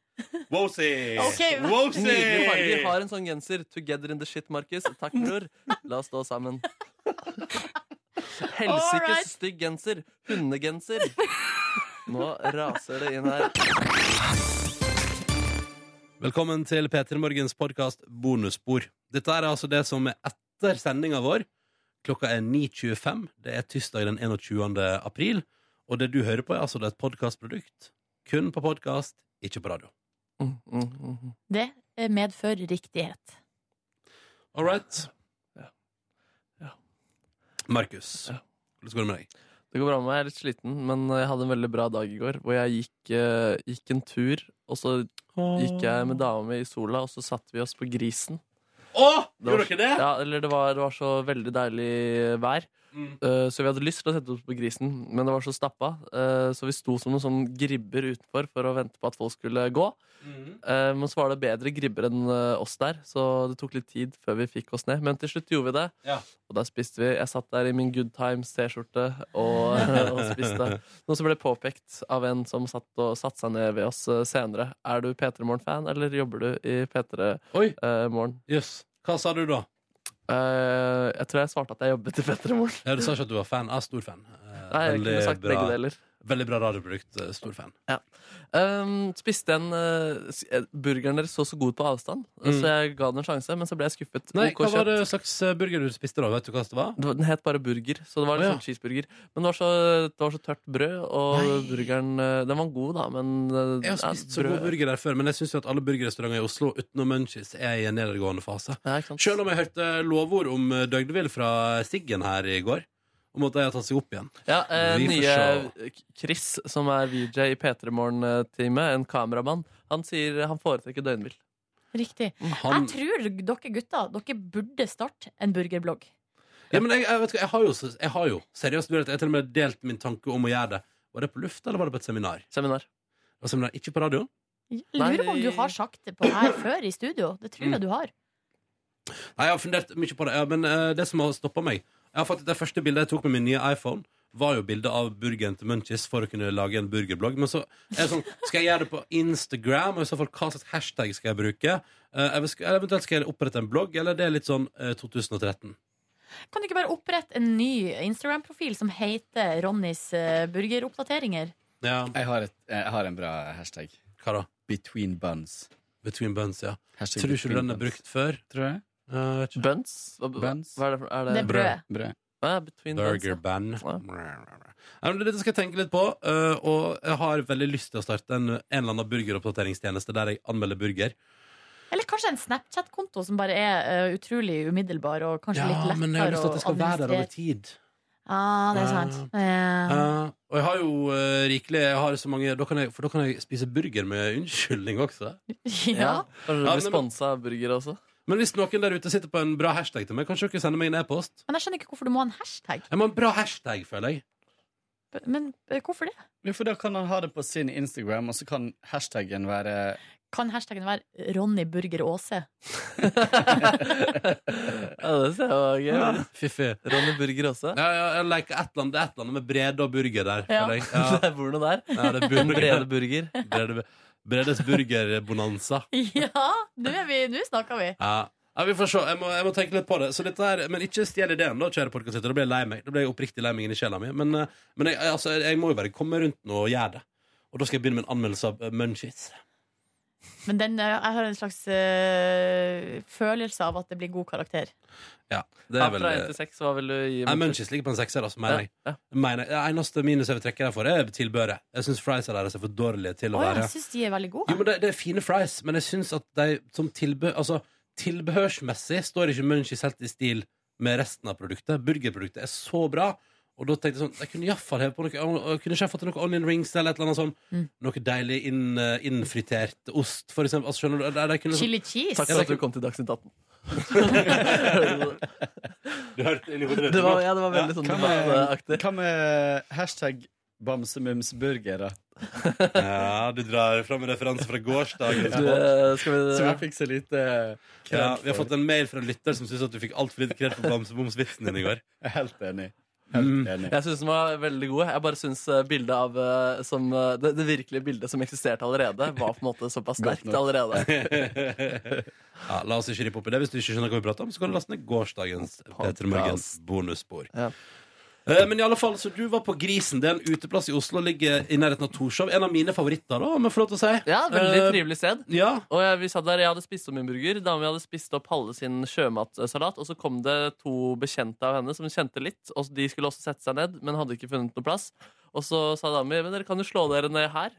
Speaker 2: Wosy!
Speaker 3: Ok, hva-
Speaker 4: Nydelig farge. Har en sånn genser. Together in the shit, Markus. Takk, bror. La oss stå sammen.
Speaker 3: Alright.
Speaker 4: Helsikes stygg genser. Hundegenser. Nå raser det inn her.
Speaker 2: Velkommen til P3 Morgens podkast Bonusspor. Dette er altså det som er etter sendinga vår. Klokka er 9.25. Det er tirsdag den 21. april. Og det du hører på, er altså det er et podkastprodukt. Kun på podkast, ikke på radio.
Speaker 4: Mm, mm, mm.
Speaker 3: Det eh, medfører riktighet.
Speaker 2: All right.
Speaker 4: Ja. Ja.
Speaker 2: Markus,
Speaker 4: Ja.
Speaker 2: hvordan går det med deg?
Speaker 4: Det går bra med meg. Jeg er litt sliten, men jeg hadde en veldig bra dag i går. Hvor jeg gikk, eh, gikk en tur, og så gikk jeg med dama mi i sola, og så satte vi oss på Grisen.
Speaker 2: Å!
Speaker 4: var-
Speaker 2: Gjorde dere det?
Speaker 4: Ja, eller det var, det var så veldig deilig vær.
Speaker 2: Mm.
Speaker 4: Eh, så vi hadde lyst til å sette oss på grisen, men det var så stappa. eh, så vi sto som noen sånn gribber utenfor for å vente på at folk skulle gå.
Speaker 2: Mhm.
Speaker 4: Eh, men så var det bedre gribber enn eh, oss der, så det tok litt tid før vi fikk oss ned. Men til slutt gjorde vi det,
Speaker 2: Ja.
Speaker 4: og da spiste vi. Jeg satt der i min Good Times-T-skjorte og, og spiste. Noe som ble påpekt av en som satt og satte seg ned ved oss eh, senere. Er du P3 Morgen-fan, eller jobber du i P3
Speaker 2: Oi,
Speaker 4: eh, Morgen?
Speaker 2: jøss. Hva sa du da?
Speaker 4: Eh, jeg tror jeg svarte at jeg jobbet i P3 Morgen.
Speaker 2: Ja, du sa ikke at du var fan. Jeg er stor fan. Eh,
Speaker 4: Nei, jeg kunne sagt
Speaker 2: bra,
Speaker 4: begge deler.
Speaker 2: veldig bra radioprodukt. eh, Stor fan.
Speaker 4: Um, spiste en eh, s- eh, Burgeren deres så så god ut på avstand,
Speaker 2: Mm.
Speaker 4: så jeg ga den en sjanse, men så ble jeg skuffet.
Speaker 2: Nei,
Speaker 4: Ok,
Speaker 2: hva
Speaker 4: kjøpt.
Speaker 2: var det slags eh, burger du spiste da? Vet du hva det var?
Speaker 4: Det var- Den het bare burger, så det var
Speaker 2: Å,
Speaker 4: liksom
Speaker 2: ja.
Speaker 4: cheeseburger. Men det var, så, det var så tørt brød, og burgeren eh, Den var god, da, men eh,
Speaker 2: Jeg har
Speaker 4: ja,
Speaker 2: spist så
Speaker 4: brød-
Speaker 2: god burger der før, men jeg syns jo at alle burgerrestauranter i Oslo utenom Munchies er i en nedadgående fase.
Speaker 4: Ja, ikke sant?
Speaker 2: Selv om jeg hørte lovord om eh, Døgdeville fra Siggen her i går, om at de har tatt seg opp igjen.
Speaker 4: Ja, eh,
Speaker 2: Vi får
Speaker 4: nye Chris, som er VJ i P3 Morgen-teamet, en kameramann, han sier han foretrekker døgnvill.
Speaker 3: Riktig.
Speaker 2: Han,
Speaker 3: Jeg tror dere gutter dere burde starte en burgerblogg.
Speaker 2: ja, men jeg, jeg, vet ikke, jeg, har jo, jeg har jo seriøst du vet, jeg har til og med delt min tanke om å gjøre det. Var det på lufta, eller var det på et seminar?
Speaker 4: Seminar.
Speaker 2: Og seminar ikke på radioen.
Speaker 3: Jeg Lurer på om du har sagt det på her før i studio. Det tror
Speaker 2: Mm.
Speaker 3: jeg du har.
Speaker 2: Nei, Jeg har fundert mye på det, ja, men eh, det som har stoppa meg jeg har faktisk, Det første bildet jeg tok med min nye iPhone, var jo bilde av burgeren til Munchies for å kunne lage en burgerblogg. Men så er det sånn, skal jeg gjøre det på Instagram, og i så fall hva slags hashtag skal jeg bruke? Eh, jeg vil- skal- eller eventuelt skal jeg opprette en blogg, eller det er litt sånn eh, 2013.
Speaker 3: Kan du ikke bare opprette en ny Instagram-profil som heter Ronnys eh, burgeroppdateringer?
Speaker 2: Ja,
Speaker 8: Jeg har, et, jeg har en bra hashtag.
Speaker 2: hva da?
Speaker 8: Between buns.
Speaker 2: Between buns, ja.
Speaker 8: Hashtag
Speaker 2: Tror du ikke
Speaker 8: between
Speaker 2: den er
Speaker 8: buns.
Speaker 2: brukt før?
Speaker 8: Tror jeg.
Speaker 2: Eh, vet ikke.
Speaker 4: Buns? Hva,
Speaker 8: Buns.
Speaker 4: hva er det for er
Speaker 3: Det er
Speaker 4: det?
Speaker 2: brød.
Speaker 3: brød.
Speaker 8: Brød.
Speaker 4: Ah, between buns,
Speaker 2: Burger
Speaker 4: ja.
Speaker 2: band.
Speaker 4: Ja.
Speaker 2: Nei, men Dette skal jeg tenke litt på, eh, og jeg har veldig lyst til å starte en, en eller annen burgeroppdateringstjeneste der jeg anmelder burger.
Speaker 3: Eller kanskje en Snapchat-konto som bare er eh, utrolig umiddelbar og kanskje
Speaker 2: Ja,
Speaker 3: litt
Speaker 2: men jeg har
Speaker 3: lettere
Speaker 2: lyst til at det skal være der over
Speaker 3: administrere.
Speaker 2: tid.
Speaker 3: Ah, det er sant. Eh,
Speaker 2: Eh, og jeg har jo eh, rikelig jeg har så mange, da kan jeg, For da kan jeg spise burger med unnskyldning også.
Speaker 3: ja.
Speaker 4: Kanskje du
Speaker 2: Ja,
Speaker 4: blir
Speaker 2: men-
Speaker 4: sponsa av burger også?
Speaker 2: Men hvis noen der ute sitter på en bra hashtag til meg, kanskje dere sender meg en e-post?
Speaker 3: Men jeg skjønner ikke hvorfor du må ha en hashtag.
Speaker 2: Jeg må ha en bra hashtag, føler jeg.
Speaker 3: Men eh, hvorfor det?
Speaker 8: Jo, For da kan han ha det på sin Instagram, og så kan hashtaggen være
Speaker 3: Kan hashtagen være 'Ronny Burger Aase'?
Speaker 4: ja, det ser jeg var gøy.
Speaker 2: Fiffi.
Speaker 4: Ronny Burger også.
Speaker 2: Ja, ja, jeg liker et eller annet, det er et eller annet med Brede og burger der.
Speaker 3: Ja.
Speaker 2: føler jeg.
Speaker 4: Det bor noe der.
Speaker 2: Ja, det er bur-
Speaker 4: En brede burger.
Speaker 2: Brede, Bredes burgerbonanza.
Speaker 3: Ja, nå er vi- nå snakker vi.
Speaker 2: Ja. Ja, vi får se. Jeg må, jeg må tenke litt på det. Så dette her, men ikke stjel ideen, da, kjære podkastlytter. Da blir jeg lei meg. Da blir jeg oppriktig lei meg inni sjela mi. Men, eh, men jeg, altså, jeg, jeg må jo bare komme rundt nå og gjøre det. Og da skal jeg begynne med en anmeldelse av eh, Munchies.
Speaker 3: Men den, eh, jeg har en slags eh, følelse av at det blir god karakter.
Speaker 2: Ja, det
Speaker 4: Ja,
Speaker 2: er vel eh,
Speaker 4: fra 1 til 6, hva vil du gi?
Speaker 2: Nei,
Speaker 4: Munchies?
Speaker 2: Munchies ligger på en sekser, altså, mener jeg.
Speaker 4: Ja,
Speaker 2: Mener jeg. Det eneste minuset jeg vil trekke derfor, er tilbøret. Jeg syns friesa deres er for dårlige til å
Speaker 3: Å, ja,
Speaker 2: være
Speaker 3: jeg syns de er veldig
Speaker 2: Jo,
Speaker 3: gode.
Speaker 2: men det, det er fine fries, men jeg syns at de som tilbø... Altså, tilbehørsmessig står ikke Munchies helt i stil med resten av produktet. Burgerproduktet er så bra. Og da tenkte jeg sånn Jeg kunne iallfall heve på noe jeg Kunne ikke jeg fått til noe onion rings eller et eller annet sånn
Speaker 3: Mm.
Speaker 2: Noe deilig inn, eh, innfritert ost, for eksempel. Altså, skjønner du? Der, der kunne,
Speaker 3: Chili cheese.
Speaker 4: Takk for at du kom til Dagsnytt 18.
Speaker 2: sånn- du hørte inn i hodet
Speaker 4: Det var, ja, det var veldig sånn
Speaker 8: Hva med,
Speaker 4: debattaktig.
Speaker 8: hva med hashtag bamsemumsburger, da?
Speaker 2: Ja, du drar fram en referanse fra gårsdagen.
Speaker 4: Du, eh, skal vi,
Speaker 8: Som jeg fikk så lite kred
Speaker 2: Ja, vi har
Speaker 8: for.
Speaker 2: fått en mail fra en lytter som syns at du fikk altfor lite kred for bamsebomsvitsen din i går.
Speaker 8: Jeg er helt enig.
Speaker 2: Mm.
Speaker 8: Helt enig.
Speaker 4: Jeg syns den var veldig god. Jeg bare syns bildet av eh, som, eh, det, det virkelige bildet som eksisterte allerede, var på en måte såpass
Speaker 8: Godt
Speaker 4: sterkt
Speaker 8: nok.
Speaker 4: allerede.
Speaker 2: Ja, la oss ikke rippe opp i det. Hvis du ikke skjønner hva vi prater om, så kan du laste ned gårsdagens Peter Morgens bonusspor.
Speaker 4: Ja.
Speaker 2: Eh, Men i alle fall, så du var på Grisen. Det er en uteplass i Oslo, ligger i nærheten av Torshov. En av mine favoritter, da, om jeg får lov til å si.
Speaker 4: Ja, veldig
Speaker 2: Eh,
Speaker 4: trivelig sted.
Speaker 2: Ja.
Speaker 4: Og jeg, vi satt der, jeg hadde spist opp min burger, dama mi hadde spist opp Halle sin sjømatsalat, og så kom det to bekjente av henne som kjente litt, og de skulle også sette seg ned, men hadde ikke funnet noe plass. Og så sa dama mi, men dere kan jo slå dere ned her.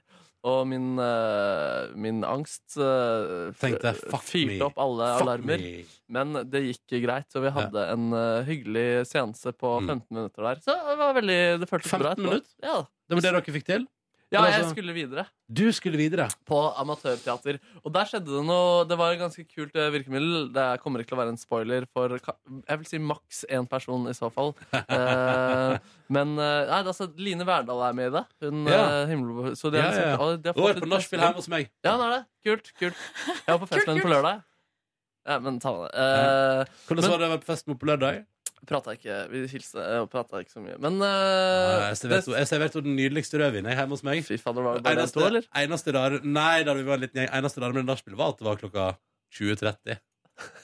Speaker 4: Og min, eh, min angst eh, f-
Speaker 2: Tenkte, fuck me.
Speaker 4: fyrte opp alle
Speaker 2: Fuck
Speaker 4: alarmer.
Speaker 2: me.
Speaker 4: Men det gikk greit, og vi hadde en eh, hyggelig seanse på
Speaker 2: Mm.
Speaker 4: 15 minutter der. Så det var veldig, det føltes
Speaker 2: 15
Speaker 4: bra. etterpå.
Speaker 2: minutter?
Speaker 4: Ja.
Speaker 2: Det var det dere fikk til?
Speaker 4: ja,
Speaker 2: Men
Speaker 4: jeg
Speaker 2: altså-
Speaker 4: skulle videre
Speaker 2: Du skulle videre.
Speaker 4: på amatørteater. Og der skjedde det noe Det var et ganske kult eh, virkemiddel. Det kommer ikke til å være en spoiler for ka- jeg vil si maks én person i så fall. Eh, men eh, nei, altså, Line Verdal er med i det. Hun
Speaker 2: Ja.
Speaker 4: eh, himmelbo- Så det,
Speaker 2: Ja, ja, ja.
Speaker 4: og det har
Speaker 2: Du var
Speaker 4: fått
Speaker 2: på
Speaker 4: et
Speaker 2: nachspiel
Speaker 4: beste-
Speaker 2: hjemme hos meg.
Speaker 4: Ja, det er det. Kult. kult Jeg var på
Speaker 3: Kult,
Speaker 4: fest med henne på
Speaker 3: kult.
Speaker 4: lørdag. Ja, men ta med det. Eh,
Speaker 2: Hvordan var det å være på fest med på lørdag?
Speaker 4: Prata ikke Vi hilste eh, og prata ikke så mye. Men
Speaker 2: Nei,
Speaker 4: eh,
Speaker 2: Jeg serverte henne- jeg serverte henne den nydeligste rødvinen jeg, hjemme hos meg.
Speaker 4: Fy fader, var det bare dere to,
Speaker 2: Eneste,
Speaker 4: eller?
Speaker 2: eneste rare Nei, da vi var en liten gjeng Eneste rare med det nachspielet var at det var klokka 20.30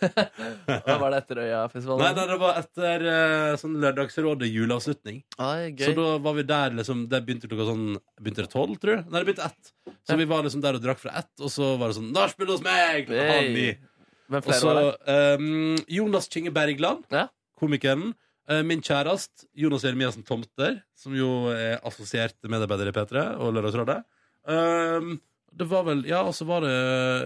Speaker 4: Hva var det etter
Speaker 2: Nei,
Speaker 4: Øyafestivalen?
Speaker 2: nei, det var etter eh, sånn lørdagsrådet juleavslutning
Speaker 4: Ai, gøy.
Speaker 2: Så da var vi der liksom Det begynte klokka sånn Begynte det 12, tror jeg? Nei, det begynte 1 Så
Speaker 4: Ja.
Speaker 2: vi var liksom der og drakk fra 1 Og så var det sånn Nachspiel hos meg! Klokka
Speaker 4: Hey.
Speaker 2: halv ni
Speaker 4: Hvem
Speaker 2: Og
Speaker 4: flere
Speaker 2: så
Speaker 4: var det?
Speaker 2: ehm, Jonas Kinge Bergland
Speaker 4: Ja.
Speaker 2: Komikeren eh, Min kjærest Jonas Jeremiasen Tomter Som jo er assosiert medarbeider i P3 Og lørdagsrådet um, Det var vel Ja, og så var det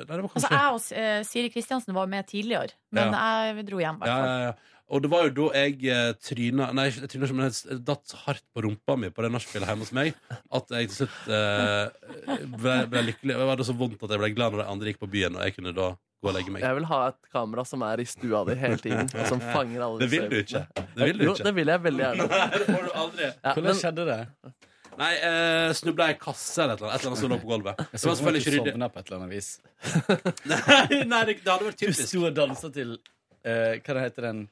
Speaker 2: Nei, det var
Speaker 3: Altså,
Speaker 2: kanskje
Speaker 3: jeg og eh, Siri Kristiansen var med tidligere, men jeg dro hjem. i hvert
Speaker 2: ja,
Speaker 3: fall.
Speaker 2: ja, ja. Og det var jo da jeg eh, tryna Nei, jeg tryna ikke, men jeg s- datt hardt på rumpa mi på det nachspielet hjemme hos meg at jeg til slutt eh, ble, ble lykkelig. Og Det var da så vondt at jeg ble glad når de andre gikk på byen, og jeg kunne da gå og legge meg.
Speaker 4: Jeg vil ha et kamera som er i stua di hele tiden, og som fanger alle
Speaker 2: Det vil du
Speaker 4: disse
Speaker 2: ikke.
Speaker 4: øyeblikkene.
Speaker 2: Det vil du
Speaker 4: Jo, det
Speaker 2: ikke.
Speaker 4: vil jeg veldig gjerne.
Speaker 2: Nei, det får du aldri.
Speaker 4: Ja,
Speaker 8: Hvordan
Speaker 4: men,
Speaker 8: skjedde det?
Speaker 2: Nei, eh, snubla i kasse eller et eller annet, et eller annet som lå på gulvet.
Speaker 8: Jeg
Speaker 2: Det
Speaker 8: så
Speaker 2: var
Speaker 8: selvfølgelig
Speaker 2: selvfølgelig ikke ryddig.
Speaker 8: Sovna på et eller annet vis.
Speaker 2: Nei, nei, det, det hadde vært
Speaker 8: Du
Speaker 2: typisk.
Speaker 8: sto og dansa til eh, Hva heter den?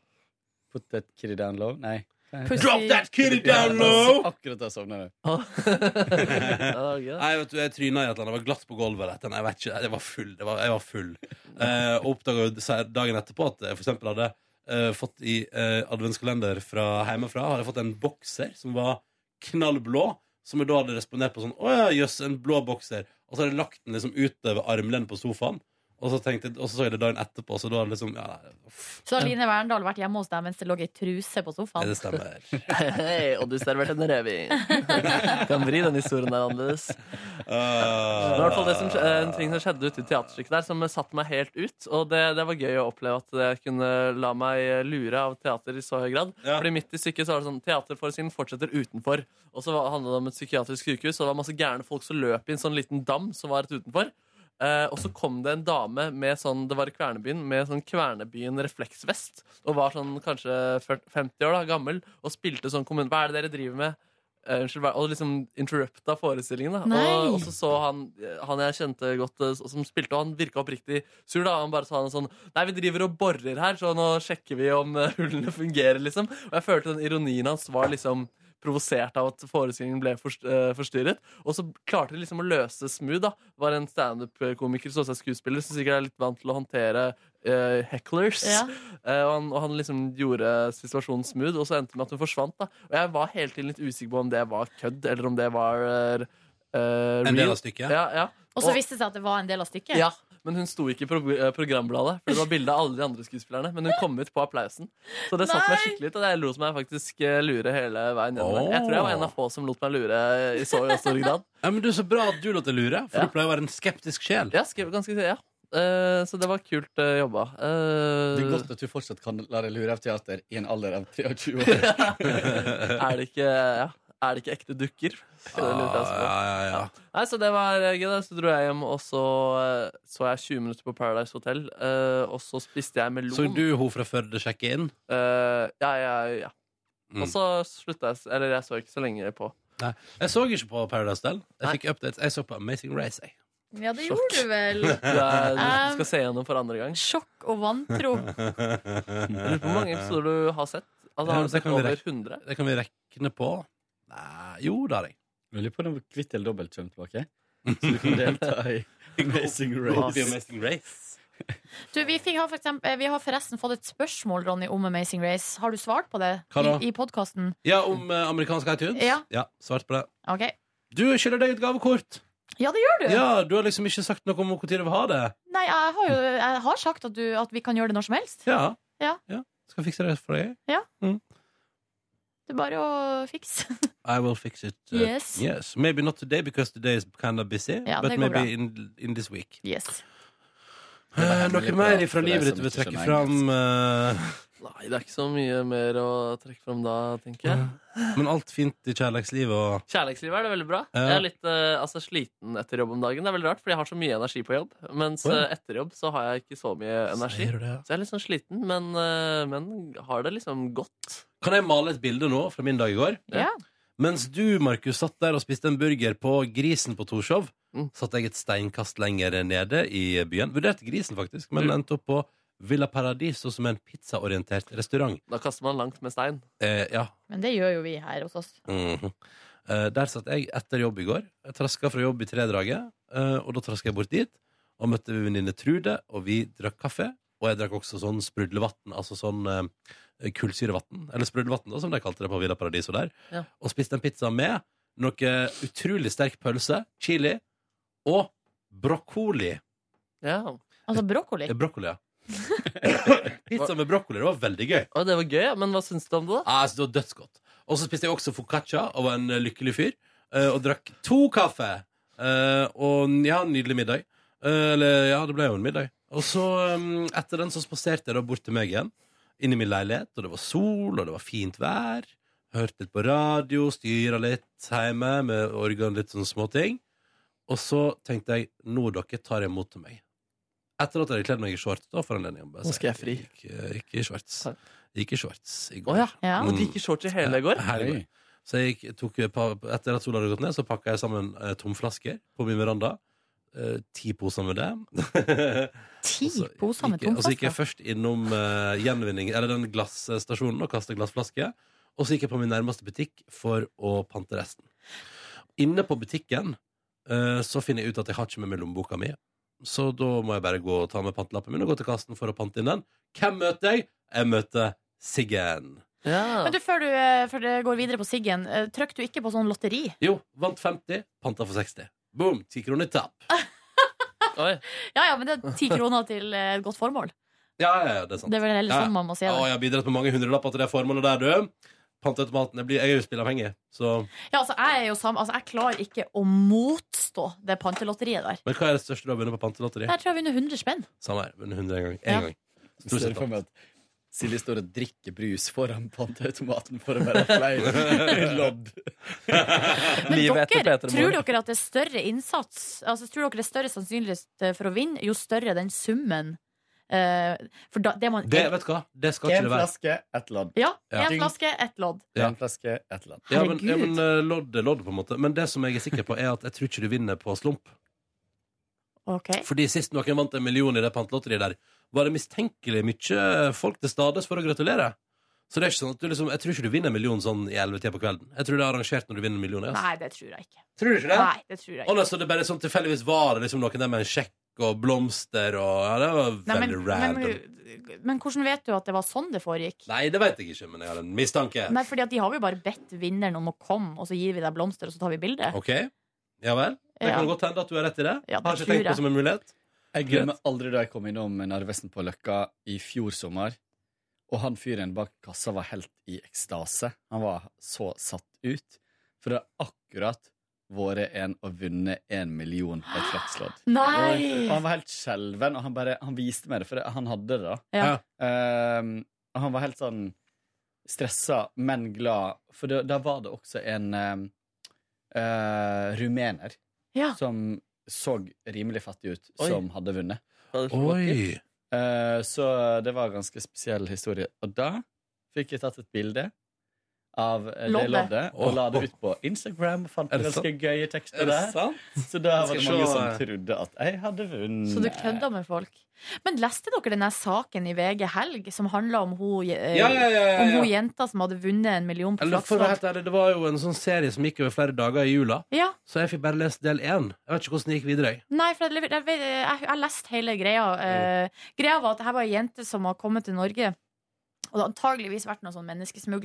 Speaker 8: Put that kitty down low? Nei.
Speaker 3: Pussy-
Speaker 2: Drop that kitty down low!
Speaker 8: Akkurat da sovna du.
Speaker 4: ja, det var gøy.
Speaker 2: Nei, vet du, jeg tryna i et eller annet. Det var glatt på gulvet. eller et eller annet. Jeg vet ikke, jeg var full. Det var, jeg var full. Eh, og oppdaga dagen etterpå at jeg for eksempel hadde eh, fått i eh, adventskalender fra hjemmefra Hadde jeg fått en bokser som var knallblå, som jeg da hadde respondert på sånn Å ja, jøss, en blå bokser. Og så hadde jeg lagt den liksom utover armlenet på sofaen. Og så, tenkte jeg, og så så jeg det dagen etterpå, så da hadde liksom Ja, nei, uff,
Speaker 3: Så har Line Verndal vært hjemme hos deg mens det lå ei truse på sofaen.
Speaker 2: det stemmer.
Speaker 4: Hei, og du serverte en revy. Kan vri den historien der annerledes.
Speaker 2: Ah.
Speaker 4: Det var i hvert fall det som, skje- en ting som skjedde ute i teaterstykket der, som satte meg helt ut. Og det, det var gøy å oppleve at jeg kunne la meg lure av teater i så høy grad.
Speaker 2: Ja.
Speaker 4: Fordi midt i stykket så var det sånn teaterforestillingen fortsetter utenfor. Og så var- handlet det om et psykiatrisk sykehus, og det var masse gærne folk som løp i en sånn liten dam som var rett utenfor. Eh, og så kom det en dame med sånn, det var i Kvernebyen, med sånn Kvernebyen refleksvest. Og var sånn kanskje 40 50 år da, gammel, og spilte sånn kommune. Hva er det dere driver med? Eh, unnskyld, hva- og liksom interrupta forestillingen. da
Speaker 3: Nei.
Speaker 4: og, og så så han Han jeg kjente godt, eh, som spilte, og han virka oppriktig sur. da Han bare sa noe sånn Nei, vi driver og borer her, så nå sjekker vi om eh, hullene fungerer, liksom. Og jeg følte den ironien hans var liksom provosert av at forestillingen ble forst- eh, forstyrret. Og så klarte de liksom å løse smooth. da Var en standup-komiker som også er skuespiller, som sikkert er litt vant til å håndtere eh, hecklers.
Speaker 3: Ja.
Speaker 4: Eh, og, han, og han liksom gjorde situasjonen smooth, og så endte det med at hun forsvant. da Og jeg var hele tiden litt usikker på om det var kødd, eller om det var eh, eh,
Speaker 2: En del
Speaker 4: real.
Speaker 2: av stykket.
Speaker 4: Ja, ja.
Speaker 3: Og så viste det seg at det var en del av stykket.
Speaker 4: ja. Men hun sto ikke i prog eh, programbladet, for det var bilde av alle de andre skuespillerne. Men hun kom ut på applausen. Så det satte meg
Speaker 3: Nei.
Speaker 4: skikkelig ut, og jeg lot meg faktisk eh, lure hele veien gjennom. der. Jeg tror jeg var en av få som lot meg lure i så stor grad.
Speaker 2: Ja, men du, Så bra at du lot deg lure, for
Speaker 4: Ja.
Speaker 2: du pleier å være en skeptisk sjel.
Speaker 4: Ja, skrev ganske, ja. Eh, så det var kult eh, jobba. Eh,
Speaker 8: Det er godt at du fortsatt kan la deg lure av teater i en alder av 23 år.
Speaker 4: er, det ikke, ja, er det ikke ekte dukker? Så det lurte jeg også på.
Speaker 2: Ah, ja, ja, ja.
Speaker 4: Nei, så det var eh, gøy. da. Så dro jeg hjem, og så eh, så jeg 20 minutter på Paradise Hotel. eh, og så spiste jeg melon.
Speaker 2: Så du hun fra Førde sjekke inn?
Speaker 4: Eh, ja, ja, ja.
Speaker 2: Mm.
Speaker 4: Og så slutta jeg s- Eller jeg så ikke så lenge på.
Speaker 2: Jeg så ikke på Paradise Del.
Speaker 4: Nei.
Speaker 2: Jeg fikk updates. Jeg så på Amazing Race. Jeg.
Speaker 3: Ja, det gjorde du vel.
Speaker 4: Du, er, du
Speaker 3: Um.
Speaker 4: skal se gjennom for andre gang.
Speaker 3: Sjokk og vantro.
Speaker 4: Jeg lurer på Hvor mange episoder du har sett? Altså,
Speaker 2: Ja,
Speaker 4: har du
Speaker 2: det
Speaker 4: sett
Speaker 2: kan vi
Speaker 4: over
Speaker 2: rekke.
Speaker 4: 100?
Speaker 2: Det kan vi rekne på. Nei, jo, det har jeg.
Speaker 8: Lurer på om kvitt eller dobbelt kommer tilbake. Så du kan delta i Amazing
Speaker 2: Opp i
Speaker 8: Race.
Speaker 2: Amazing Race.
Speaker 3: Du, vi, fikk, har for eksempel, eh, vi har forresten fått et spørsmål, Ronny, om Amazing Race. Har du svart på det
Speaker 2: Hva da?
Speaker 3: i, i podkasten?
Speaker 2: Ja, om eh, amerikansk iTunes?
Speaker 3: Ja.
Speaker 2: Svart på det.
Speaker 3: Ok.
Speaker 2: Du skylder deg et gavekort.
Speaker 3: Ja, det gjør du!
Speaker 2: Ja, Du har liksom ikke sagt noe om når du vil ha det.
Speaker 3: Nei, jeg har jo jeg har sagt at, du, at vi kan gjøre det når som helst.
Speaker 2: Ja.
Speaker 3: Ja.
Speaker 2: Skal fikse det for deg.
Speaker 3: Det er bare å fikse.
Speaker 2: I will fix it. uh,
Speaker 3: Yes.
Speaker 2: yes. Maybe not today, because today is kind of busy.
Speaker 3: Ja,
Speaker 2: but
Speaker 3: det går
Speaker 2: maybe
Speaker 3: bra.
Speaker 2: in, in this week.
Speaker 3: Yes.
Speaker 2: Eh, noe mer ifra livet ditt du vil
Speaker 8: For
Speaker 2: trekke
Speaker 8: deg som ikke
Speaker 2: fram? eh,
Speaker 4: Nei, det er ikke så mye mer å trekke fram da, tenker jeg.
Speaker 2: men alt fint i kjærlighetslivet og
Speaker 4: Kjærlighetslivet er det veldig bra.
Speaker 2: Ja.
Speaker 4: Jeg er litt eh, altså, sliten etter jobb om dagen. Det er veldig rart, fordi jeg har så mye energi på jobb. Mens
Speaker 2: Å, ja.
Speaker 4: eh, etter jobb så har jeg ikke så mye energi.
Speaker 2: Sier du det, ja?
Speaker 4: Så jeg er litt sånn sliten, men, eh, men har det liksom godt.
Speaker 2: Kan jeg male et bilde nå fra min dag i går?
Speaker 3: Ja.
Speaker 2: Mens du, Markus, satt der og spiste en burger på Grisen på Torshov,
Speaker 4: Mm.
Speaker 2: satt jeg et steinkast lenger nede i byen. Vurderte Grisen, faktisk, men
Speaker 4: Mm.
Speaker 2: endte opp på Villa Paradiso, som er en pizzaorientert restaurant.
Speaker 4: Da kaster man langt med stein.
Speaker 2: Eh, ja.
Speaker 3: Men det gjør jo vi her hos oss.
Speaker 2: Mhm. eh, der satt jeg etter jobb i går. Jeg traska fra jobb i tredraget, eh, og da traska jeg bort dit. Og møtte venninne Trude, og vi drakk kaffe. Og jeg drakk også sånn sprudlevann, altså sånn eh, kullsyrevann. Eller sprudlevann, da, som de kalte det på Villa Paradiso der.
Speaker 4: Ja.
Speaker 2: Og spiste en pizza med noe utrolig sterk pølse, chili og brokkoli.
Speaker 4: Ja.
Speaker 3: Altså brokkoli.
Speaker 2: Eh, Brokkoli, ja. pizza med brokkoli. Det var veldig gøy.
Speaker 4: Og det var gøy, ja. men hva syns du om det, da?
Speaker 2: Ja, altså, det var dødsgodt. Og så spiste jeg også focaccia og var en eh, lykkelig fyr. eh, Og drakk to kaffe. Eh, og ja, nydelig middag. Eh, eller ja, det ble jo en middag. Og så um, etter den så spaserte jeg da bort til meg igjen. Inn i min leilighet, og det var sol, og det var fint vær. Hørte litt på radio, styra litt hjemme med organ, litt sånne småting. Og så tenkte jeg nå dere tar imot til meg. Etter at jeg hadde kledd meg i shorts. da for anledningen. bare
Speaker 4: Nå
Speaker 2: si
Speaker 4: skal
Speaker 2: at
Speaker 4: jeg fri.
Speaker 2: Gikk, eh, gikk i shorts.
Speaker 4: Takk.
Speaker 2: Gikk i shorts i
Speaker 4: Å
Speaker 2: går.
Speaker 4: ja.
Speaker 3: Ja.
Speaker 4: Og de gikk i shorts i hele i går?
Speaker 2: Her i går.
Speaker 8: Oi.
Speaker 2: Så jeg gikk, tok, pa- etter at sola hadde gått ned, så pakka jeg sammen eh, tomflasker på min veranda. Eh, ti poser med det.
Speaker 3: Ti
Speaker 2: Og så
Speaker 3: poser med
Speaker 2: gikk jeg- Og så gikk jeg
Speaker 3: tomflasker.
Speaker 2: først innom eh, gjenvinning, eller den glasstasjonen og kasta glassflasker. Og så gikk jeg på min nærmeste butikk for å pante resten. Inne på butikken eh, så finner jeg ut at jeg har ikke med meg lommeboka mi. Så da må jeg bare gå og ta med pantelappen min og gå til kassen for å pante inn den. Hvem møter jeg? Jeg møter Siggen.
Speaker 4: Ja.
Speaker 3: Men du, før du eh, før det går videre på Siggen, eh, trykk du ikke på sånn lotteri?
Speaker 2: Jo, vant 50, panta for 60. Boom, 10 kroner tap.
Speaker 4: Oi.
Speaker 3: Ja ja, men det er ti kroner til eh, et godt formål.
Speaker 2: Ja, ja, ja, det er sant.
Speaker 3: Det er vel heller
Speaker 2: Ja.
Speaker 3: sånn man må se
Speaker 2: Ja,
Speaker 3: det.
Speaker 2: jeg har bidratt med mange hundrelapper til det formålet der, du. Panteautomaten. Jeg, blir, jeg er jo spilleavhengig, så
Speaker 3: Ja, altså, jeg er jo sam- altså, jeg klarer ikke å motstå det pantelotteriet der.
Speaker 2: Men hva er det største du har vunnet på pantelotteri?
Speaker 3: Der tror jeg vi vinner 100 spenn.
Speaker 2: Samme her. Vunnet 100 en gang.
Speaker 3: Ja.
Speaker 2: En gang.
Speaker 8: Jeg Ser for meg at Silje står og drikker brus foran panteautomaten for å være flere lodd.
Speaker 3: Men
Speaker 4: Livet etter
Speaker 3: dere,
Speaker 4: Peter Moore.
Speaker 3: tror dere at det er større innsats Altså tror dere det er større sannsynlighet eh, for å vinne Jo større den summen eh, For da, det man
Speaker 2: Det, vet du hva? Det skal ikke
Speaker 8: En
Speaker 2: det være.
Speaker 8: flaske, ett lodd.
Speaker 3: Ja,
Speaker 2: Ja.
Speaker 3: en flaske, ett lodd
Speaker 2: Ja.
Speaker 8: En flaske, ett lodd.
Speaker 2: Ja, men, ja,
Speaker 3: Herregud.
Speaker 2: men eh, lodd er lodd, på en måte. Men det som jeg er sikker på, er at jeg tror ikke du vinner på slump.
Speaker 3: Ok
Speaker 2: Fordi sist noen vant en million i det pantelotteriet der, var det mistenkelig mye folk til stades for å gratulere. Så det er ikke sånn at du liksom, jeg tror ikke du vinner en million sånn i 11-tida på kvelden. Jeg tror det er arrangert når du vinner en million. Altså.
Speaker 3: Nei, det tror jeg ikke
Speaker 2: Tror du ikke
Speaker 3: Nei, det tror
Speaker 2: Å,
Speaker 3: jeg ikke
Speaker 2: nei, så det bare sånn tilfeldigvis var det liksom noen der med en sjekk og blomster og ja, Det var
Speaker 3: Nei, men,
Speaker 2: veldig random.
Speaker 3: men, men hvordan vet du at det var sånn det foregikk?
Speaker 2: Nei, det vet jeg ikke, men jeg har en mistanke.
Speaker 3: Nei, fordi at de har jo bare bedt vinneren om å komme Og så gir vi deg blomster og så tar vi bilde
Speaker 2: OK? Ja vel? Det
Speaker 3: Ja.
Speaker 2: kan godt hende at du har rett i det.
Speaker 3: Ja, det
Speaker 2: har ikke
Speaker 3: tror
Speaker 2: tenkt på
Speaker 3: jeg.
Speaker 2: det som en mulighet.
Speaker 8: Jeg glemmer aldri da jeg kom innom Narvesen på Løkka i fjor sommer. Og han fyren bak kassa var helt i ekstase. Han var så satt ut. For det har akkurat vært en og vunnet en million på et flakslodd.
Speaker 3: Nei!
Speaker 8: Og han var helt skjelven, og han, bare, han viste meg det, for det- han hadde det da.
Speaker 3: Ja.
Speaker 8: Ehm, og han var helt sånn stressa, men glad. For da, da var det også en ehm, eh, rumener
Speaker 3: Ja.
Speaker 8: som så rimelig fattig ut,
Speaker 4: Oi.
Speaker 8: som hadde vunnet.
Speaker 4: Fader, så vakkert.
Speaker 2: Oi.
Speaker 8: Eh, så det var en ganske spesiell historie. Og da fikk jeg tatt et bilde av eh, det
Speaker 3: Loddet.
Speaker 8: loddet, og
Speaker 2: Åh.
Speaker 8: la det ut på Instagram. og Fant
Speaker 2: Er det
Speaker 8: ganske
Speaker 2: sant?
Speaker 8: gøye tekster
Speaker 2: Er det
Speaker 8: der.
Speaker 2: sant?
Speaker 8: Så da var
Speaker 2: Skal
Speaker 8: det
Speaker 2: jeg
Speaker 8: mange
Speaker 2: se,
Speaker 8: som
Speaker 2: eh.
Speaker 8: trodde at jeg hadde vunnet.
Speaker 3: Så du kødda med folk Men leste dere denne saken i VG Helg Som handlet om hun eh,
Speaker 2: Ja, ja, ja.
Speaker 3: Om
Speaker 2: ja,
Speaker 3: hun
Speaker 2: ja.
Speaker 3: jenta som hadde vunnet en million på
Speaker 2: Eller, for å
Speaker 3: Flakslodd.
Speaker 2: være helt ærlig, det var jo en sånn serie som gikk over flere dager i jula,
Speaker 3: Ja,
Speaker 2: så jeg fikk bare lest del én. Jeg vet ikke hvordan det gikk videre. jeg.
Speaker 3: nei, for jeg, jeg, jeg, jeg har lest hele greia. Eh, greia var at her var ei jente som har kommet til Norge. Og det har antageligvis vært noe sånn
Speaker 2: Ja, ja, ja.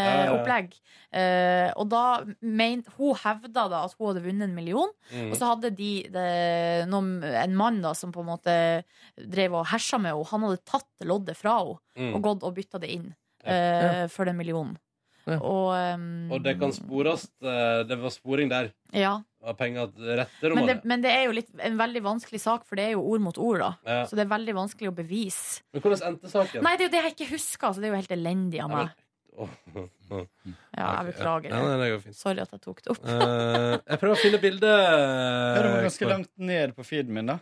Speaker 3: menneskesmuglingopplegg. Eh, og da meint Hun hevda da at hun hadde vunnet en million.
Speaker 2: Mm,
Speaker 3: Og så hadde de det, noen, en mann da som på en måte drev og hersa med henne. Han hadde tatt loddet fra henne
Speaker 2: Mm.
Speaker 3: og gått og bytta det inn eh, for den millionen.
Speaker 4: Ja.
Speaker 3: Og, ehm,
Speaker 2: Og det kan spores. eh, Det var sporing der
Speaker 3: Ja.
Speaker 2: av penger rette
Speaker 3: Men det,
Speaker 2: romanet.
Speaker 3: men det er jo litt, en veldig vanskelig sak, for det er jo ord mot ord, da.
Speaker 2: Ja.
Speaker 3: Så det er veldig vanskelig å bevise.
Speaker 2: Men hvordan endte saken?
Speaker 3: Nei, det er jo det jeg ikke husker, så det er jo helt elendig
Speaker 2: Ja,
Speaker 3: av meg.
Speaker 2: Åh.
Speaker 3: Ja,
Speaker 2: Ok,
Speaker 3: jeg beklager.
Speaker 2: Ja, nei, det går fint.
Speaker 3: Sorry at jeg tok det opp.
Speaker 2: Eh, jeg prøver å finne bildet.
Speaker 8: Ja, det var ganske langt ned på feeden min, da.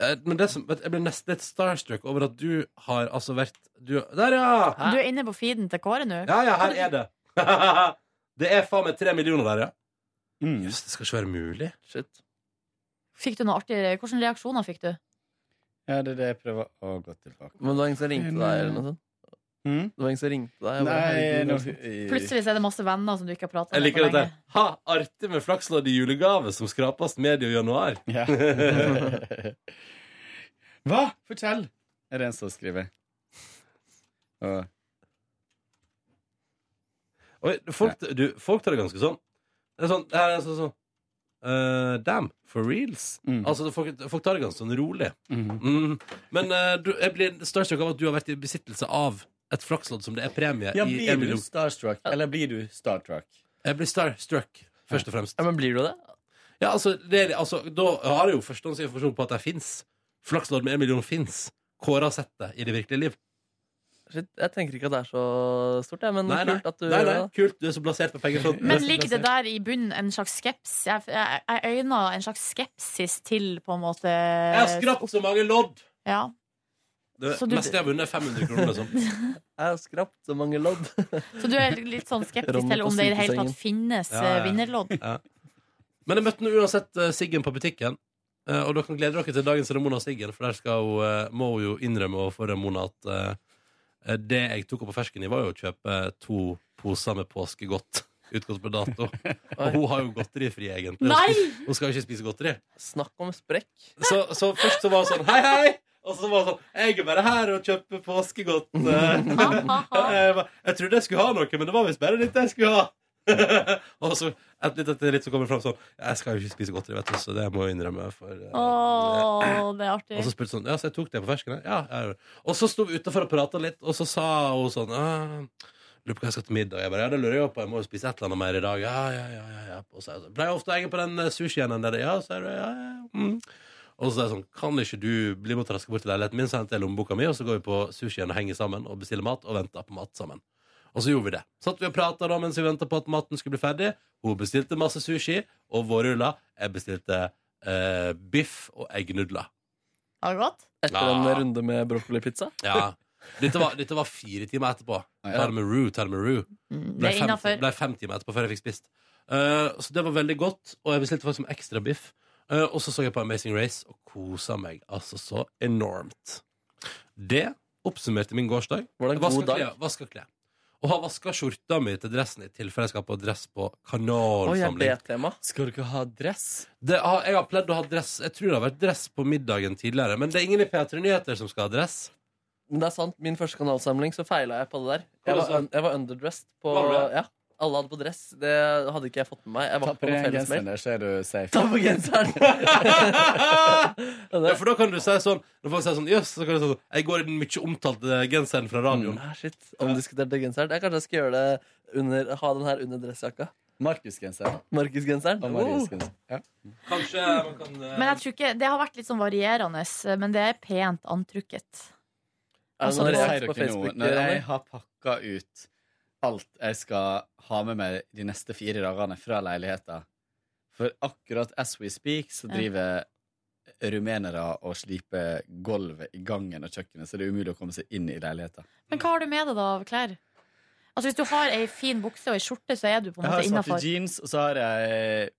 Speaker 2: Eh, Men det som, vet du, jeg ble nesten litt starstruck over at du har altså vært du, Der, ja!
Speaker 3: Du er inne på feeden til Kåre nå.
Speaker 2: Ja, ja, her er det. det er faen meg tre millioner der, ja.
Speaker 8: Mm.
Speaker 2: Jøss, det skal ikke være mulig.
Speaker 4: Shit.
Speaker 3: Fikk du noe artig Hvilke reaksjoner fikk du?
Speaker 8: Ja, det er det jeg prøver å gå tilbake
Speaker 4: Men det var ingen som ringte deg, eller noe sånt?
Speaker 8: mm?
Speaker 4: Det var ingen som ringte deg? Jeg bare,
Speaker 8: Nei,
Speaker 4: herregud,
Speaker 8: nå
Speaker 4: altså.
Speaker 3: Plutselig så er det masse venner som du ikke har prata
Speaker 2: Jeg
Speaker 3: med
Speaker 2: liker
Speaker 3: på
Speaker 2: dette.
Speaker 3: lenge.
Speaker 2: Ha, artig med flakslodd i julegave som skrapes medio januar.
Speaker 8: ja. Hva? Fortell! Er det en som skriver. Og
Speaker 2: Oi, folk, du, folk tar det ganske sånn. Det er sånn, det her er sånn, sånn. eh, damn, for reals.
Speaker 8: Mm.
Speaker 2: Altså, folk, folk tar det ganske sånn rolig.
Speaker 8: Mhm.
Speaker 2: Mm. Men eh, du, jeg blir starstruck av at du har vært i besittelse av et flakslodd som det er premie
Speaker 8: Ja,
Speaker 2: i.
Speaker 8: blir
Speaker 2: en
Speaker 8: du
Speaker 2: million.
Speaker 8: starstruck, eller blir du starstruck?
Speaker 2: Jeg blir starstruck, først og fremst.
Speaker 4: Ja, men blir du det?
Speaker 2: Ja, altså, det, er- altså Da har jeg jo førstehåndsinformasjon på at de fins. Flakslodd med en million fins. Kåre har sett det i det virkelige liv.
Speaker 4: Shit, jeg tenker ikke at det er så stort,
Speaker 8: Mm,
Speaker 4: jeg, men
Speaker 2: Nei, nei,
Speaker 4: kult at du
Speaker 2: nei, nei. kult. Du er så blasert på sånn. pengefronten. Du er
Speaker 3: Men
Speaker 2: så
Speaker 3: ligger det
Speaker 2: blasert.
Speaker 3: der i bunnen en slags skeps? Jeg, jeg, jeg øyner en slags skepsis til, på en måte.
Speaker 2: Jeg har skrapt så mange lodd!
Speaker 3: Ja.
Speaker 2: Det
Speaker 3: Så du-
Speaker 2: meste jeg har vunnet, er 500 kroner. Liksom.
Speaker 4: Jeg har skrapt så mange lodd.
Speaker 3: Så du er litt sånn skeptisk
Speaker 4: Ronny
Speaker 3: til
Speaker 4: på
Speaker 3: om det i det hele tatt
Speaker 4: sykesengen.
Speaker 3: finnes
Speaker 2: Ja, ja.
Speaker 3: eh, vinnerlodd?
Speaker 2: Men jeg møtte nå uansett eh, Siggen på butikken. Eh, og dere kan glede dere til dagens Ramona og Siggen, for der skal hun, eh, må hun jo innrømme overfor Ramona at eh, det jeg tok opp på fersken i, var jo å kjøpe to poser med påskegodt utgått på dato. Og hun har jo godterifri, egentlig. Hun
Speaker 3: Nei!
Speaker 2: skal- Hun skal jo ikke spise godteri.
Speaker 4: Snakk om sprekk.
Speaker 2: Så, så først så var hun sånn hei, hei! Og så var hun sånn jeg er bare her og kjøper påskegodt. eh.
Speaker 3: Ha, ha, ha.
Speaker 2: jeg, ba- jeg trodde jeg skulle ha noe, men det var visst bare litt jeg skulle ha. og så et litt etter litt så kommer det fram sånn Jeg skal jo ikke spise godteri, vet du, så det må jeg innrømme. For, eh,
Speaker 3: Åh, det er
Speaker 2: Og så
Speaker 3: artig.
Speaker 2: spurte hun sånn Ja, så jeg tok det på fersken? jeg?» Ja, jeg gjorde det.» Og så sto vi utafor og prata litt, og så sa hun sånn «Ah, Lurer på hva jeg skal til middag. Jeg bare, ja, det lurer jeg jo på. Jeg må jo spise et eller annet mer i dag. Ja, ja, ja, ja, ja. Og så er jeg sånn, pleier ofte å henge på den eh, sushien der. Ja, så er det, ja, ja, ja. Mm. Og så er jeg sånn, kan ikke du bli med og traske bort til leiligheten min, så henter jeg lommeboka mi, og så går vi på sushien og henger sammen og bestiller mat og venter på mat sammen. Og så gjorde vi det. Satt vi og prata da mens vi venta på at maten skulle bli ferdig. Hun bestilte masse sushi og vårruller. Jeg bestilte eh, biff og eggnudler.
Speaker 3: Har det gått?
Speaker 4: Etter
Speaker 2: Ja.
Speaker 4: en runde med brokkolipizza.
Speaker 2: Ja. Dette var, dette var fire timer etterpå.
Speaker 8: Ja.
Speaker 2: Ta det med ru, ta det med ru.
Speaker 3: Mm,
Speaker 2: Ble
Speaker 3: Det er
Speaker 2: fem,
Speaker 3: innafor.
Speaker 2: ble fem timer etterpå før jeg fikk spist. Eh, så det var veldig godt, og jeg bestilte faktisk som ekstra biff. Eh, og så så jeg på Amazing Race og kosa meg altså så enormt. Det oppsummerte min gårsdag.
Speaker 4: Var det en
Speaker 2: Vaska
Speaker 4: god dag?
Speaker 2: klær, vaska klær. Og har vaska skjorta mi til dressen i tilfelle jeg skal på dress på
Speaker 4: Oi, er
Speaker 2: kanalsamling.
Speaker 4: det tema?
Speaker 8: Skal du ikke ha dress?
Speaker 2: Det har, jeg har pledd å ha dress Jeg tror det har vært dress på middagen tidligere, men det er ingen i P3 Nyheter som skal ha dress.
Speaker 4: Men det er sant, min første kanalsamling så feila jeg på det der.
Speaker 2: Hva
Speaker 4: Jeg
Speaker 2: var
Speaker 4: var,
Speaker 2: det
Speaker 4: un jeg var underdressed på
Speaker 2: Var du
Speaker 4: Ja, alle hadde på dress. Det hadde ikke jeg fått med meg. Jeg var
Speaker 8: Ta
Speaker 4: ikke
Speaker 8: på
Speaker 4: på noen
Speaker 8: deg den
Speaker 4: fellesmail.
Speaker 8: genseren der, så er du safe.
Speaker 4: Ta på genseren!
Speaker 2: Ja, for da kan du si sånn Når folk sier sånn Jøss, så kan du si sånn Jeg går i den mye omtalte genseren fra radioen.
Speaker 4: Nei, Ah, shit. Omdiskuterte genseren. Jeg kanskje jeg skal gjøre det under, ha den her under dressjakka.
Speaker 8: Markus-genseren.
Speaker 4: Markusgenseren.
Speaker 8: Og
Speaker 4: Oh.
Speaker 8: Marius-genseren. Ja.
Speaker 2: Kanskje man kan eh,
Speaker 3: Men jeg tror ikke, Det har vært litt sånn varierende, men det er pent antrukket.
Speaker 4: Er det
Speaker 3: Altså,
Speaker 4: noen
Speaker 3: det
Speaker 8: Sier
Speaker 4: reaks
Speaker 8: dere
Speaker 4: på Facebook?
Speaker 8: noe når
Speaker 4: Ronny?
Speaker 8: jeg har pakka ut alt jeg skal ha med meg de neste fire dagene fra leiligheten For akkurat as we speak, så
Speaker 3: Ja.
Speaker 8: driver rumenere og sliper gulvet i gangen og kjøkkenet, så det er umulig å komme seg inn i leiligheten
Speaker 3: Men hva har du med deg da av klær? Altså Hvis du har ei fin bukse og ei skjorte, så er du på en
Speaker 8: Jeg har
Speaker 3: måte
Speaker 8: svarte
Speaker 3: innafor.
Speaker 8: jeans, og så har jeg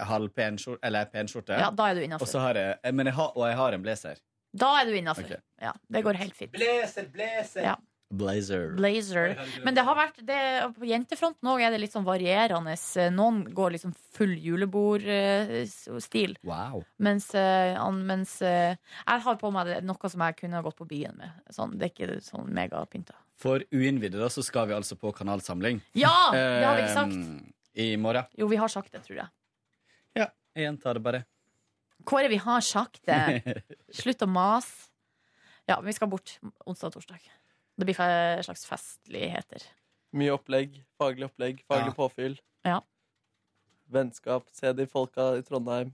Speaker 8: halv pen skjorte, eller ei pen skjorte.
Speaker 3: Ja, da er du
Speaker 8: og
Speaker 3: innenfor.
Speaker 8: så har jeg, eh, men jeg har, og jeg har en blazer.
Speaker 3: Da er du innafor.
Speaker 8: Ok.
Speaker 3: Ja, det går helt fint.
Speaker 2: Blazer, blazer.
Speaker 3: Ja.
Speaker 8: Blazer.
Speaker 3: Blazer. Men det har vært det, på jentefronten òg er det litt sånn varierende. Noen går liksom full eh, julebordstil,
Speaker 8: Wow.
Speaker 3: mens, eh, an- mens eh, jeg har på meg det- noe som jeg kunne ha gått på byen med. Sånn, det er ikke sånn megapynta.
Speaker 8: For uinnvidde da, så skal vi altså på kanalsamling.
Speaker 3: Ja! Ah, Det har vi ikke sagt.
Speaker 8: Ehm, I morgen.
Speaker 3: Jo, vi har sagt det, tror jeg.
Speaker 8: Jeg gjentar det bare.
Speaker 3: Kåre, vi har sagt det. Slutt å mase. Ja, men vi skal bort onsdag og torsdag. Det blir fe- slags festligheter.
Speaker 4: Mye opplegg, faglig opplegg, faglig
Speaker 8: Ja.
Speaker 4: påfyll.
Speaker 3: Ja.
Speaker 4: Vennskap. Se de folka i Trondheim.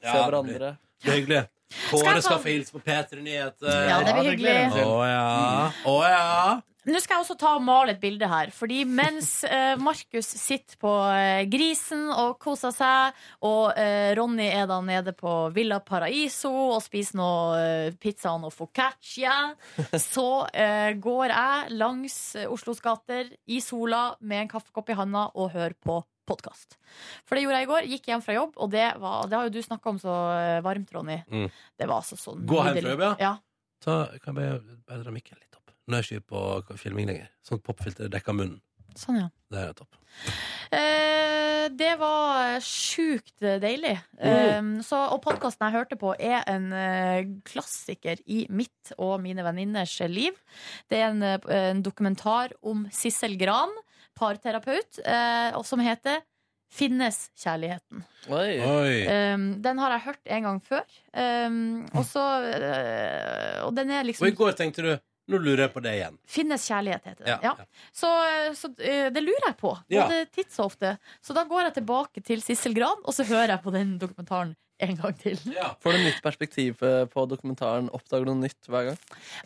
Speaker 4: Se
Speaker 2: Ja, det blir-
Speaker 4: hverandre.
Speaker 2: Det er hyggelig.
Speaker 3: Skal
Speaker 2: Kåre
Speaker 3: jeg
Speaker 2: skal
Speaker 3: ta-
Speaker 2: få hilse på P3 Nyheter.
Speaker 3: Ja, det blir
Speaker 8: det gleder jeg meg
Speaker 3: hyggelig.
Speaker 8: til.
Speaker 2: Å ja. Å ja.
Speaker 3: Nå skal jeg også ta og male et bilde her. Fordi mens eh, Markus sitter på eh, Grisen og koser seg, og eh, Ronny er da nede på Villa Paraiso og spiser noe eh, pizza og noe foccaccia, så eh, går jeg langs eh, Oslos gater i sola med en kaffekopp i handa og hører på podkast. For det gjorde jeg i går. Gikk hjem fra jobb, og det, var, det har jo du snakka om så eh, varmt, Ronny.
Speaker 2: Mm.
Speaker 3: Det var altså sånn
Speaker 2: Gå hjem fra jobb, ja?
Speaker 3: ja.
Speaker 2: Ta, kan jeg bare bare dra mikken litt opp? Nå er jeg ikke på filming lenger. Sånn popfilter dekker munnen.
Speaker 3: Sånn, ja.
Speaker 2: Det er topp.
Speaker 3: Eh, det var sjukt deilig.
Speaker 2: Oh.
Speaker 3: Eh, så, og podkasten jeg hørte på, er en eh, klassiker i mitt og mine venninners liv. Det er en, eh, en dokumentar om Sissel Gran, parterapeut, eh, og som heter Finnes kjærligheten.
Speaker 4: Oi.
Speaker 2: Oi.
Speaker 3: Eh, den har jeg hørt en gang før. Ehm, Eh, og så eh, Og den
Speaker 2: Og
Speaker 3: er
Speaker 2: i
Speaker 3: liksom
Speaker 2: går tenkte du Nå lurer jeg på det igjen.
Speaker 3: Finnes kjærlighet, heter det.
Speaker 2: Ja,
Speaker 3: Ja.
Speaker 2: ja.
Speaker 3: Så, så eh, det lurer jeg på.
Speaker 2: Ja.
Speaker 3: Både titt så ofte. Så da går jeg tilbake til Sissel Gran, og så hører jeg på den dokumentaren en gang til.
Speaker 4: Får du nytt perspektiv eh, på dokumentaren? Oppdager du noe nytt hver gang?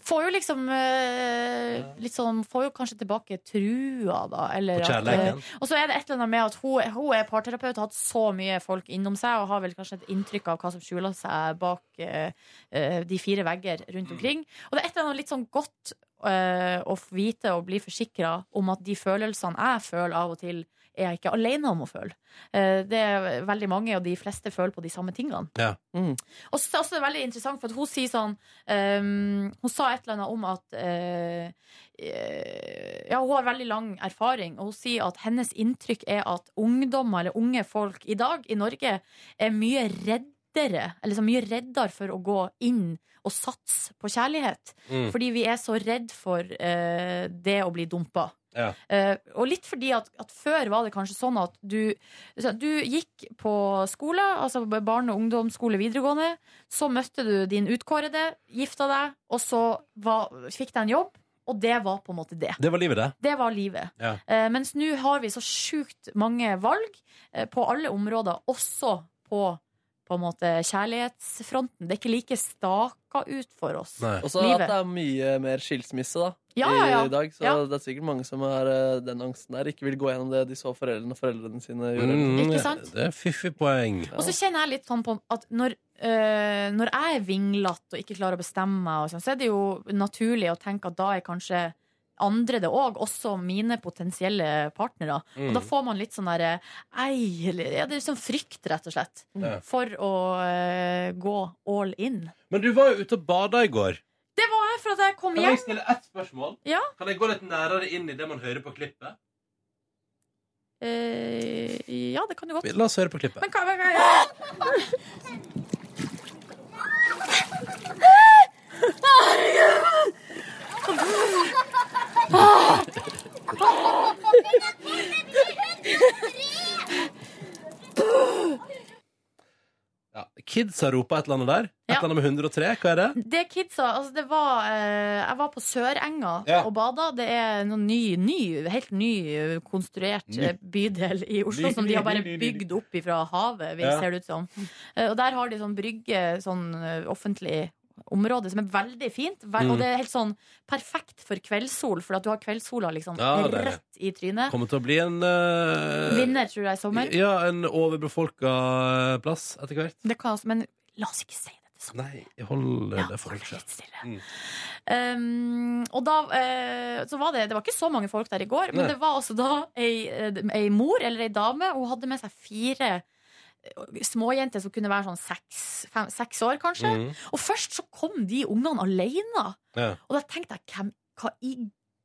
Speaker 3: Får jo liksom eh, litt sånn Får jo kanskje tilbake trua, da. Eller
Speaker 2: På
Speaker 3: at,
Speaker 2: kjærleiken.
Speaker 3: eh, og så er det et eller annet med at hun, hun er parterapeut, har hatt så mye folk innom seg, og har vel kanskje et inntrykk av hva som skjuler seg bak eh, eh, de fire vegger rundt omkring. Og det er et eller annet litt sånn godt eh, å få vite og bli forsikra om at de følelsene jeg føler av og til, er jeg ikke alene om å føle. Eh, det er veldig mange, og de fleste føler på de samme tingene.
Speaker 2: Ja.
Speaker 4: Mm.
Speaker 3: Og så er det også veldig interessant, for at hun sier sånn Ehm, hun sa et eller annet om at eh, eh, Ja, hun har veldig lang erfaring, og hun sier at hennes inntrykk er at ungdommer eller unge folk i dag i Norge er mye reddere, eller så mye reddere for å gå inn og satse på kjærlighet.
Speaker 2: Mm.
Speaker 3: Fordi vi er så redd for eh, det å bli dumpa.
Speaker 2: Ja.
Speaker 3: Eh, og litt fordi at, at før var det kanskje sånn at du, så du gikk på skole, altså barne- og ungdomsskole, videregående, så møtte du din utkårede, gifta deg, og så var, fikk deg en jobb, og det var på en måte det.
Speaker 2: Det var livet, det.
Speaker 3: Det var livet.
Speaker 2: Ja.
Speaker 3: Eh, mens nå har vi så sjukt mange valg eh, på alle områder, også på, på en måte kjærlighetsfronten. Det er ikke like staka ut for oss.
Speaker 2: Nei.
Speaker 4: Og så at
Speaker 3: Livet.
Speaker 4: det er mye mer skilsmisse da,
Speaker 3: Ja, ja, ja.
Speaker 4: i dag. Så
Speaker 3: Ja.
Speaker 4: det er sikkert mange som har eh, den angsten der. Ikke vil gå gjennom det de så foreldrene og foreldrene sine gjorde. eller
Speaker 2: Mm,
Speaker 3: Ikke sant?
Speaker 2: Det er fiffig poeng.
Speaker 3: Og så kjenner jeg litt sånn på at når, øh, når jeg er vinglete og ikke klarer å bestemme meg, og sånn, så er det jo naturlig å tenke at da er kanskje andre det òg, også mine potensielle partnere. Og da får man litt sånn derre ei, eller ja, Det er sånn frykt, rett og slett,
Speaker 2: Ja.
Speaker 3: for å øh, gå all in.
Speaker 2: Men du var jo ute og bada i går.
Speaker 3: Det var jeg, for at jeg kom
Speaker 2: Kan
Speaker 3: hjem.
Speaker 2: jeg stille ett spørsmål?
Speaker 3: Ja.
Speaker 2: Kan jeg gå litt nærere inn i det man hører på klippet?
Speaker 3: Eh, ja, det kan du godt.
Speaker 2: La oss høre på klippet.
Speaker 3: Men hva, hva, hva
Speaker 2: Ja. Kids har ropa et eller annet der. Et
Speaker 3: Ja.
Speaker 2: eller annet med 103. Hva er det?
Speaker 3: Det kidsa, altså det var eh, Jeg var på Sørenga
Speaker 2: Ja.
Speaker 3: og bada. Det er noen ny, ny helt ny eh, konstruert
Speaker 8: Ny.
Speaker 3: eh, bydel i Oslo
Speaker 8: Ny,
Speaker 3: som
Speaker 8: ny,
Speaker 3: de har bare
Speaker 8: ny, ny, ny, ny.
Speaker 3: bygd opp ifra havet, vil
Speaker 2: Ja.
Speaker 3: ser det ut som. Eh, og der har de sånn brygge, sånn eh, offentlig område som er veldig fint. Vel,
Speaker 2: Mm.
Speaker 3: Og det er helt sånn perfekt for kveldssol, for at du har kveldssola liksom
Speaker 2: Ja, det er det.
Speaker 3: rett i trynet.
Speaker 2: Kommer til å bli en eh,
Speaker 3: Vinner, tror jeg, i sommer.
Speaker 2: Ja, en overbefolka eh, plass etter hvert.
Speaker 3: Det kan, altså- men la oss ikke si det til sommeren.
Speaker 2: Nei, jeg holder
Speaker 3: Ja,
Speaker 2: det for
Speaker 3: hold
Speaker 2: meg
Speaker 3: deg
Speaker 2: selv.
Speaker 3: litt stille.
Speaker 2: Mm.
Speaker 3: Um, og da eh, så var det Det var ikke så mange folk der i går, men
Speaker 2: Nei.
Speaker 3: det var altså da ei, eh, ei mor eller ei dame. Hun hadde med seg fire eh, småjenter som kunne være sånn seks, fem, seks år, kanskje.
Speaker 2: Mm.
Speaker 3: Og først så kom de ungene alene.
Speaker 2: Ja.
Speaker 3: Og da tenkte jeg hvem, hva i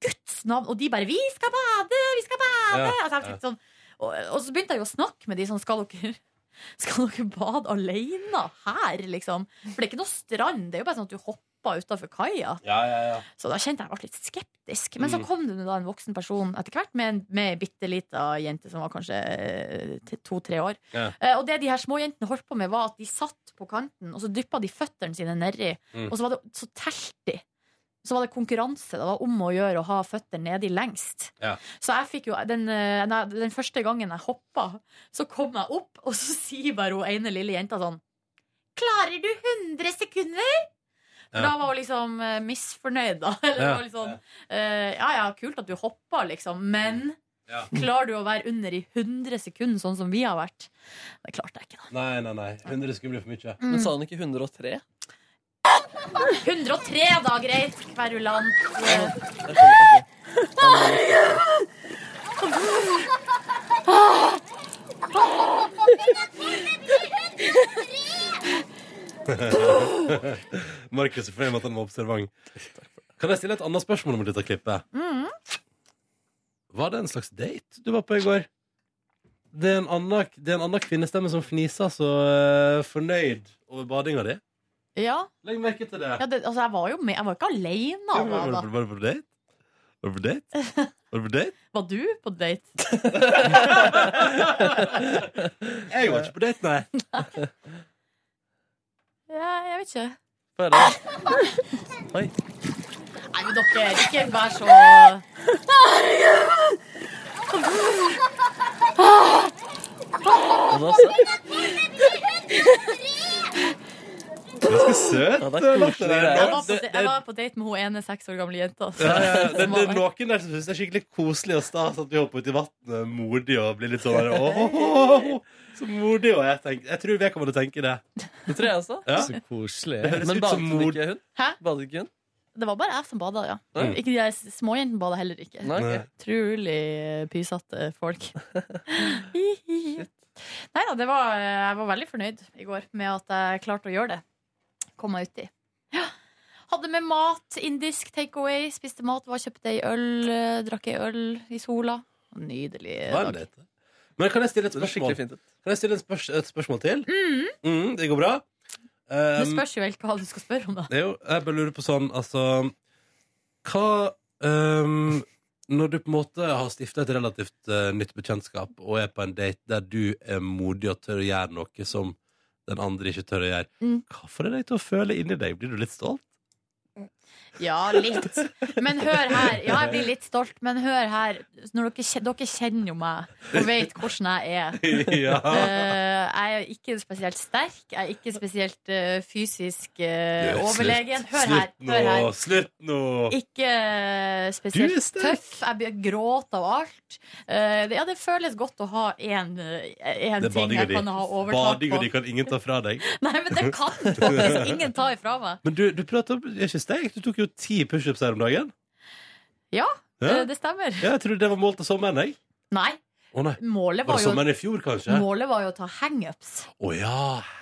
Speaker 3: Guds navn Og de bare 'Vi skal bade! Vi skal bade!'
Speaker 2: Ja,
Speaker 3: altså, jeg tenkte sånn, og, og så begynte jeg jo å snakke med de sånn 'Skal dere, skal dere bade alene her?' liksom. For det er ikke noe strand. Det er jo bare sånn at du hopper utafor kaia.
Speaker 2: Ja, ja, ja.
Speaker 3: Så da kjente jeg jeg ble litt skeptisk. Men så
Speaker 2: Mm.
Speaker 3: kom det nå da en voksen person etter hvert med en med ei bitte lita jente som var kanskje eh, til to-tre år.
Speaker 2: Ja.
Speaker 3: Eh, og det de her småjentene holdt på med, var at de satt på kanten, og så dyppa de føttene sine nedi,
Speaker 2: Mm.
Speaker 3: og så, var det, så telt de. Så var det konkurranse. Det var om å gjøre å ha føttene nedi lengst.
Speaker 2: Ja.
Speaker 3: Så jeg fikk jo den, eh, nei, den første gangen jeg hoppa, så kom jeg opp, og så sier bare hun ene lille jenta sånn Klarer du 100 sekunder? For
Speaker 2: Ja.
Speaker 3: da var hun liksom eh, misfornøyd, da. Eller
Speaker 2: Ja.
Speaker 3: ja. Liksom, eh, ja ja, kult at du hoppa, liksom, men
Speaker 2: Mm. Ja.
Speaker 3: klarer du å være under i 100 sekunder, sånn som vi har vært? Det klarte jeg ikke, da.
Speaker 2: Nei, nei, nei. 100 skulle bli for mye.
Speaker 4: Men sa hun
Speaker 8: Mm.
Speaker 4: ikke 103?
Speaker 3: 103, da, greit, kverulant. Eh,
Speaker 4: Jeg skjønner ikke.
Speaker 2: Markus er fornøyd med at han var observant. Kan jeg stille et annet spørsmål om dette klippet?
Speaker 4: Mm.
Speaker 2: Var det en slags date du var på i går? Det er en annen, det er en annen kvinnestemme som fniser så eh, fornøyd over badinga di.
Speaker 3: Ja,
Speaker 2: Legg merke til det.
Speaker 3: ja det, altså, jeg var jo med. Jeg var ikke alene.
Speaker 2: Ja,
Speaker 3: Da,
Speaker 2: var,
Speaker 3: da.
Speaker 2: var, var du på date? Var du på date? Var du på date?
Speaker 3: Var du på date?
Speaker 2: Jeg var ikke på date, nei.
Speaker 3: Ja, jeg vet ikke.
Speaker 4: Få høre. Oi.
Speaker 3: Nei, dere. Ikke vær så Herregud!
Speaker 8: Ganske søt.
Speaker 4: Ja, det er koselig. det
Speaker 3: Jeg
Speaker 4: der.
Speaker 3: var på,
Speaker 2: Det- det-
Speaker 3: jeg var på date med hun ene seks år gamle jenta.
Speaker 2: Ja, ja, ja. Det,
Speaker 3: som
Speaker 2: det
Speaker 3: var-
Speaker 2: er noen der som syns det er skikkelig koselig og stas at vi hopper uti vannet modig og blir litt sånn der, «Åh, åh, åh, åh». Så modig. Og jeg, tenker, jeg tror vedkommende tenker det.
Speaker 4: Det tror jeg også.
Speaker 2: Ja.
Speaker 8: Så koselig.
Speaker 2: Det høres
Speaker 4: Men
Speaker 2: ut som
Speaker 4: badet
Speaker 2: mod...
Speaker 4: ikke hun?
Speaker 3: Hæ?
Speaker 4: Badet ikke hun?
Speaker 3: Det var bare jeg som bada, ja.
Speaker 4: Mm.
Speaker 3: Ikke de der småjentene bada heller ikke.
Speaker 4: Nei.
Speaker 2: Nei.
Speaker 3: Utrolig pysete folk. Nei da, det var, eh, jeg var veldig fornøyd i går med at jeg klarte å gjøre det. Kom meg uti. Ja. Hadde med mat, indisk takeaway, spiste mat, var, kjøpte ei øl, eh, drakk ei øl i sola. Nydelig
Speaker 2: Var
Speaker 3: dag.
Speaker 2: det litt? Men kan jeg stille et
Speaker 4: Det var
Speaker 2: spørsmål,
Speaker 4: skikkelig fint ut.
Speaker 2: kan jeg stille en spørs et spørsmål til?
Speaker 3: Mm.
Speaker 2: Mm, det går bra?
Speaker 3: Det
Speaker 2: Um,
Speaker 3: spørs jo helt hva du skal spørre om, da.
Speaker 2: det er jo, jeg bare lurer på sånn, altså Hva ehm, Når du på en måte har stifta et relativt eh, nytt bekjentskap og er på en date der du er modig og tør å gjøre noe som den andre ikke tør å gjøre,
Speaker 3: Mm.
Speaker 2: hva får det deg til å føle inni deg? Blir du litt stolt?
Speaker 3: Ja, litt. Men hør her. Ja, jeg blir litt stolt, men hør her. Når dere, kje- dere kjenner jo meg og vet hvordan jeg er.
Speaker 2: ja.
Speaker 3: Eh, jeg er ikke spesielt sterk. Jeg er ikke spesielt eh, fysisk eh, overlegen. Hør her.
Speaker 2: Slutt
Speaker 3: Hør her.
Speaker 2: nå! Slutt nå!
Speaker 3: Ikke eh,
Speaker 2: Du er
Speaker 3: spesielt
Speaker 2: sterk.
Speaker 3: tøff. Jeg blir gråt av alt. Eh, det, ja, det føles godt å ha én
Speaker 2: Det er
Speaker 3: ting jeg
Speaker 2: badinga di.
Speaker 3: kan ha overtak
Speaker 2: Badinga di
Speaker 3: på.
Speaker 2: kan ingen ta fra deg.
Speaker 3: Nei, men det kan faktisk ingen ta ifra meg.
Speaker 2: Men du, du prata om det er ikke steg. Du tok jo ti pushups her om dagen.
Speaker 3: Ja,
Speaker 2: Ja.
Speaker 3: Eh, det stemmer.
Speaker 2: Ja, jeg trodde det var målt til sommeren, jeg.
Speaker 3: Nei.
Speaker 2: Å nei.
Speaker 3: Målet
Speaker 2: Var
Speaker 3: var
Speaker 2: det
Speaker 3: jo
Speaker 2: sommeren i fjor, kanskje? Å
Speaker 3: Målet var jo å ta hangups.
Speaker 2: ja,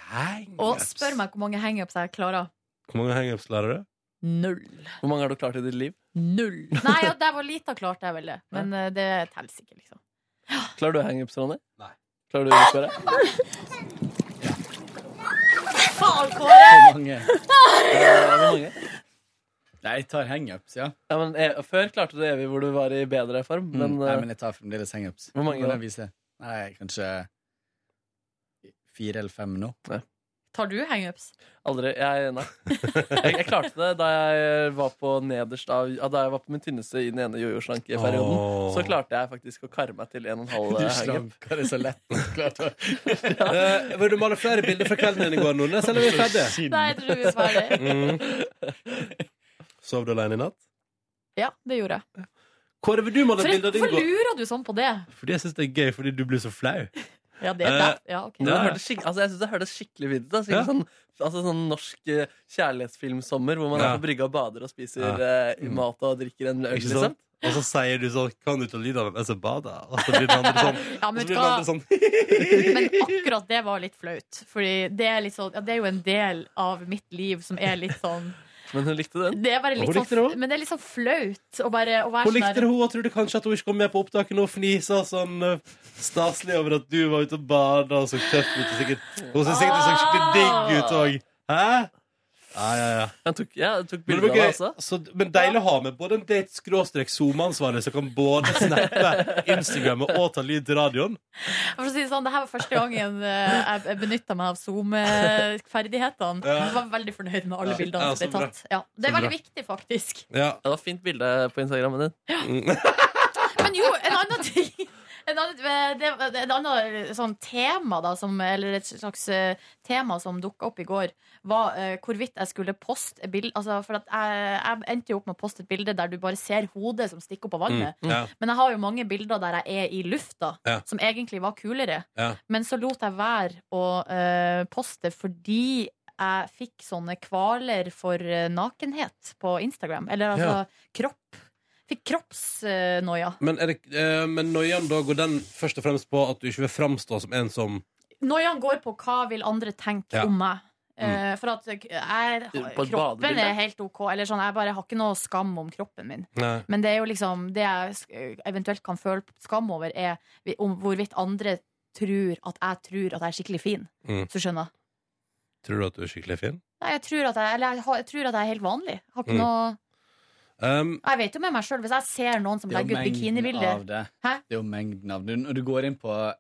Speaker 2: hangups.
Speaker 3: Og spør meg hvor mange hangups jeg klarer.
Speaker 2: Hvor mange hangups lærer du?
Speaker 3: Null.
Speaker 4: Hvor mange har du klart i ditt liv?
Speaker 3: Null. Nei, ja, det var lite klart, jeg vel det. Men eh, det teller ikke, liksom.
Speaker 4: Klarer du hangups, Ronny?
Speaker 2: Nei.
Speaker 4: Klarer du å spørre?
Speaker 3: Faen, Kåre!
Speaker 8: Hvor mange?
Speaker 4: Eh, hvor mange?
Speaker 8: Nei, jeg tar hangups, ja.
Speaker 4: Ja, men, e før klarte du evig hvor du var i bedre form,
Speaker 8: Mm.
Speaker 4: men,
Speaker 8: Nei,
Speaker 4: eh,
Speaker 8: men jeg tar fremdeles hangups.
Speaker 4: Hvor mange
Speaker 8: Kan
Speaker 4: da?
Speaker 8: jeg vise? Nei, kanskje fire eller fem nå.
Speaker 3: Tar du hangups?
Speaker 4: aldri jeg, Nei. Jeg, jeg klarte det da jeg var på nederst av ja, Da jeg var på min tynneste i den ene jojo-slankeperioden.
Speaker 2: Åh.
Speaker 4: Så klarte jeg faktisk å kare meg til en og en halv eh, hangup.
Speaker 8: slanker det så lett. Klart å
Speaker 2: Eh, Vil du male flere bilder fra kvelden din i går, Nordnes, eller er vi ferdige?
Speaker 8: skinn.
Speaker 3: Nei, jeg tror vi er ferdig.
Speaker 2: Mm. Sov du alene i natt?
Speaker 3: Ja, det gjorde jeg.
Speaker 2: Kåre, vil du male
Speaker 3: For-
Speaker 2: bilde av din
Speaker 3: Hvorfor
Speaker 2: gård?
Speaker 3: lurer du sånn på det?
Speaker 2: Fordi jeg syns det er gøy, fordi du blir så flau.
Speaker 3: Ja, det er
Speaker 2: Eh,
Speaker 3: det. Ja, ok.
Speaker 2: Ja,
Speaker 4: Men det
Speaker 2: ja.
Speaker 4: hørtes skikk- altså, jeg syns det hørtes skikkelig vidt ut. da. Skikkelig
Speaker 2: Ja.
Speaker 4: Sånn, altså, sånn norsk eh, kjærlighetsfilmsommer hvor man
Speaker 2: Ja.
Speaker 4: er på brygga og bader og spiser
Speaker 2: Ja.
Speaker 4: eh,
Speaker 2: Mm.
Speaker 4: mat og drikker en øl,
Speaker 2: Ikke
Speaker 4: liksom.
Speaker 2: sant? Og så sier du sånn Kan du ta lyden av hvem som bader? Og så blir den andre sånn.
Speaker 3: Ja,
Speaker 2: Og så blir
Speaker 3: men, vet du
Speaker 2: den andre
Speaker 3: hva?
Speaker 2: sånn.
Speaker 3: men akkurat det var litt flaut. Fordi det er, litt sånn, ja, det er jo en del av mitt liv som er litt sånn
Speaker 4: Men hun likte den.
Speaker 3: Det er bare
Speaker 2: Hun
Speaker 3: litt
Speaker 2: likte det
Speaker 3: sånn
Speaker 2: også.
Speaker 3: Men det er litt sånn flaut å bare å være
Speaker 2: Hun
Speaker 3: sånn
Speaker 2: likte
Speaker 3: der-
Speaker 2: det, hun, og trodde kanskje at hun ikke kom med på opptaket nå, og fnisa sånn eh, staselig over at du var ute og bada og så tøff ut. Og sikkert, hun syntes sikkert du så
Speaker 3: Ah.
Speaker 2: skikkelig digg ut òg. Hæ? Ja, ja, ja.
Speaker 4: Jeg tok, ja, jeg tok
Speaker 2: Men,
Speaker 4: bilde av det
Speaker 2: dere-
Speaker 4: også.
Speaker 2: så, men deilig å ha med både en date-SoMe-ansvarlig som kan både snappe Instagrammet og ta lyd til radioen.
Speaker 3: For å si det sånn, det her var første gangen eh, jeg- jeg benytta meg av Zoom-ferdighetene.
Speaker 2: Ja.
Speaker 3: Jeg var veldig fornøyd med alle
Speaker 2: Ja.
Speaker 3: bildene
Speaker 2: Ja,
Speaker 3: som
Speaker 2: så
Speaker 3: ble
Speaker 2: bra.
Speaker 3: tatt. Ja, det er
Speaker 2: Så bra.
Speaker 3: veldig viktig, faktisk.
Speaker 2: Ja.
Speaker 4: Ja, det var fint bilde på Instagrammen din.
Speaker 3: Men jo, en annen ting en annen, eh, det, det, Et annet sånn tema, da, som, eller et slags eh, tema som dukka opp i går, var eh, hvorvidt jeg skulle poste et bilde altså, For at jeg, jeg endte jo opp med å poste et bilde der du bare ser hodet som stikker opp av vannet.
Speaker 2: Mm. ja.
Speaker 3: Men jeg har jo mange bilder der jeg er i lufta,
Speaker 2: Ja.
Speaker 3: som egentlig var kulere.
Speaker 2: Ja.
Speaker 3: Men så lot jeg være å eh, poste fordi jeg fikk sånne kvaler for eh, nakenhet på Instagram. Eller altså
Speaker 2: Ja.
Speaker 3: kropp. Fikk kroppsnoia.
Speaker 2: Men, er det, eh, men noiaen da går den først og fremst på at du ikke vil framstå som en som
Speaker 3: Noiaen går på hva vil andre tenke
Speaker 2: Ja.
Speaker 3: om meg. Eh, for at jeg, jeg,
Speaker 4: På et
Speaker 3: kroppen
Speaker 4: badebilde?
Speaker 3: er helt OK. Eller sånn, jeg bare har ikke noe skam om kroppen min.
Speaker 2: Nei.
Speaker 3: Men det er jo liksom det jeg sk- eventuelt kan føle skam over, er vi- om hvorvidt andre tror at jeg tror at jeg er skikkelig fin.
Speaker 2: Mm.
Speaker 3: Hvis du skjønner?
Speaker 2: Tror du at du er skikkelig fin?
Speaker 3: Nei, jeg tror at jeg, eller jeg, har- jeg tror at jeg er helt vanlig. Jeg Har ikke
Speaker 2: Mm.
Speaker 3: noe
Speaker 2: Um,
Speaker 3: Jeg vet jo med meg sjøl, hvis jeg ser noen som
Speaker 8: Det er jo
Speaker 3: legger ut
Speaker 8: mengden
Speaker 3: bikinibilder
Speaker 8: av det.
Speaker 3: Hæ?
Speaker 8: Det er jo mengden av det. Når du går inn på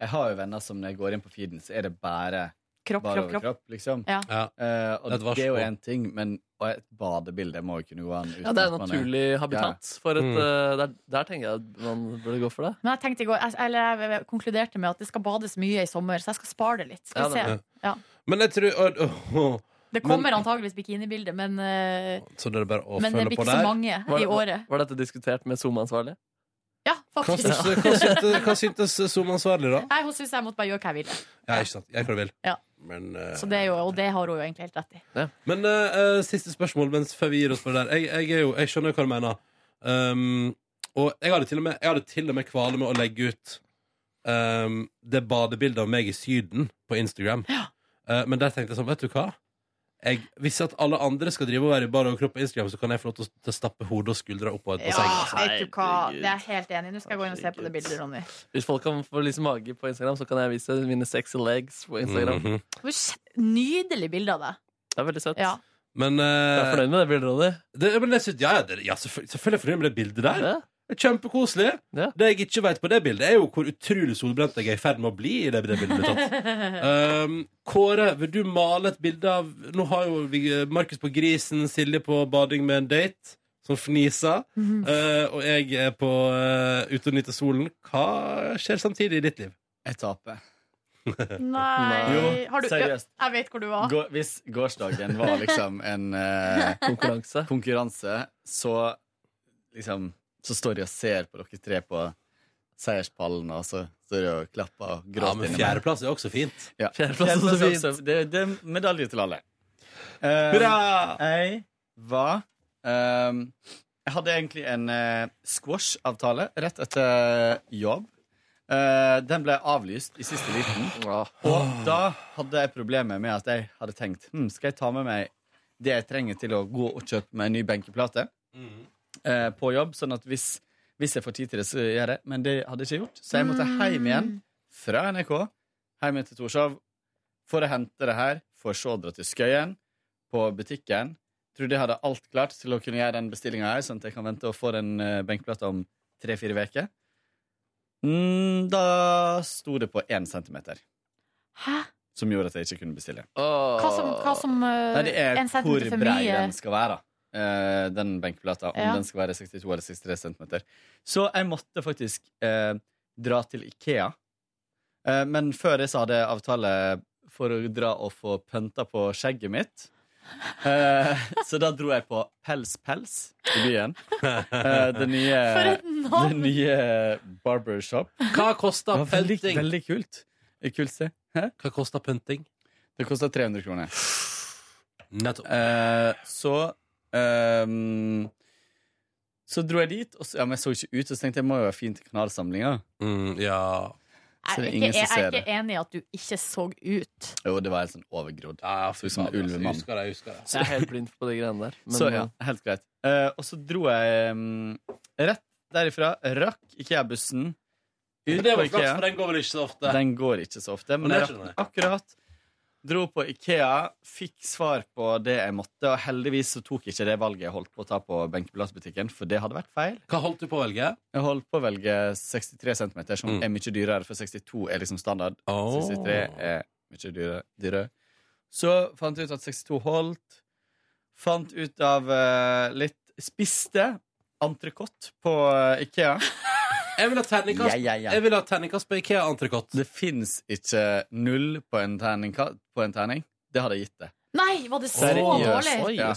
Speaker 8: Jeg har jo venner som når jeg går inn på feeden, så er det bare
Speaker 3: Kropp,
Speaker 8: bare
Speaker 3: kropp,
Speaker 8: over
Speaker 3: kropp.
Speaker 8: kropp, liksom.
Speaker 3: Ja.
Speaker 2: Ja.
Speaker 8: Eh,
Speaker 2: Det er et
Speaker 8: og det er jo
Speaker 2: varsko.
Speaker 8: én ting, men Og et badebilde må jo kunne gå an. uten
Speaker 4: Ja, det er
Speaker 8: at
Speaker 4: en
Speaker 8: man
Speaker 4: naturlig habitat. For et,
Speaker 2: Mm.
Speaker 4: eh, der, der tenker jeg man burde gå for det.
Speaker 3: Men jeg tenkte i går, jeg- eller jeg, jeg konkluderte med at det skal bades mye i sommer, så jeg skal spare det litt. Skal vi
Speaker 4: Ja,
Speaker 3: se.
Speaker 2: det- Men jeg tror og, og-
Speaker 3: Det
Speaker 2: Men-
Speaker 3: kommer antageligvis bikinibilder, men, eh,
Speaker 2: Så det er bare å
Speaker 3: men det
Speaker 2: følge
Speaker 3: blir
Speaker 2: på
Speaker 3: ikke så
Speaker 2: der.
Speaker 3: mange
Speaker 4: Var,
Speaker 3: i
Speaker 4: det-
Speaker 3: året.
Speaker 4: var dette diskutert med SoMe-ansvarlig?
Speaker 3: Ja,
Speaker 2: Hva
Speaker 3: faktisk.
Speaker 2: syns, hva syntes- hva syntes SoMe-ansvarlig, da?
Speaker 3: Nei, hun syns jeg måtte bare gjøre hva jeg ville.
Speaker 2: Ja, ikke sant. Jeg hva du vil.
Speaker 3: Ja.
Speaker 2: Men, eh,
Speaker 3: Så det er jo, og det har hun jo egentlig helt rett i.
Speaker 2: men eh, eh, siste spørsmål mens før vi gir oss på det der. Jeg, jeg, er jo, jeg skjønner jo hva du mener. Um, og jeg hadde til og med, jeg hadde til og med kvale med å legge ut um, det badebildet av meg i Syden på Instagram. Eh, men der tenkte jeg sånn, vet du hva? Jeg, hvis at alle andre skal drive og være i bar overkropp på Instagram, så kan jeg få lov til å til å stappe hodet og skuldra oppå et
Speaker 3: Ja,
Speaker 2: basseng.
Speaker 3: vet du hva,
Speaker 4: Herregud.
Speaker 3: det er jeg helt enig i. Nå skal jeg gå inn og se på det bildet, Ronny.
Speaker 4: Hvis folk kan få lyse mage på Instagram, så kan jeg vise mine sexy legs på Instagram.
Speaker 2: Mhm.
Speaker 3: Hvor s- Nydelig bilde av deg.
Speaker 4: Det er veldig søtt.
Speaker 3: Ja.
Speaker 2: Men,
Speaker 4: Jeg er
Speaker 2: eh,
Speaker 4: fornøyd med det bildet, Ronny.
Speaker 2: det, men jeg synes, ja, ja, det, ja, selvfølgelig, selvfølgelig er jeg fornøyd med det bildet der.
Speaker 4: Ja.
Speaker 2: Det er Kjempekoselig.
Speaker 4: Ja.
Speaker 2: Det jeg ikke vet på det bildet, er jo hvor utrolig solbrent jeg er i ferd med å bli. i det bildet blitt tatt. Um, Kåre, vil du male et bilde av Nå har jo vi eh, Markus på grisen, Silje på bading med en date, som fniser. eh, og jeg er på eh, ute og nyter solen. Hva skjer samtidig i ditt liv?
Speaker 8: Jeg taper.
Speaker 3: Nei
Speaker 8: Jo,
Speaker 3: har du, ja,
Speaker 8: seriøst.
Speaker 3: Jeg vet hvor du var.
Speaker 8: Gå- Hvis gårsdagen var liksom en eh,
Speaker 4: Konkurranse.
Speaker 8: konkurranse, så liksom Så står de og ser på dere tre på seierspallen, og så står de og klapper og
Speaker 2: Ja,
Speaker 8: gråter.
Speaker 2: men
Speaker 8: inni meg.
Speaker 2: Fjerdeplass er også fint.
Speaker 8: Ja.
Speaker 4: Fjerdeplass er også
Speaker 8: Fjerdeplass er også- Det, det er medalje til alle. Eh,
Speaker 2: Hurra!
Speaker 8: Jeg var ehm, Jeg hadde egentlig en eh, squash-avtale rett etter jobb. Eh, den ble avlyst i siste liten. Og da hadde jeg problemer med at jeg hadde tenkt hm, Skal jeg ta med meg det jeg trenger til å gå og kjøpe meg en ny benkeplate eh, på jobb, sånn at hvis, hvis jeg får tid til det, så gjør jeg det. Men det hadde jeg ikke gjort. Så jeg måtte hjem igjen fra NRK, hjem igjen til Torshov, for å hente det her, for så å dra til Skøyen, på butikken. Trodde jeg hadde alt klart til å kunne gjøre den bestillinga her, sånn at jeg kan vente og få den eh, benkeplata om tre-fire uker. Mm, da sto det på én centimeter,
Speaker 3: Hæ?
Speaker 8: som gjorde at jeg ikke kunne bestille.
Speaker 3: Hva som, hva som eh,
Speaker 8: Nei, det er
Speaker 3: en
Speaker 8: hvor
Speaker 3: centimeter for
Speaker 8: brei
Speaker 3: mye?
Speaker 8: den skal være. eh, den benkeplata. Om
Speaker 3: Ja.
Speaker 8: den skal være 62 eller 63 cm. Så jeg måtte faktisk eh, dra til Ikea. Eh, men før det så hadde jeg avtale for å dra og få pønta på skjegget mitt. Eh, så da dro jeg på Pels Pels i byen. Eh, det nye,
Speaker 3: For et
Speaker 8: det
Speaker 3: navn!
Speaker 8: nye barbershop.
Speaker 2: Ehm, Hva koster
Speaker 8: Det var veldig,
Speaker 2: pynting?
Speaker 8: veldig kult. Kult sted.
Speaker 2: Hva koster pynting?
Speaker 8: Det kosta 300 kroner.
Speaker 2: Nettopp.
Speaker 8: Eh, så ehm, Så dro jeg dit, og så, ja, men jeg så ikke ut, og så tenkte jeg det må jo være fint i kanalsamlinga.
Speaker 2: Mm, ja.
Speaker 3: Jeg er
Speaker 8: så det er
Speaker 3: ikke,
Speaker 8: ingen som
Speaker 3: jeg er
Speaker 8: ser
Speaker 3: ikke enig i at du ikke så ut.
Speaker 8: Jo, det var helt sånn overgrodd.
Speaker 2: ja fy
Speaker 8: Så ut som en
Speaker 2: faen, altså.
Speaker 8: ulvemann.
Speaker 2: Jeg husker det, jeg husker det.
Speaker 4: Jeg er helt blind på de greiene der. Men
Speaker 8: så ja, helt greit. Eh, og så dro jeg ehm, rett derifra, rakk Ikea-bussen.
Speaker 2: Men
Speaker 8: Ut
Speaker 2: det
Speaker 8: på
Speaker 2: var flaks,
Speaker 8: Ikea.
Speaker 2: for den går vel ikke så ofte.
Speaker 8: Den går ikke så ofte, men
Speaker 2: Men det
Speaker 8: jeg rakk
Speaker 2: skjønner
Speaker 8: den akkurat. Dro på Ikea, fikk svar på det jeg måtte, og heldigvis så tok ikke det valget jeg holdt på å ta på benkeplassbutikken, for det hadde vært feil.
Speaker 2: Hva holdt du på å velge?
Speaker 8: Jeg holdt på å velge 63 cm, som
Speaker 2: Mm.
Speaker 8: er mye dyrere, for 62 er liksom standard. 63 er mye dyrere. dyrere. Så fant jeg ut at 62 holdt. Fant ut av eh, litt Spiste entrecôte på eh, Ikea.
Speaker 2: Jeg vil ha terningkast Jeg vil ha terningkast på Ikea entrecôte.
Speaker 8: Det fins ikke null på en, terning, på en terning. Det hadde jeg gitt det.
Speaker 3: Nei, var det så
Speaker 8: Seriøst?
Speaker 3: dårlig?
Speaker 8: Ja.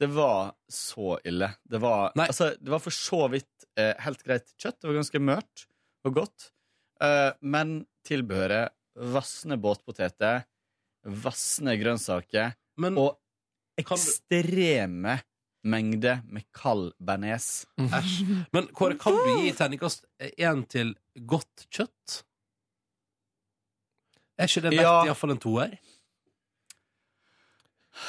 Speaker 8: Det var så ille. Det var,
Speaker 2: Nei.
Speaker 8: altså, det var for så vidt eh, helt greit kjøtt. Det var ganske mørt og godt. Eh, men tilbehøret Vassende båtpoteter, vassende grønnsaker
Speaker 2: Men
Speaker 8: og
Speaker 2: Mm. Kan du-
Speaker 8: ekstreme mengder med kald bearnés.
Speaker 2: Æsj. Men Kåre, kan du gi terningkast én til godt kjøtt? Er ikke det verdt
Speaker 8: Ja.
Speaker 2: iallfall en toer?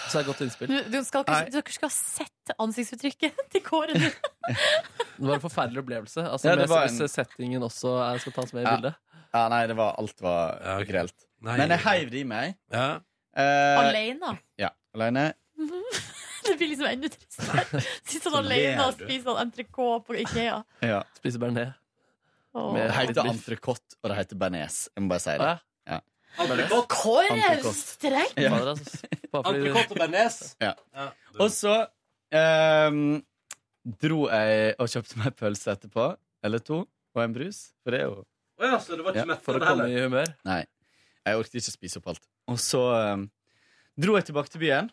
Speaker 4: Så er det et godt innspill.
Speaker 3: Du, du skal
Speaker 8: Nei.
Speaker 3: ikke, dere skal ha sett ansiktsuttrykket til Kåre.
Speaker 4: Det var en forferdelig opplevelse. Altså,
Speaker 8: Ja,
Speaker 4: med-
Speaker 8: det var
Speaker 4: Hvis
Speaker 8: en-
Speaker 4: settingen også er, skal tas med i
Speaker 8: Ja.
Speaker 4: bildet.
Speaker 8: Ja, nei, det var, alt var
Speaker 2: Ja, ok.
Speaker 8: grelt.
Speaker 2: Nei.
Speaker 8: Men jeg heiv det i meg.
Speaker 2: Ja.
Speaker 8: Eh,
Speaker 3: Alene.
Speaker 8: ja, alene.
Speaker 3: Det blir liksom enda tristere. Sitter
Speaker 2: Så
Speaker 3: han alene
Speaker 2: ler
Speaker 3: og
Speaker 2: du.
Speaker 3: spiser sånn entrecôte på Ikea.
Speaker 8: Ja.
Speaker 4: Spise bearnés.
Speaker 3: Åh.
Speaker 8: Det
Speaker 4: Med-
Speaker 8: heter entrecôte, og det heter bearnés. Jeg må bare si det.
Speaker 4: Ja.
Speaker 8: Ja.
Speaker 2: Entrecôte
Speaker 3: Hvor
Speaker 8: Antrikost.
Speaker 3: streng!
Speaker 8: Ja.
Speaker 4: Fader, altså. Bare fordi du-
Speaker 2: entrecôte og bearnés.
Speaker 8: Ja.
Speaker 2: du-
Speaker 8: Og så ehm, dro jeg og kjøpte meg pølse etterpå, eller to, og en brus. For det er jo
Speaker 2: Å ja, så det var
Speaker 8: Ja,
Speaker 2: ikke mett
Speaker 4: For å
Speaker 2: heller.
Speaker 4: komme i humør.
Speaker 8: Nei, jeg orket ikke å spise opp alt. Og så ehm, dro jeg tilbake til byen.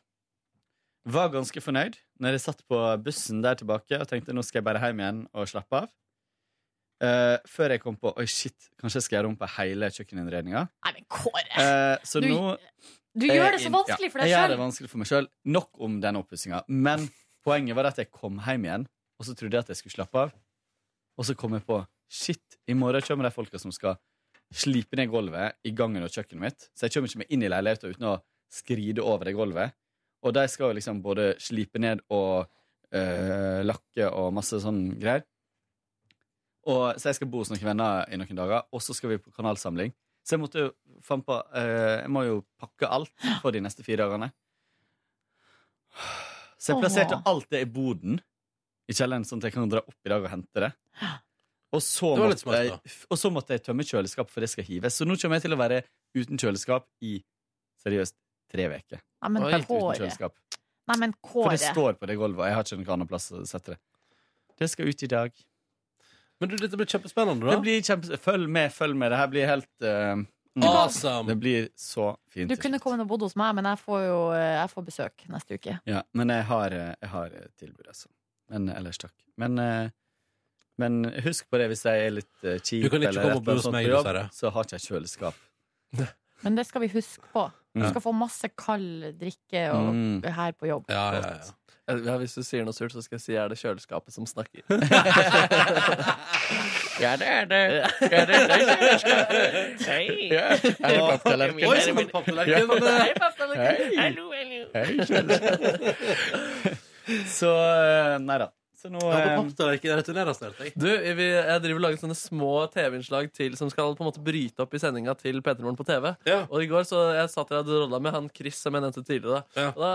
Speaker 8: Var ganske fornøyd når jeg satt på bussen der tilbake og tenkte nå skal jeg bare hjem igjen og slappe av. Eh, før jeg kom på oi shit, kanskje jeg skal gjøre om på hele kjøkkeninnredninga.
Speaker 3: Nei, men Kåre!
Speaker 8: Eh, så
Speaker 3: Du-
Speaker 8: nå
Speaker 3: Du gjør det så vanskelig for deg
Speaker 8: Jeg gjør det
Speaker 3: sjøl.
Speaker 8: vanskelig for meg selv Nok om den oppussinga. Men poenget var at jeg kom hjem igjen, og så trodde jeg at jeg skulle slappe av. Og så kom jeg på shit, i morgen kommer de folka som skal slipe ned gulvet i gangen og kjøkkenet mitt. Så jeg kommer ikke meg inn i leiligheten uten å skride over det gulvet. Og de skal jo liksom både slipe ned og øh, lakke og masse sånn greier. Og, så jeg skal bo hos noen venner i noen dager, og så skal vi på kanalsamling. Så jeg måtte jo fant på eh, Jeg må jo pakke alt for de neste fire dagene. Så jeg plasserte
Speaker 3: Åh.
Speaker 8: alt det i boden i kjelleren, sånn at jeg kan dra opp i dag og hente det. Og så,
Speaker 2: Det var litt
Speaker 8: måtte
Speaker 2: smart, da.
Speaker 8: jeg, og så måtte jeg tømme kjøleskapet, for det skal hives. Så nå kommer jeg til å være uten kjøleskap i seriøst tre uker.
Speaker 3: Nei, men
Speaker 4: Oi,
Speaker 8: Helt uten
Speaker 3: Kåre.
Speaker 8: kjøleskap.
Speaker 3: Nei, men
Speaker 8: For det
Speaker 3: Kåre.
Speaker 8: står på det gulvet, og jeg har ikke noen annen plass å sette det. Det skal ut i dag.
Speaker 2: Men du, dette blir kjempespennende,
Speaker 8: Det
Speaker 2: da.
Speaker 8: blir kjempe... Følg med, følg med. Det her blir helt eh, mm. Det
Speaker 2: Awesome.
Speaker 8: blir så fint.
Speaker 3: Du
Speaker 8: til
Speaker 3: kunne
Speaker 8: slutt.
Speaker 3: kommet og bodd hos meg, men jeg får jo eh, jeg får besøk neste uke.
Speaker 8: Ja, men jeg har, eh, jeg har tilbud, altså. Men ellers takk. Men, eh, men husk på det hvis jeg er litt eh, kjip
Speaker 2: Du kan ikke
Speaker 8: eller
Speaker 2: komme
Speaker 8: et
Speaker 2: og bo
Speaker 8: eller annet
Speaker 2: hos
Speaker 8: sånt
Speaker 2: meg,
Speaker 8: på jobb,
Speaker 2: dessverre.
Speaker 8: så har ikke jeg kjøleskap.
Speaker 3: Men det skal vi huske på. Du
Speaker 8: Ja.
Speaker 3: skal få masse kald drikke og,
Speaker 8: Mm.
Speaker 3: her på jobb.
Speaker 2: Ja, ja, ja.
Speaker 4: Ja, hvis du sier noe surt, så skal jeg si er det kjøleskapet som snakker.
Speaker 8: Ja, det er det. Hei, papptallerken.
Speaker 2: Oi, så kom papptallerken!
Speaker 8: Hei, kjøleskap. Så eh, Nei da. Så nå
Speaker 2: Ja,
Speaker 8: eh,
Speaker 2: på papptallerken returnerer snart. Jeg.
Speaker 4: Du, vi, jeg driver og lager sånne små TV-innslag til som skal på en måte bryte opp i sendinga til Peter Morgen på TV.
Speaker 2: Ja.
Speaker 4: Og i går så jeg satt der og drodla med han Chris som jeg nevnte tidligere.
Speaker 2: Ja.
Speaker 4: Og da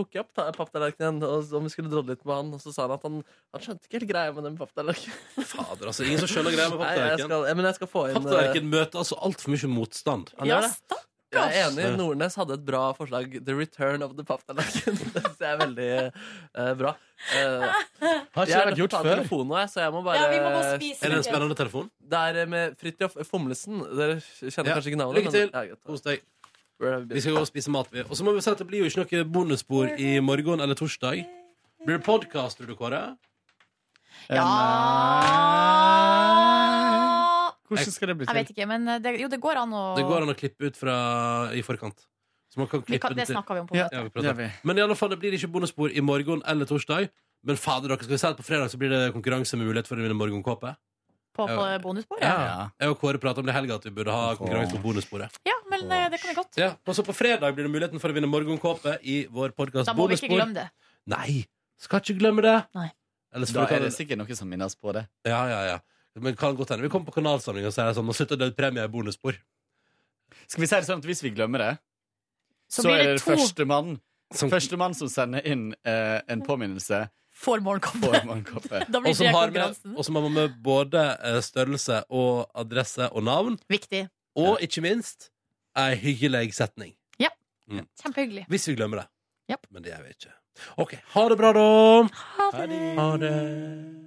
Speaker 4: tok jeg opp ta- papptallerkenen og om vi skulle drodle litt med han, og så sa han at han, han skjønte ikke helt greia med den papptallerkenen.
Speaker 2: Fader, altså. Ingen som skjønner greia med
Speaker 4: Nei, jeg
Speaker 2: papptallerken.
Speaker 4: skal, ja, men jeg skal få inn eh,
Speaker 2: Papptallerken møter altså altfor mye motstand.
Speaker 4: han
Speaker 3: Ja,
Speaker 4: gjør det.
Speaker 3: stakkars!
Speaker 4: Jeg er enig. Nordnes hadde et bra forslag. The Return of the Papptallerken. Det synes jeg er veldig eh, bra. Eh, jeg er nødt
Speaker 8: har ikke det vært
Speaker 4: til å
Speaker 8: gjort
Speaker 4: ta
Speaker 8: før.
Speaker 4: telefonen nå, jeg, så jeg må bare
Speaker 3: Ja, vi må gå og
Speaker 2: Er
Speaker 3: spise.
Speaker 2: det en
Speaker 3: Fridtjof.
Speaker 2: spennende telefon?
Speaker 4: Det er eh, med Fridtjof Fomlesen. Dere kjenner
Speaker 2: Ja.
Speaker 4: kanskje ikke navnet?
Speaker 2: Lykke til.
Speaker 4: Men, ja, greit.
Speaker 2: Hos deg.
Speaker 4: Where have
Speaker 2: Vi
Speaker 4: you been?
Speaker 2: skal gå og spise mat. vi. Og så må vi si at det blir jo ikke noe bonusspor i morgen eller torsdag. Blir det podkast, tror du, Kåre?
Speaker 8: eh,
Speaker 3: Ja
Speaker 8: Hvordan skal det bli
Speaker 3: Jeg vet
Speaker 8: til?
Speaker 3: ikke, men det, jo, det går an å
Speaker 2: Det går an å klippe ut fra i forkant. Så man kan
Speaker 3: vi
Speaker 2: klippe
Speaker 3: kan, Det
Speaker 2: til-
Speaker 3: snakka vi om på møtet.
Speaker 2: Ja, vi
Speaker 8: Det
Speaker 2: prater.
Speaker 8: er vi.
Speaker 2: Men i alle fall, det blir ikke bonusspor i morgen eller torsdag. Men fader, dere skal vi si at på fredag så blir det konkurranse med mulighet for å vinne morgenkåpe?
Speaker 3: På, på
Speaker 2: Ja.
Speaker 3: bonusbordet.
Speaker 2: Ja.
Speaker 8: Ja.
Speaker 2: Jeg og Kåre prata om det i helga, at vi burde ha konkurranse på bonussporet.
Speaker 3: Ja, men eh, det kan vi godt.
Speaker 2: Ja, og så på fredag blir det muligheten for å vinne morgenkåpe i vår podkast
Speaker 3: Da må vi ikke
Speaker 2: Bonusspor.
Speaker 3: glemme det.
Speaker 2: Nei, skal ikke glemme det.
Speaker 3: Nei.
Speaker 2: Ellers
Speaker 8: Da
Speaker 2: får vi
Speaker 8: er
Speaker 2: ta
Speaker 8: det
Speaker 2: det.
Speaker 8: sikkert noen som minner oss på det.
Speaker 2: Ja, ja, ja. Men det kan godt hende. Vi kommer på kanalsamling og sier sånn Nå slutter det premie i bonusspor.
Speaker 8: Skal vi si det sånn at hvis vi glemmer det,
Speaker 3: Så
Speaker 8: så,
Speaker 3: blir
Speaker 8: er
Speaker 3: det
Speaker 8: det
Speaker 3: to.
Speaker 8: førstemann
Speaker 2: Som-
Speaker 8: som, førstemann som sender inn eh, en påminnelse
Speaker 3: For
Speaker 8: på
Speaker 3: morgenkoppe.
Speaker 8: en morgenkoppe.
Speaker 3: Da
Speaker 2: Og
Speaker 3: blir
Speaker 2: som
Speaker 3: det
Speaker 2: har med,
Speaker 3: konkurransen.
Speaker 2: og som har med både eh, størrelse og adresse og navn.
Speaker 3: Viktig.
Speaker 2: Og ikke minst ei hyggelig setning.
Speaker 3: Kjempehyggelig.
Speaker 2: Hvis vi glemmer det.
Speaker 3: Japp.
Speaker 2: Men det gjør vi ikke. OK. Ha det bra, da.
Speaker 3: Ha det.
Speaker 2: Ha det.